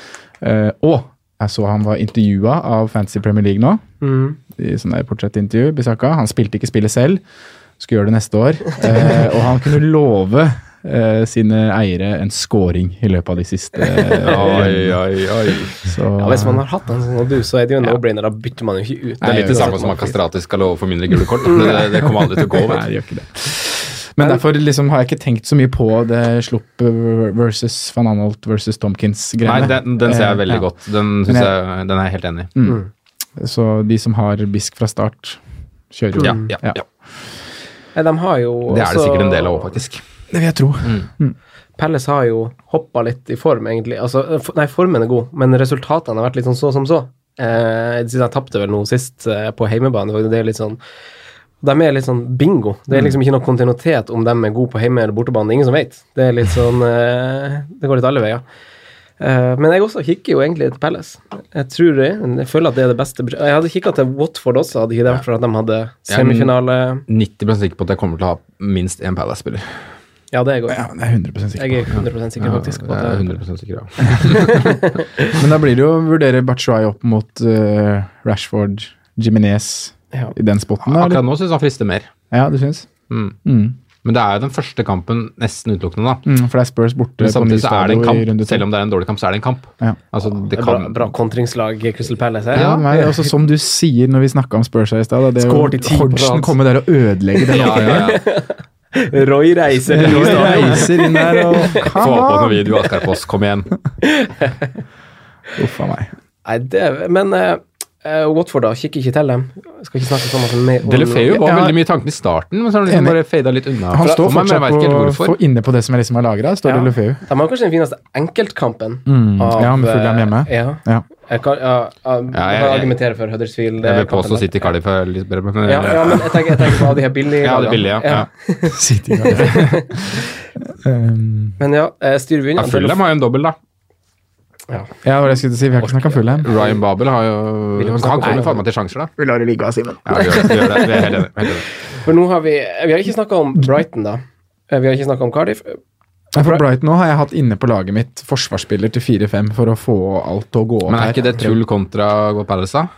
Speaker 4: Eh, og jeg så han var intervjua av Fantasy Premier League nå.
Speaker 2: Mm.
Speaker 4: i sånn der portrettintervju. Bisakka. Han spilte ikke spillet selv, skulle gjøre det neste år. Eh, og han kunne love eh, sine eiere en scoring i løpet av de siste eh,
Speaker 3: Oi, oi, oi.
Speaker 4: Så
Speaker 2: ja. Hvis man har hatt en sånn som du, så er det jo en no-brainer. Da bytter man jo ikke ut.
Speaker 3: Det er litt det samme som at Kastratis skal love for mindre gule kort. da. Det, det, det kommer aldri til å gå.
Speaker 4: Nei,
Speaker 3: Vet.
Speaker 4: det gjør ikke det. Men derfor liksom har jeg ikke tenkt så mye på det Slupp versus van Anholt versus
Speaker 3: du. Nei,
Speaker 4: Tomkins-greiene.
Speaker 3: den, den ser jeg
Speaker 4: Eh,
Speaker 3: veldig
Speaker 4: ja.
Speaker 3: godt. Den, synes jeg, den er jeg helt enig i.
Speaker 4: Så de som har Bisk fra start, kjører jo.
Speaker 3: Ja, ja, ja.
Speaker 2: Nei, De har jo
Speaker 3: Det er det
Speaker 2: også-
Speaker 3: sikkert en del av òg, faktisk.
Speaker 4: Det vil jeg tro.
Speaker 3: Mm.
Speaker 2: Pelles har jo hoppa litt i form, egentlig. Altså, eh, for- nei, formen er god, men resultatene har vært litt sånn så som så. Eh, siden jeg tapte vel noe sist eh, på heimebane. og Det er litt sånn de er litt sånn bingo. Det er liksom ikke noe kontinuitet om de er gode på hjemme- eller bortebane. Det er ingen som vet. Det er litt sånn eh, Det går litt alle veier. Eh, men jeg også kikker jo egentlig til Palace. Jeg tror det, jeg føler at det er det beste Jeg hadde kikka til Watford også, hadde ikke det vært for at de hadde semifinale.
Speaker 3: 90 sikker på at jeg kommer til å ha minst én Palace-spiller.
Speaker 2: Ja, det er godt.
Speaker 4: Ja, men jeg er 100 sikker.
Speaker 2: Jeg er 100 sikker faktisk på
Speaker 3: Ja, jeg er
Speaker 2: at det
Speaker 3: 100 sikker, ja.
Speaker 4: Men da blir det jo å vurdere Batshuayi opp mot eh, Rashford, Jiminez
Speaker 2: ja.
Speaker 4: i den spotten. da, eller?
Speaker 3: Akkurat nå syns han frister mer.
Speaker 4: Ja, du syns?
Speaker 3: Mm.
Speaker 4: Mm.
Speaker 3: Men det er jo den første kampen nesten utelukkende, da.
Speaker 4: Mm, for det er Spurs borte
Speaker 3: Men
Speaker 4: på ny
Speaker 3: samtidig så er det
Speaker 4: stadion
Speaker 3: en
Speaker 4: i runde
Speaker 3: kamp.
Speaker 4: to.
Speaker 3: Selv om det er en dårlig kamp, så er det en kamp.
Speaker 4: Ja.
Speaker 3: Altså, det
Speaker 2: Det er bra,
Speaker 3: kan
Speaker 2: bra kontringslag i Crystal Palace eh? her.
Speaker 4: Ja, men altså, som du sier når vi snakka om Spurs her i stad, da, det er
Speaker 2: Skår til ti
Speaker 4: jo
Speaker 2: på
Speaker 4: Hodgson
Speaker 2: rad.
Speaker 4: kommer der og ødelegger den
Speaker 3: ja, ja, ja.
Speaker 2: Roy reiser til
Speaker 4: Roy
Speaker 2: Nordstad.
Speaker 4: reiser inn der og
Speaker 3: Få på noen video, Askar Foss. Kom igjen.
Speaker 4: Uff a meg.
Speaker 2: Nei, det Men eh, eh, Watford, da. Kikker ikke til dem. Skal ikke snakke så mye mer om
Speaker 3: Delefeu var
Speaker 4: Ja.
Speaker 3: veldig mye i tanken i starten, men så har han liksom
Speaker 4: Enig.
Speaker 3: bare fada litt unna.
Speaker 4: Han
Speaker 3: fra- for
Speaker 4: står
Speaker 3: meg, men jeg
Speaker 4: fortsatt
Speaker 3: vet ikke helt
Speaker 4: på,
Speaker 3: hvorfor.
Speaker 4: for inne på det som jeg liksom har lagra, står
Speaker 2: Ja.
Speaker 4: det Lofeu.
Speaker 2: De har kanskje den fineste enkeltkampen.
Speaker 4: Mm, ja, med Fulham
Speaker 2: eh,
Speaker 4: hjemme.
Speaker 2: Ja.
Speaker 4: Ja.
Speaker 2: Jeg kan, ja, ja, jeg,
Speaker 3: jeg-
Speaker 2: kan argumentere for Huddersfield.
Speaker 3: Jeg
Speaker 2: eh,
Speaker 3: vil påstå
Speaker 2: kampen der.
Speaker 3: City Cardiff er litt bedre, men
Speaker 2: Ja, ja, men jeg tenker, jeg tenker på de her billige
Speaker 3: Ja,
Speaker 2: lagene.
Speaker 3: det er billig, ja. ja.
Speaker 4: City gjør det. um,
Speaker 2: Men ja, eh, styrer vi
Speaker 3: ja.
Speaker 2: unna
Speaker 3: Fulham har jo en dobbel, da.
Speaker 2: Ja.
Speaker 4: ja, det var det jeg skulle si. Vi har ikke snakka om Fulham.
Speaker 3: Ryan Babel har jo
Speaker 2: Vil du
Speaker 3: Han
Speaker 2: snakke om
Speaker 3: kommer
Speaker 2: det?
Speaker 3: jo faen meg til sjanser, da.
Speaker 4: Vi lar det ligge, Simen.
Speaker 3: Ja, vi gjør det. Vi gjør det. Vi er helt enige, helt enige.
Speaker 2: For nå har vi eh, Vi har ikke snakka om Brighton, da. Eh, Vi har ikke snakka om Cardiff.
Speaker 4: For Brighton nå har jeg hatt inne på laget mitt forsvarsspiller til 4-5 for å få alt til å gå opp
Speaker 3: Men er ikke det
Speaker 4: her.
Speaker 3: tull kontra Go Palace, da?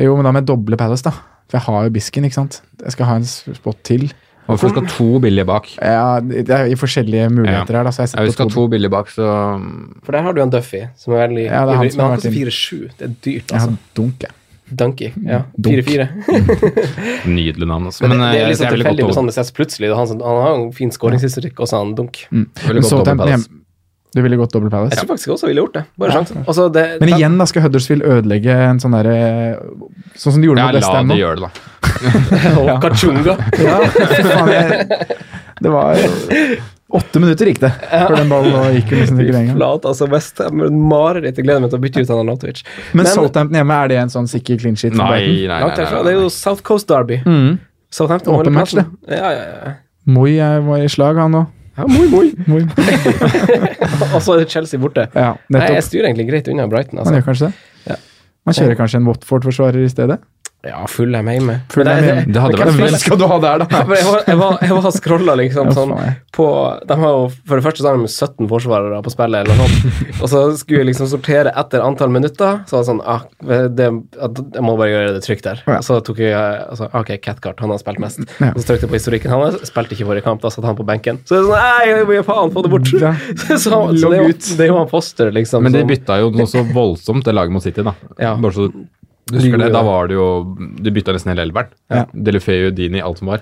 Speaker 4: Jo, men da med doble Palace, da. For jeg har jo Bisken, ikke sant. Jeg skal ha en spot til.
Speaker 3: Hvorfor skal to billige bak?
Speaker 4: Ja, det er i forskjellige muligheter her, da. Så jeg
Speaker 3: Ja, vi
Speaker 4: sitter
Speaker 3: skal
Speaker 4: på to.
Speaker 3: to billige bak, så
Speaker 2: For der har du han Duffy, som er veldig
Speaker 4: Ja, det er han
Speaker 2: ivrig.
Speaker 4: som
Speaker 2: Men
Speaker 4: har
Speaker 2: han koster
Speaker 4: vært
Speaker 2: 4-7.
Speaker 4: inn.
Speaker 2: Det er dyrt,
Speaker 4: Jeg
Speaker 2: altså.
Speaker 4: har dunk, jeg.
Speaker 2: Donkey. Ja.
Speaker 4: Mhm. Dunk. eh,
Speaker 2: 4-4.
Speaker 3: Nydelig navn, altså.
Speaker 2: Men
Speaker 3: Men
Speaker 2: det, det er litt
Speaker 3: jeg,
Speaker 2: sånn
Speaker 3: jeg ville
Speaker 2: tilfeldig
Speaker 3: gått
Speaker 2: med
Speaker 3: over.
Speaker 2: Sandnes S plutselig. da Han, som- han har jo en fin skåringshistorikk, og så har han dunk.
Speaker 3: Ville
Speaker 4: Men
Speaker 3: gått dobbelt
Speaker 4: Southampton
Speaker 3: Palace.
Speaker 4: hjemme. Du ville gått dobbel
Speaker 2: Jeg
Speaker 4: Palace?
Speaker 2: tror faktisk jeg også ville gjort det. Bare sjansen. Altså, det,
Speaker 4: Men igjen, da skal Huddersfield ødelegge en sånn derre Sånn som de gjorde
Speaker 3: Ja,
Speaker 4: med West
Speaker 3: la
Speaker 4: Ham
Speaker 3: de
Speaker 4: nå.
Speaker 3: gjøre det, da.
Speaker 2: og Kachunga.
Speaker 4: Ja, fy faen, jeg, det var Åtte minutter gikk det før den ballen nå gikk jo nesten sikkert en gang.
Speaker 2: Flat, altså West Ham. Mareritt. Jeg gleder meg til å bytte ut han Arnautovic.
Speaker 4: Men Southampton hjemme, er det en sånn sikker clean sheet? for
Speaker 3: Nei,
Speaker 4: Brighton?
Speaker 3: nei, nei.
Speaker 2: Langt
Speaker 3: nei,
Speaker 2: herfra.
Speaker 3: nei,
Speaker 2: Det er
Speaker 3: nei.
Speaker 2: jo South Coast Derby.
Speaker 4: Mm.
Speaker 2: Southampton
Speaker 4: Åpen
Speaker 2: holder
Speaker 4: match,
Speaker 2: plassen. Ja, ja, ja.
Speaker 4: Moi er- var i slag, han nå.
Speaker 2: ja moi, moi.
Speaker 4: Moi.
Speaker 2: Og så er Chelsea borte.
Speaker 4: Ja,
Speaker 2: Nei, jeg
Speaker 4: nettopp.
Speaker 2: styrer egentlig greit unna Brighton.
Speaker 4: Man
Speaker 2: Altså.
Speaker 4: gjør kanskje
Speaker 2: Ja.
Speaker 4: det. Man kjører kanskje en Watford-forsvarer i stedet?
Speaker 2: Ja, full er hjemme.
Speaker 4: Full
Speaker 2: Men
Speaker 4: er hjemme.
Speaker 3: Det hadde
Speaker 2: men
Speaker 3: vært
Speaker 2: hvem-
Speaker 3: fint.
Speaker 4: skal du ha der,
Speaker 2: Ja, sånn. men jeg var, jeg var, jeg var scrolla liksom
Speaker 4: Ja,
Speaker 2: sånn
Speaker 4: faen, jeg.
Speaker 2: på De har jo for det første så har de 17 forsvarere på spillet, eller noe sånt. Og så skulle jeg liksom sortere etter antall minutter, så var det sånn ah, det, Jeg må bare gjøre det trygt der.
Speaker 4: Ja.
Speaker 2: Og så tok jeg altså, OK, Catcart, han har spilt mest.
Speaker 4: Ja.
Speaker 2: Og så trykte jeg på historikken hans. Spilte ikke forrige kamp, da satt han på benken. Så det er sånn Nei, jeg må faen få det bort!
Speaker 4: Ja.
Speaker 2: Så, så, så det, er jo-
Speaker 4: Logg ut.
Speaker 2: det er jo han Foster, liksom.
Speaker 3: Men de
Speaker 2: som-
Speaker 3: bytta jo noe så voldsomt, det laget mot City, da.
Speaker 2: Ja.
Speaker 3: Bare så du
Speaker 2: gjorde
Speaker 3: husker det, da
Speaker 2: det.
Speaker 3: var det jo Du bytta nesten hele elveren.
Speaker 4: Ja.
Speaker 3: Delefeu, Dini, alt som var.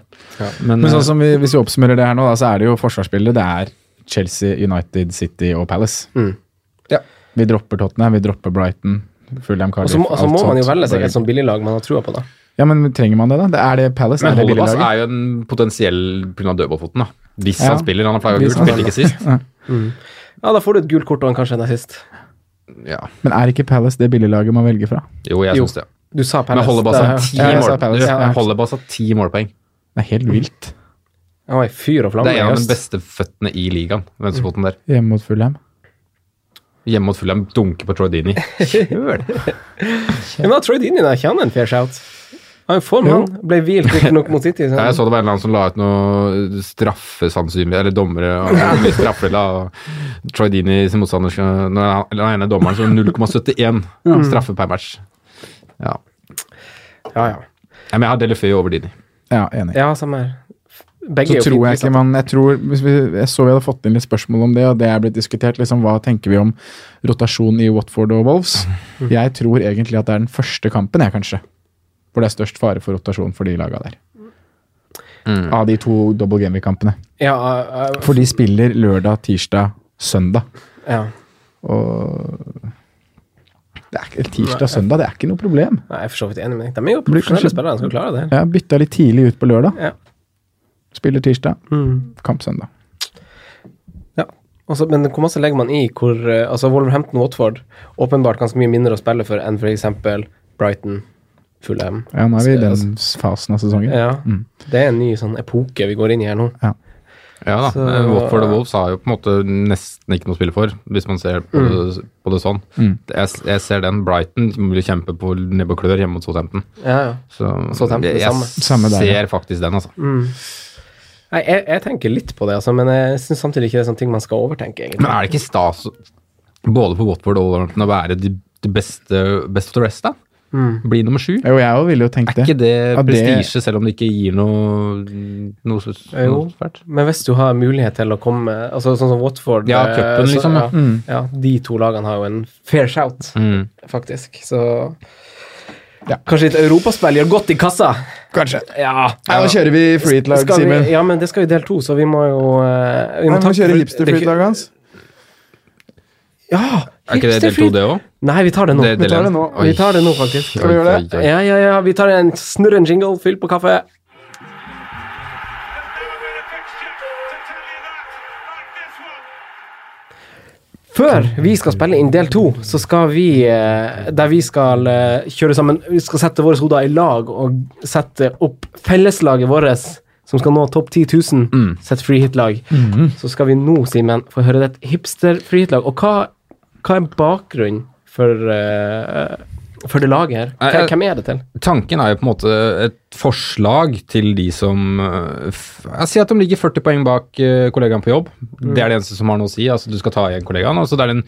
Speaker 3: Men,
Speaker 4: Men
Speaker 3: eh,
Speaker 4: sånn som vi, hvis vi oppsummerer det her nå, da, så er det jo forsvarsspillet. Det er Chelsea, United, City og Palace.
Speaker 2: Mm.
Speaker 3: Ja.
Speaker 4: Vi dropper Tottenham, vi dropper Brighton. Fulham,
Speaker 2: og
Speaker 4: Cardiff,
Speaker 2: så må, altså,
Speaker 4: alt
Speaker 2: må man jo
Speaker 4: sånt.
Speaker 2: velge seg sånn- et sånn billiglag man har trua på, da.
Speaker 4: Ja, men trenger man det, da? Det er det Palace?
Speaker 3: men
Speaker 4: er det
Speaker 3: Holdebass
Speaker 2: altså,
Speaker 4: billiglaget?
Speaker 3: er jo en potensiell pga. dødballfoten, da. Hvis
Speaker 4: Ja.
Speaker 3: han spiller. Han har flagga
Speaker 4: Hvis
Speaker 3: gult,
Speaker 4: han
Speaker 3: spilte ikke sist.
Speaker 4: Ja.
Speaker 2: Ja, da får du et gult kort og en kanskje en assist.
Speaker 3: Ja.
Speaker 4: Men er ikke Palace det billiglaget man velger fra?
Speaker 3: Jo, jeg
Speaker 2: Jo.
Speaker 3: syns det.
Speaker 2: Du sa
Speaker 3: Men
Speaker 2: Palace.
Speaker 3: Holdebass har ti
Speaker 4: Ja, jeg sa
Speaker 3: mål-
Speaker 4: Palace, ja.
Speaker 3: Ja, Holdebass har ti målpoeng.
Speaker 4: Det er
Speaker 2: Mm.
Speaker 4: helt vilt.
Speaker 2: Han var i fyr og flamme.
Speaker 3: Det er
Speaker 2: i
Speaker 3: en av
Speaker 2: høst.
Speaker 3: de beste føttene i ligaen, venstrefoten der.
Speaker 4: Hjemme mot Fulham. Mm.
Speaker 3: Hjemme mot Fulham, dunker på Troy Dini. Kjør!
Speaker 2: Ja, men da Troy Dini der, ikke han en fair shout? Han er i form,
Speaker 4: Jo.
Speaker 2: han. Ble hvilt riktignok mot City.
Speaker 3: Ja, jeg
Speaker 2: Så.
Speaker 3: så det var en eller annen som la ut noe straffe, sannsynlig, eller dommere og hvor mye straffer la og Troy Dini sin motstander skal- Nei, han- eller den ene dommeren som 0,71
Speaker 4: Mm.
Speaker 3: straffe per match. Ja.
Speaker 2: Ja, ja.
Speaker 3: ja, men jeg har Delefeu over Dini.
Speaker 4: Ja, enig.
Speaker 2: ja, samme her. Begge
Speaker 4: Så
Speaker 2: er jo
Speaker 4: tror
Speaker 2: fint liksom.
Speaker 4: jeg ikke
Speaker 2: prissatt.
Speaker 4: man jeg, tror, hvis vi, jeg så vi hadde fått inn litt spørsmål om det, og det er blitt diskutert. Liksom, hva tenker vi om rotasjon i Watford og Wolves?
Speaker 2: Mhm.
Speaker 4: Jeg tror egentlig at det er den første kampen, jeg, kanskje. Hvor det er størst fare for rotasjon for de laga der.
Speaker 3: Mm.
Speaker 4: Av de to double game-kampene.
Speaker 2: Ja, ja, ja,
Speaker 4: For de spiller lørdag, tirsdag, søndag.
Speaker 2: ja.
Speaker 4: Og det er ikke, Tirsdag og søndag det er ikke noe problem.
Speaker 2: Nei, jeg er for så vidt enig med deg. De er jo
Speaker 4: Blir
Speaker 2: profesjonelle
Speaker 4: kanskje-
Speaker 2: spillere, de skal klare det. her.
Speaker 4: Jeg bytta litt tidlig ut på lørdag.
Speaker 2: Ja.
Speaker 4: Spiller tirsdag,
Speaker 2: Mm.
Speaker 4: kamp søndag.
Speaker 2: ja. Altså, men hvor masse legger man i hvor eh, altså Wolverhampton-Watford åpenbart ganske mye mindre å spille for enn f.eks. Brighton, Fulham.
Speaker 4: Ja, nå er vi i
Speaker 2: Så-
Speaker 4: den Mm. fasen av sesongen.
Speaker 2: Ja. Det er en ny sånn epoke vi går inn i her nå.
Speaker 3: Ja da.
Speaker 2: Så-
Speaker 3: eh, Watford og Wolves har jo på en måte nesten ikke noe å spille for, hvis man ser på,
Speaker 2: Mm.
Speaker 3: det, på det sånn. Jeg, jeg ser den. Brighton vil kjempe på nebb og klør hjemme mot Southampton.
Speaker 2: Ja, ja.
Speaker 3: Så
Speaker 2: Southampton, det
Speaker 3: jeg,
Speaker 2: samme.
Speaker 4: Samme der, ja.
Speaker 3: ser faktisk den, altså.
Speaker 2: Nei, jeg, jeg tenker litt på det, altså, men jeg syns samtidig ikke det er sånne ting man skal overtenke.
Speaker 3: Men
Speaker 2: egentlig.
Speaker 3: er det ikke stas både på Watford og Wolverhampton å være de, de beste best of the rest, da?
Speaker 2: Mm.
Speaker 3: Bli nummer sju?
Speaker 4: Jo, jeg òg ville jo tenkt
Speaker 3: Er ikke
Speaker 4: det.
Speaker 3: det
Speaker 4: Ja, det-
Speaker 3: prestisje, selv om det ikke gir noe, noe, så-
Speaker 2: Jo.
Speaker 3: noe svært?
Speaker 2: Men hvis du har mulighet til å komme altså Sånn som Watford
Speaker 3: Ja,
Speaker 2: eh,
Speaker 3: cupen,
Speaker 2: så-
Speaker 3: liksom, ja.
Speaker 2: Ja, ja, de to lagene har jo en fair shout, faktisk. Så
Speaker 4: Ja.
Speaker 2: Kanskje et europaspill gjør godt i kassa?
Speaker 4: Kanskje.
Speaker 2: Ja.
Speaker 4: Nei, nå kjører vi freehit-lag,
Speaker 2: Skal vi,
Speaker 4: Simen.
Speaker 2: ja, men det skal jo del to, så vi må jo eh, vi
Speaker 4: Vi må
Speaker 2: takke
Speaker 4: kjøre
Speaker 2: for- det er ikke-
Speaker 4: hipster-freehit-laget hans.
Speaker 2: Ja!
Speaker 3: Er ikke det del to, det òg?
Speaker 2: Nei, vi tar det nå.
Speaker 3: Det-
Speaker 2: Vi
Speaker 3: del
Speaker 2: tar det
Speaker 3: én.
Speaker 2: nå,
Speaker 3: Oi.
Speaker 2: vi tar det nå faktisk.
Speaker 4: Skal vi gjøre det?
Speaker 3: Oi, oi, oi.
Speaker 2: Ja, ja, ja. Vi tar en snurr en jingle, fyll på kaffe. Før vi skal spille inn del to, så skal vi eh, Der vi skal eh, kjøre sammen Vi skal sette våre hoder i lag og sette opp felleslaget vårt som skal nå topp 10 000,
Speaker 3: Mm.
Speaker 2: sitt frihit-lag.
Speaker 3: Mm-hmm.
Speaker 2: Så skal vi nå, Simen, få høre et hipster-frihit-lag. Og hva, hva er bakgrunnen for, eh, for det laget her?
Speaker 3: Nei,
Speaker 2: Hvem-
Speaker 3: jeg-
Speaker 2: Hvem er det til?
Speaker 3: Tanken er jo på en måte et forslag til de som øh, f- Jeg sier at de ligger 40 poeng bak øh, kollegaen på jobb. Det er det eneste som har noe å si. altså Du skal ta igjen kollegaen. og så Det er en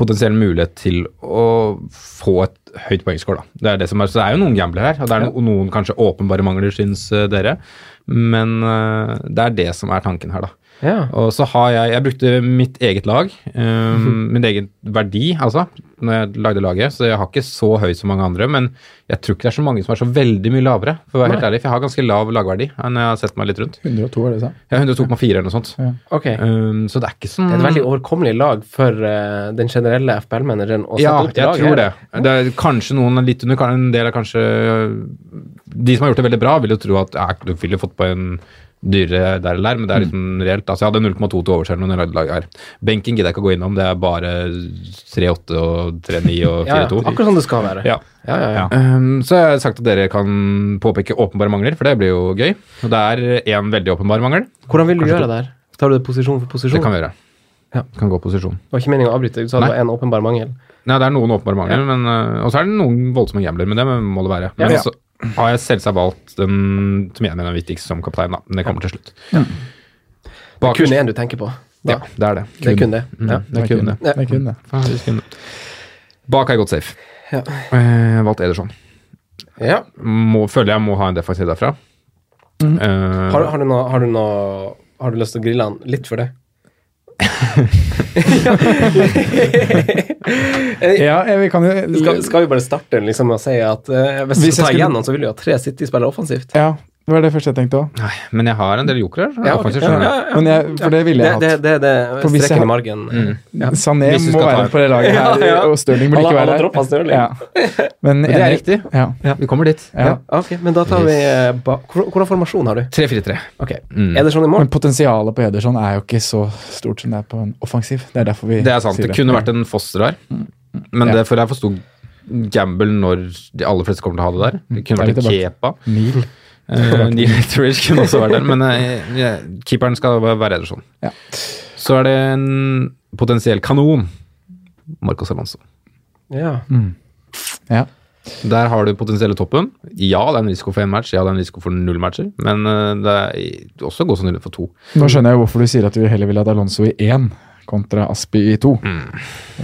Speaker 3: potensiell mulighet til å få et høyt poengscore. da. Det er det som er, så det er jo noen gambler her, og det er no, noen kanskje åpenbare mangler, syns øh, dere. Men øh, det er det som er tanken her, da.
Speaker 2: Ja.
Speaker 3: Og så har jeg Jeg brukte mitt eget lag, um, min egen verdi, altså, når jeg lagde laget. Så jeg har ikke så høy som mange andre, men jeg tror ikke det er så mange som er så veldig mye lavere, for å være helt ærlig. For jeg har ganske lav lagverdi når jeg har sett meg litt rundt.
Speaker 4: 102, var det du sa?
Speaker 3: Jeg har 102,4 eller noe sånt.
Speaker 2: Ok. Det
Speaker 3: Um, så det er ikke sånn
Speaker 2: er et veldig overkommelig lag for eh, den generelle FPL-manageren. å sette
Speaker 3: ja,
Speaker 2: opp det
Speaker 3: jeg
Speaker 2: laget
Speaker 3: tror det.
Speaker 2: her.
Speaker 3: det er kanskje noen er litt under, kan- en del er kanskje De som har gjort det veldig bra, vil jo tro at ja, du ville fått på en dyrere der eller der,
Speaker 2: Mm.
Speaker 3: men det er liksom reelt. Altså, jeg hadde 0,2 til overskjell når jeg lagde laget her. Benken gidder jeg ikke å gå innom, det er bare 3,8 og 3,9 og
Speaker 2: Ja, ja.
Speaker 3: 4,2.
Speaker 2: Akkurat sånn det skal være.
Speaker 3: Ja.
Speaker 2: Ja, ja, ja.
Speaker 3: Um, så har jeg sagt at dere kan påpeke åpenbare mangler, for det blir jo gøy. Og det er én veldig åpenbar mangel.
Speaker 2: Hvordan vil du
Speaker 3: Kanskje
Speaker 2: gjøre det her? Tar du det posisjon for posisjon?
Speaker 3: Det kan vi gjøre.
Speaker 2: Ja.
Speaker 3: Kan gå posisjon.
Speaker 2: Det var ikke meningen å avbryte. Du sa det
Speaker 3: Nei.
Speaker 2: var en åpenbar mangel.
Speaker 3: Nei, det er noen åpenbare mangler, men, øh, og så er det noen voldsomme gambler, men det må det være. Men
Speaker 2: Ja.
Speaker 3: så har jeg selvsagt valgt den som jeg mener er viktigst som kaptein, da. Men det kommer til slutt. Bakerst-
Speaker 2: Kun én du tenker på.
Speaker 3: Ja,
Speaker 2: Da.
Speaker 3: det er det.
Speaker 2: Det er kun det.
Speaker 3: Mm,
Speaker 2: Ja.
Speaker 3: det er kun det.
Speaker 4: Det er kun det.
Speaker 3: Faen, det er kun det. Bak har jeg gått safe.
Speaker 2: Ja.
Speaker 3: Eh, valgt Ederson.
Speaker 2: Ja.
Speaker 3: Må, føler jeg må ha en defensiv derfra. Eh,
Speaker 2: Mhm. Har, har, du noe, har, du noe, har du lyst til å grille han litt for det?
Speaker 4: Ja, jeg- vi kan jo
Speaker 2: Skal, skal vi bare starte liksom, med å si at eh, hvis,
Speaker 4: Hvis
Speaker 2: du
Speaker 4: jeg
Speaker 2: tar
Speaker 4: skulle-
Speaker 2: igjen han, så vil du ha tre City-spillere offensivt.
Speaker 4: Ja, det var det første jeg tenkte òg.
Speaker 3: Nei, men jeg har en del jokere.
Speaker 2: Ja, ok.
Speaker 3: offensivt,
Speaker 2: Ja,
Speaker 3: skjønner
Speaker 2: ja,
Speaker 3: jeg.
Speaker 2: ja.
Speaker 4: Men jeg, for det ville
Speaker 2: Det,
Speaker 4: jeg
Speaker 2: det,
Speaker 4: hatt.
Speaker 2: det, det er
Speaker 4: For hvis jeg
Speaker 2: streken
Speaker 4: har-
Speaker 2: i margen.
Speaker 3: Mm.
Speaker 2: Ja.
Speaker 4: Sané
Speaker 3: Hvis vi
Speaker 4: må
Speaker 3: skal ta
Speaker 4: være
Speaker 3: en.
Speaker 4: på det laget her,
Speaker 2: Ja, ja.
Speaker 4: og Stirling burde
Speaker 2: Alle-
Speaker 4: ikke være
Speaker 2: alle
Speaker 4: her.
Speaker 2: dropper Stirling.
Speaker 4: Ja. Men
Speaker 3: Men det er
Speaker 4: enig.
Speaker 3: riktig.
Speaker 4: Ja.
Speaker 3: Vi kommer dit.
Speaker 4: Ja.
Speaker 2: Ah, Ok, men da tar vi eh, ba Hvor- Hvordan formasjon har du?
Speaker 3: 3-4-3.
Speaker 2: Ok,
Speaker 3: Mm.
Speaker 2: Er det sånn i
Speaker 4: Men
Speaker 2: morgen?
Speaker 4: potensialet på Ederson er jo ikke så stort som det er på en offensiv. Det er derfor vi
Speaker 3: Det er sant.
Speaker 4: sier
Speaker 3: Det kunne vært en foster der, men
Speaker 4: Ja.
Speaker 3: det for jeg forsto gamble når de aller fleste kommer til å ha det der. Det kunne
Speaker 4: Det er
Speaker 3: vært en
Speaker 4: litt
Speaker 3: kepa.
Speaker 4: Mil.
Speaker 3: Eh, Neil Etheridge kunne også vært der, men eh, ja, keeperen skal være Ederson.
Speaker 4: Ja.
Speaker 3: Så er det en potensiell kanon. Marcos Alonso.
Speaker 2: Ja.
Speaker 4: Mm. Ja.
Speaker 3: Der har du potensielle toppen. Ja, det er en risiko for én match, ja, det er en risiko for null matcher, men eh, det er også god sannsynlighet for to.
Speaker 4: Nå skjønner jeg hvorfor du sier at du heller ville hatt Alonso i én kontra Aspi i to.
Speaker 2: Mm-hmm.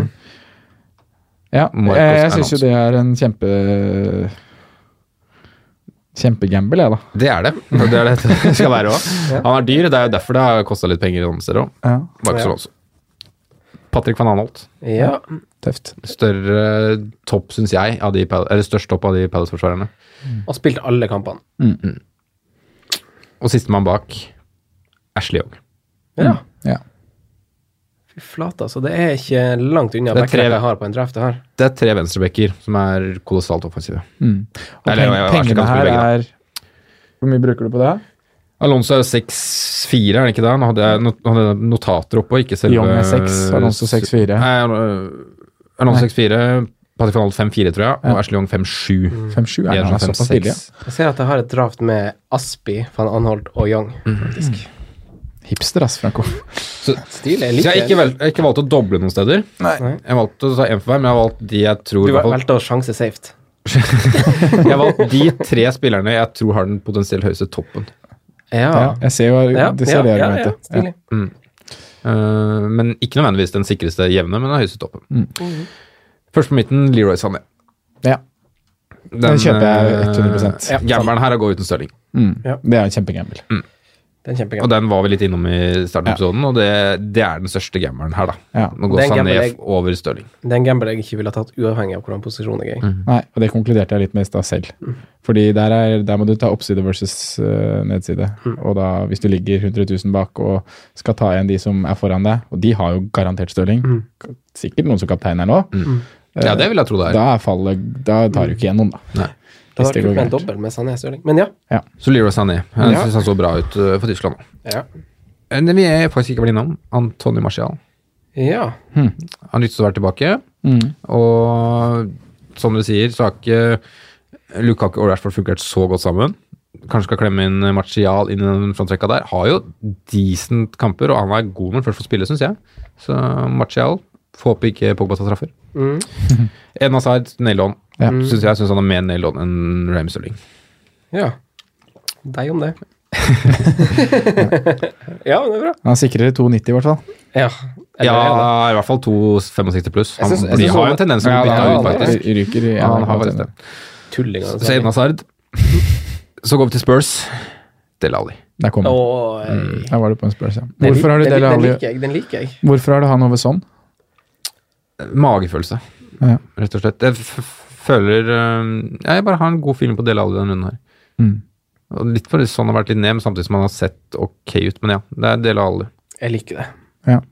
Speaker 4: Eh, ja, eh,
Speaker 3: Marcos
Speaker 4: jeg, jeg syns
Speaker 3: Alonso.
Speaker 4: jo det er en kjempe Kjempegamble, jeg, da.
Speaker 3: Det er det. Det er det det skal være òg. Han er dyr, det er jo derfor det har kosta litt penger i noen steder òg.
Speaker 4: Ja,
Speaker 3: Marcus
Speaker 2: Ja.
Speaker 3: Alonso. Patrick van Anholt.
Speaker 2: ja.
Speaker 4: tøft.
Speaker 3: Større topp, syns jeg, av de, Pal- eller størst topp av de Palace-forsvarerne.
Speaker 2: Og spilt alle kampene.
Speaker 3: Og sistemann bak, Ashley Young.
Speaker 2: Ja.
Speaker 4: Mm, Ja.
Speaker 2: Fy flate, altså. Det er ikke langt unna
Speaker 3: Det er tre-
Speaker 2: backrekka jeg har på en draft. Det her.
Speaker 3: Det er tre venstrebacker som er kolossalt offensive.
Speaker 4: Mm. Og
Speaker 3: Eller,
Speaker 4: peng-
Speaker 3: ja, ja, Ashley
Speaker 4: pengene
Speaker 3: kan spille
Speaker 4: her
Speaker 3: begge, da.
Speaker 4: er Hvor mye bruker du på det?
Speaker 3: Alonso er jo seks 6-4, er det ikke det? Nå hadde jeg, not nå hadde jeg notater oppe, og ikke selve
Speaker 4: Young er 6, Alonso 6-4.
Speaker 3: Nei, Al- Alonso 6-4, Patrick van Alt 5-4, tror jeg, og
Speaker 4: Ja.
Speaker 3: Ashley Young 5-7.
Speaker 4: 5-7 er det, han er såpass billig. ja.
Speaker 2: Jeg ser at jeg har et draft med Aspi, van Anholt og Young.
Speaker 4: Hipster, ass, Franco.
Speaker 3: Så,
Speaker 2: Stilig. Jeg
Speaker 3: så jeg
Speaker 2: liker
Speaker 3: har ikke,
Speaker 2: det.
Speaker 3: vel, jeg har ikke valgt å doble noen steder.
Speaker 2: Nei.
Speaker 3: Jeg valgte å ta én for hver, men jeg har valgt de jeg tror
Speaker 2: Du
Speaker 3: i hvert fall-
Speaker 2: valgte å sjanse safe.
Speaker 3: Jeg har valgt de tre spillerne jeg tror har den potensielt høyeste toppen.
Speaker 4: Ja,
Speaker 2: Ja.
Speaker 4: jeg ser jo
Speaker 2: Ja,
Speaker 4: det, ser
Speaker 2: ja,
Speaker 4: det
Speaker 2: ja,
Speaker 4: argumentet.
Speaker 2: Ja, stilig.
Speaker 3: Eh, men ikke nødvendigvis den sikreste jevne, men den høyeste toppen.
Speaker 4: Mm.
Speaker 3: Først på midten, Leroy Sané.
Speaker 4: Ja. Den kjøper jeg
Speaker 3: eh,
Speaker 4: 100%.
Speaker 3: ja. Gambelen her er å gå uten Stirling.
Speaker 2: Ja.
Speaker 4: Det er en kjempegamble.
Speaker 2: Den er kjempegøy.
Speaker 3: Og den var vi litt innom i starten av
Speaker 4: Ja.
Speaker 3: episoden, og det, det er den største gambelen her, da.
Speaker 4: Ja.
Speaker 3: Nå går
Speaker 2: Den
Speaker 3: Sané
Speaker 2: gamble jeg-
Speaker 3: over Stirling.
Speaker 2: Det er en gamble jeg ikke ville ha tatt uavhengig av hvordan posisjonen er. Mm.
Speaker 4: Nei, og det konkluderte jeg litt med i stad selv. Fordi der, er, der må du ta oppside versus eh, nedside.
Speaker 2: Mm.
Speaker 4: Og da, hvis du ligger 100 000 bak og skal ta igjen de som er foran deg, og de har jo garantert Stirling,
Speaker 2: Mm.
Speaker 4: sikkert noen som kaptein her nå, eh,
Speaker 3: Mm. Ja, det vil jeg tro det er.
Speaker 4: da er fallet Da tar du ikke igjen noen, da.
Speaker 3: Nei.
Speaker 2: Det
Speaker 4: Hvis
Speaker 2: var
Speaker 4: det
Speaker 2: kult
Speaker 4: går
Speaker 2: med en
Speaker 4: gærent.
Speaker 2: dobbel med Sané Stirling. Men ja.
Speaker 3: Så Leroy Sané. Jeg
Speaker 4: Ja.
Speaker 3: synes han så bra ut eh, for Tyskland. nå.
Speaker 2: Ja.
Speaker 3: Eh, Vi er faktisk ikke blitt innom Antony Marcial.
Speaker 2: ja.
Speaker 3: Han lyttes til å være tilbake.
Speaker 4: Mm.
Speaker 3: Og som dere sier, så har ikke Lukaku og Rashford fungert så godt sammen. Kanskje skal klemme inn Martial inn i den frontrekka der. Har jo decent kamper, og han er god når han først får spille, syns jeg. Så Martial får håpe ikke Pogba tar straffer.
Speaker 2: Mm.
Speaker 3: Eden Hazard, nail on.
Speaker 4: Ja.
Speaker 3: Synes jeg synes han er mer nail on enn Ramy Stirling.
Speaker 2: ja. Deg om det. ja, men det er bra.
Speaker 4: Han sikrer 2,90 i hvert fall.
Speaker 2: Ja. Eller
Speaker 3: Ja,
Speaker 2: er det?
Speaker 3: i hvert fall 2,65 pluss. Han,
Speaker 2: Jeg synes- jeg
Speaker 3: de
Speaker 2: synes
Speaker 3: har
Speaker 2: han-
Speaker 3: jo en tendens til å
Speaker 4: Ja,
Speaker 3: bytte
Speaker 4: da-
Speaker 3: ut,
Speaker 2: han-
Speaker 3: faktisk.
Speaker 4: Ryker i
Speaker 3: Ja, han har faktisk det.
Speaker 2: Tulling.
Speaker 3: Så Eden Hazard. Så går vi til Spurs. Del Alli.
Speaker 4: Der kom
Speaker 2: Å,
Speaker 4: han.
Speaker 2: eh,
Speaker 4: Der var du på en spørsmål.
Speaker 2: den
Speaker 4: Mm. Hvorfor
Speaker 2: lik-
Speaker 4: har du
Speaker 2: den
Speaker 4: Dele
Speaker 2: lik-
Speaker 4: Alli
Speaker 2: Den liker jeg. Den liker jeg.
Speaker 4: Hvorfor har du han over sånn?
Speaker 3: Magefølelse.
Speaker 4: Ja.
Speaker 3: rett og slett. Jeg f f- føler øhm, Jeg bare har en god feeling på Dele Alli denne runden her.
Speaker 4: Mm.
Speaker 3: Og litt fordi sånn har vært litt ned, men samtidig som han har sett ok ut. Men ja, det er Dele Alli.
Speaker 2: Jeg liker det.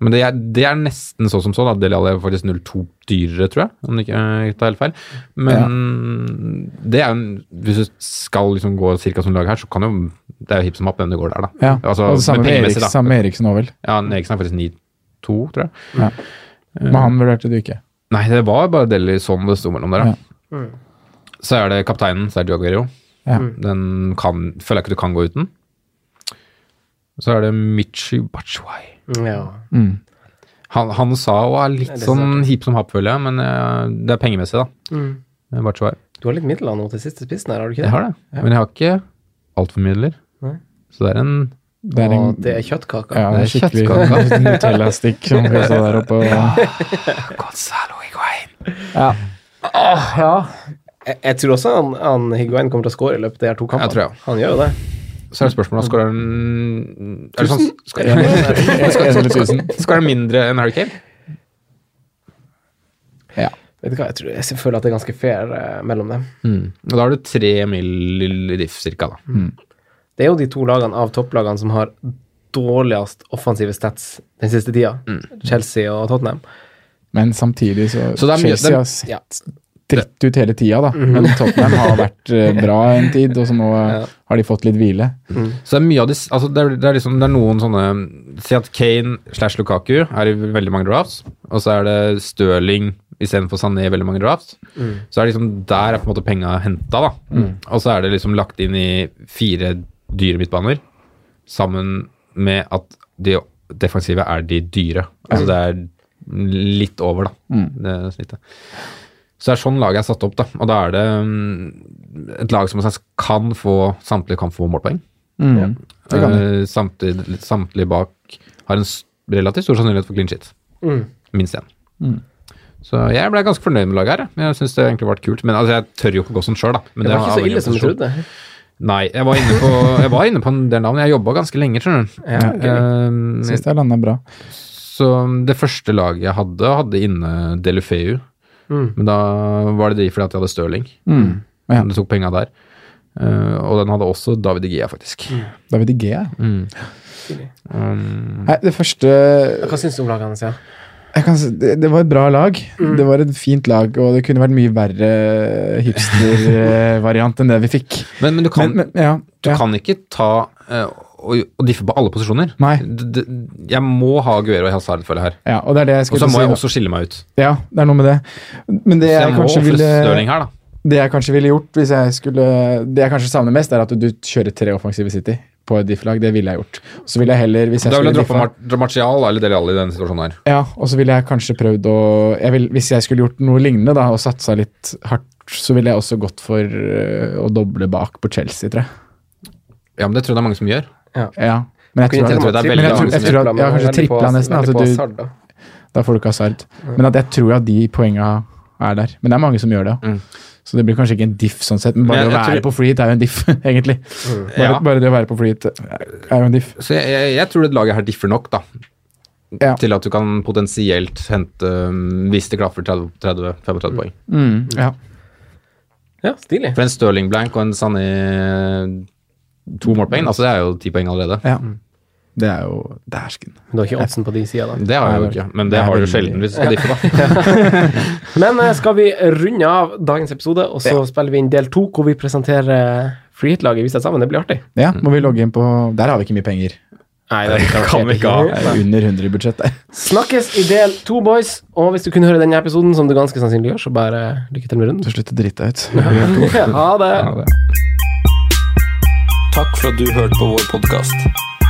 Speaker 3: Men det er, det er nesten så som så. da. Dele Alli er faktisk 0,2 dyrere, tror jeg. Om det ikke øh, tar helt feil. Men det er jo en- Hvis du skal liksom gå cirka som laget her, så kan jo Det er jo hipp som happ hvem det går der, da.
Speaker 4: Ja.
Speaker 3: Altså,
Speaker 4: og det samme
Speaker 3: men
Speaker 4: med,
Speaker 3: pengemessig,
Speaker 4: Erik,
Speaker 3: da.
Speaker 4: samme med Eriksen òg, vel.
Speaker 3: Ja, Eriksen er faktisk 9,2, tror jeg.
Speaker 4: Men han vurderte du ikke.
Speaker 3: Nei, det var bare Deli sånn det sto mellom der, da.
Speaker 4: Ja.
Speaker 2: Mm.
Speaker 3: Så er det kapteinen, Sergio Aguero.
Speaker 4: Ja.
Speaker 3: Den kan, føler jeg ikke du kan gå uten. Så er det Michi Batshuay.
Speaker 2: Ja.
Speaker 4: Mm.
Speaker 3: Han, han sa og er litt
Speaker 2: Nei, det
Speaker 3: sånn hip som happ, føler jeg, men eh, det er pengemessig, da.
Speaker 2: Mm.
Speaker 3: Batshuay.
Speaker 2: Du har litt midler nå til siste spissen her, har du ikke
Speaker 3: Jeg
Speaker 2: det?
Speaker 3: har det, men jeg har ikke altfor midler.
Speaker 2: Nei.
Speaker 3: Så det er en
Speaker 4: Det er en,
Speaker 2: Og det er kjøttkaker.
Speaker 4: Mm. ja, det
Speaker 3: det
Speaker 4: er
Speaker 3: er
Speaker 4: skikkelig Nutella-stikk som kan stå der oppe. Og,
Speaker 3: Gonzalo Higuain.
Speaker 4: ja.
Speaker 2: Jeg, jeg tror også han, han Higuain kommer til å score i løpet av de her to kampene.
Speaker 3: Jeg tror jeg.
Speaker 2: Han gjør jo det.
Speaker 3: Så er det spørsmålet skal han er det sånn, skal,
Speaker 4: En- en eller tusen.
Speaker 3: skal han mindre enn Harry Kane?
Speaker 4: Ja.
Speaker 2: Vet du hva, jeg, tror, jeg føler at det er ganske fair eh, mellom dem.
Speaker 3: Mm. Og da har du tre mil i diff, cirka, da.
Speaker 2: Det er jo de to lagene av topplagene som har dårligst offensive stats den siste tida. Chelsea og Tottenham.
Speaker 4: Men samtidig så,
Speaker 3: Så det er Mhm. mye-
Speaker 4: Chelsea har
Speaker 2: Ja.
Speaker 4: dritt ut hele tida, da. Men Tottenham har vært eh, bra en tid, og så nå eh, har de fått litt hvile.
Speaker 3: Så det er mye av de s- altså det, er, det, er liksom, det er noen sånne Si at Kane slash Lukaku er i veldig mange drafts, og så er det Stirling istedenfor Sané i veldig mange drafts. Så er det liksom der er på en måte penga henta, da. Og så er det liksom lagt inn i fire dyre midtbaner, sammen med at de defensive er de dyre. Altså det er litt over, da,
Speaker 4: Mm.
Speaker 3: det snittet. Så det er sånn laget er satt opp, da. Og da er det mm, et lag som kan få samtlige kan få målpoeng.
Speaker 4: Mm. Det kan
Speaker 3: Eh, samtidig, samtlige bak har en s- relativt stor sannsynlighet for clean shit.
Speaker 2: Mm.
Speaker 3: Minst én.
Speaker 4: Mm.
Speaker 3: Så jeg ble ganske fornøyd med laget her. jeg. Jeg synes det egentlig vært kult. Men altså, jeg tør jo ikke gå sånn sjøl, da.
Speaker 2: Det
Speaker 3: Men
Speaker 2: var
Speaker 3: er
Speaker 2: ikke så
Speaker 3: avhengig
Speaker 2: ille
Speaker 3: av
Speaker 2: som jeg
Speaker 3: posisjon.
Speaker 2: trodde.
Speaker 3: Nei, jeg var inne på, jeg var inne på en del navn. Jeg jobba ganske lenge, skjønner du.
Speaker 2: Ja, ok.
Speaker 3: Eh,
Speaker 4: Syns det har landa bra.
Speaker 3: så det første laget jeg hadde, hadde inne Delufeu.
Speaker 2: Mm.
Speaker 3: Men da var det de fordi at jeg hadde Stirling.
Speaker 4: Mm. Ja.
Speaker 3: Det tok penga der. Eh, og den hadde også David Gia, faktisk.
Speaker 4: David G.
Speaker 3: Mm.
Speaker 2: Stilig.
Speaker 3: Um,
Speaker 4: Nei, det første
Speaker 2: Hva syns du om lagene hans, ja?
Speaker 4: jeg kan, si- det, det var et bra lag.
Speaker 3: Mm.
Speaker 4: Det var et fint lag, og det kunne vært mye verre eh, hipstervariant enn det vi fikk.
Speaker 3: men, men du kan
Speaker 4: Men, men ja,
Speaker 3: Du
Speaker 4: ja.
Speaker 3: kan ikke ta eh, å, å diffe på alle posisjoner.
Speaker 4: Nei.
Speaker 3: D- d- Jeg må ha Guero og Hazard, føler jeg her.
Speaker 4: Ja, og det er det jeg
Speaker 3: Og så
Speaker 4: skulle
Speaker 3: må jeg
Speaker 4: til å si.
Speaker 3: også skille meg ut.
Speaker 4: Ja, det er noe med det. Men det
Speaker 3: Så
Speaker 4: jeg,
Speaker 3: jeg må
Speaker 4: kanskje
Speaker 3: ofre
Speaker 4: ville,
Speaker 3: Stirling her, da.
Speaker 4: det jeg kanskje ville gjort hvis jeg skulle Det jeg kanskje savner mest, er at du kjører tre offensive City på et diff-lag. Det ville jeg gjort. Så ville jeg heller hvis jeg
Speaker 3: Da vil jeg
Speaker 4: skulle
Speaker 3: droppe
Speaker 4: diffa-
Speaker 3: Mar Martial eller Dele Alli i denne situasjonen her.
Speaker 4: Ja, og så ville jeg kanskje prøvd å jeg vil, Hvis jeg skulle gjort noe lignende da, og satsa litt hardt, så ville jeg også gått for øh, å doble bak på Chelsea, tror jeg.
Speaker 3: Ja, men det tror jeg det er mange som gjør.
Speaker 4: Ja. Men jeg
Speaker 2: Kunne til og
Speaker 4: tror, at,
Speaker 2: med
Speaker 3: tror det er
Speaker 2: trippel-
Speaker 3: veldig mange som
Speaker 4: gjør det.
Speaker 2: men
Speaker 4: Ja, kanskje
Speaker 2: veldig på-
Speaker 4: tripla
Speaker 2: veldig
Speaker 4: nesten, altså
Speaker 2: på
Speaker 4: du-
Speaker 2: Hazard, da.
Speaker 4: da får du ikke hasard. Men at jeg tror at de poenga er der. Men det er mange som gjør det. ja.
Speaker 3: Mm.
Speaker 4: Så det blir kanskje ikke en diff sånn sett, men bare
Speaker 3: Men jeg-
Speaker 4: å være
Speaker 3: jeg tror-
Speaker 4: på free hit er jo en diff, egentlig. Bare,
Speaker 3: Ja.
Speaker 4: bare det å være på free hit er jo en diff.
Speaker 3: Så jeg, jeg, jeg tror det laget her differ nok, da.
Speaker 4: Ja.
Speaker 3: Til at du kan potensielt hente, um, hvis det klaffer, 30 30 35 poeng.
Speaker 4: Mm, ja.
Speaker 2: Ja, stilig.
Speaker 3: For en Stirling blank og en Sané to målpoeng, altså det er jo ti poeng allerede.
Speaker 4: ja. Det er jo Dæsken.
Speaker 2: Men du har ikke oddsen på de sida, da.
Speaker 3: Det har jeg jo ikke, men det
Speaker 4: er
Speaker 3: har du
Speaker 4: veldig-
Speaker 3: sjelden hvis du skal diffe, da.
Speaker 2: Men eh, skal vi runde av dagens episode, og så spiller vi inn del to, hvor vi presenterer freehit-laget vi setter sammen. Det blir artig.
Speaker 4: Ja, må vi logge inn på Der har vi ikke mye penger.
Speaker 2: Nei, det
Speaker 3: kan vi ikke ha.
Speaker 4: Det er under 100 i budsjett der.
Speaker 2: Snakkes i del to, boys. Og hvis du kunne høre denne episoden, som du ganske sannsynlig gjør, så bare lykke til med runden.
Speaker 4: Så slutt å drite deg ut.
Speaker 2: Ha det.
Speaker 1: Takk for at du hørte på vår podkast.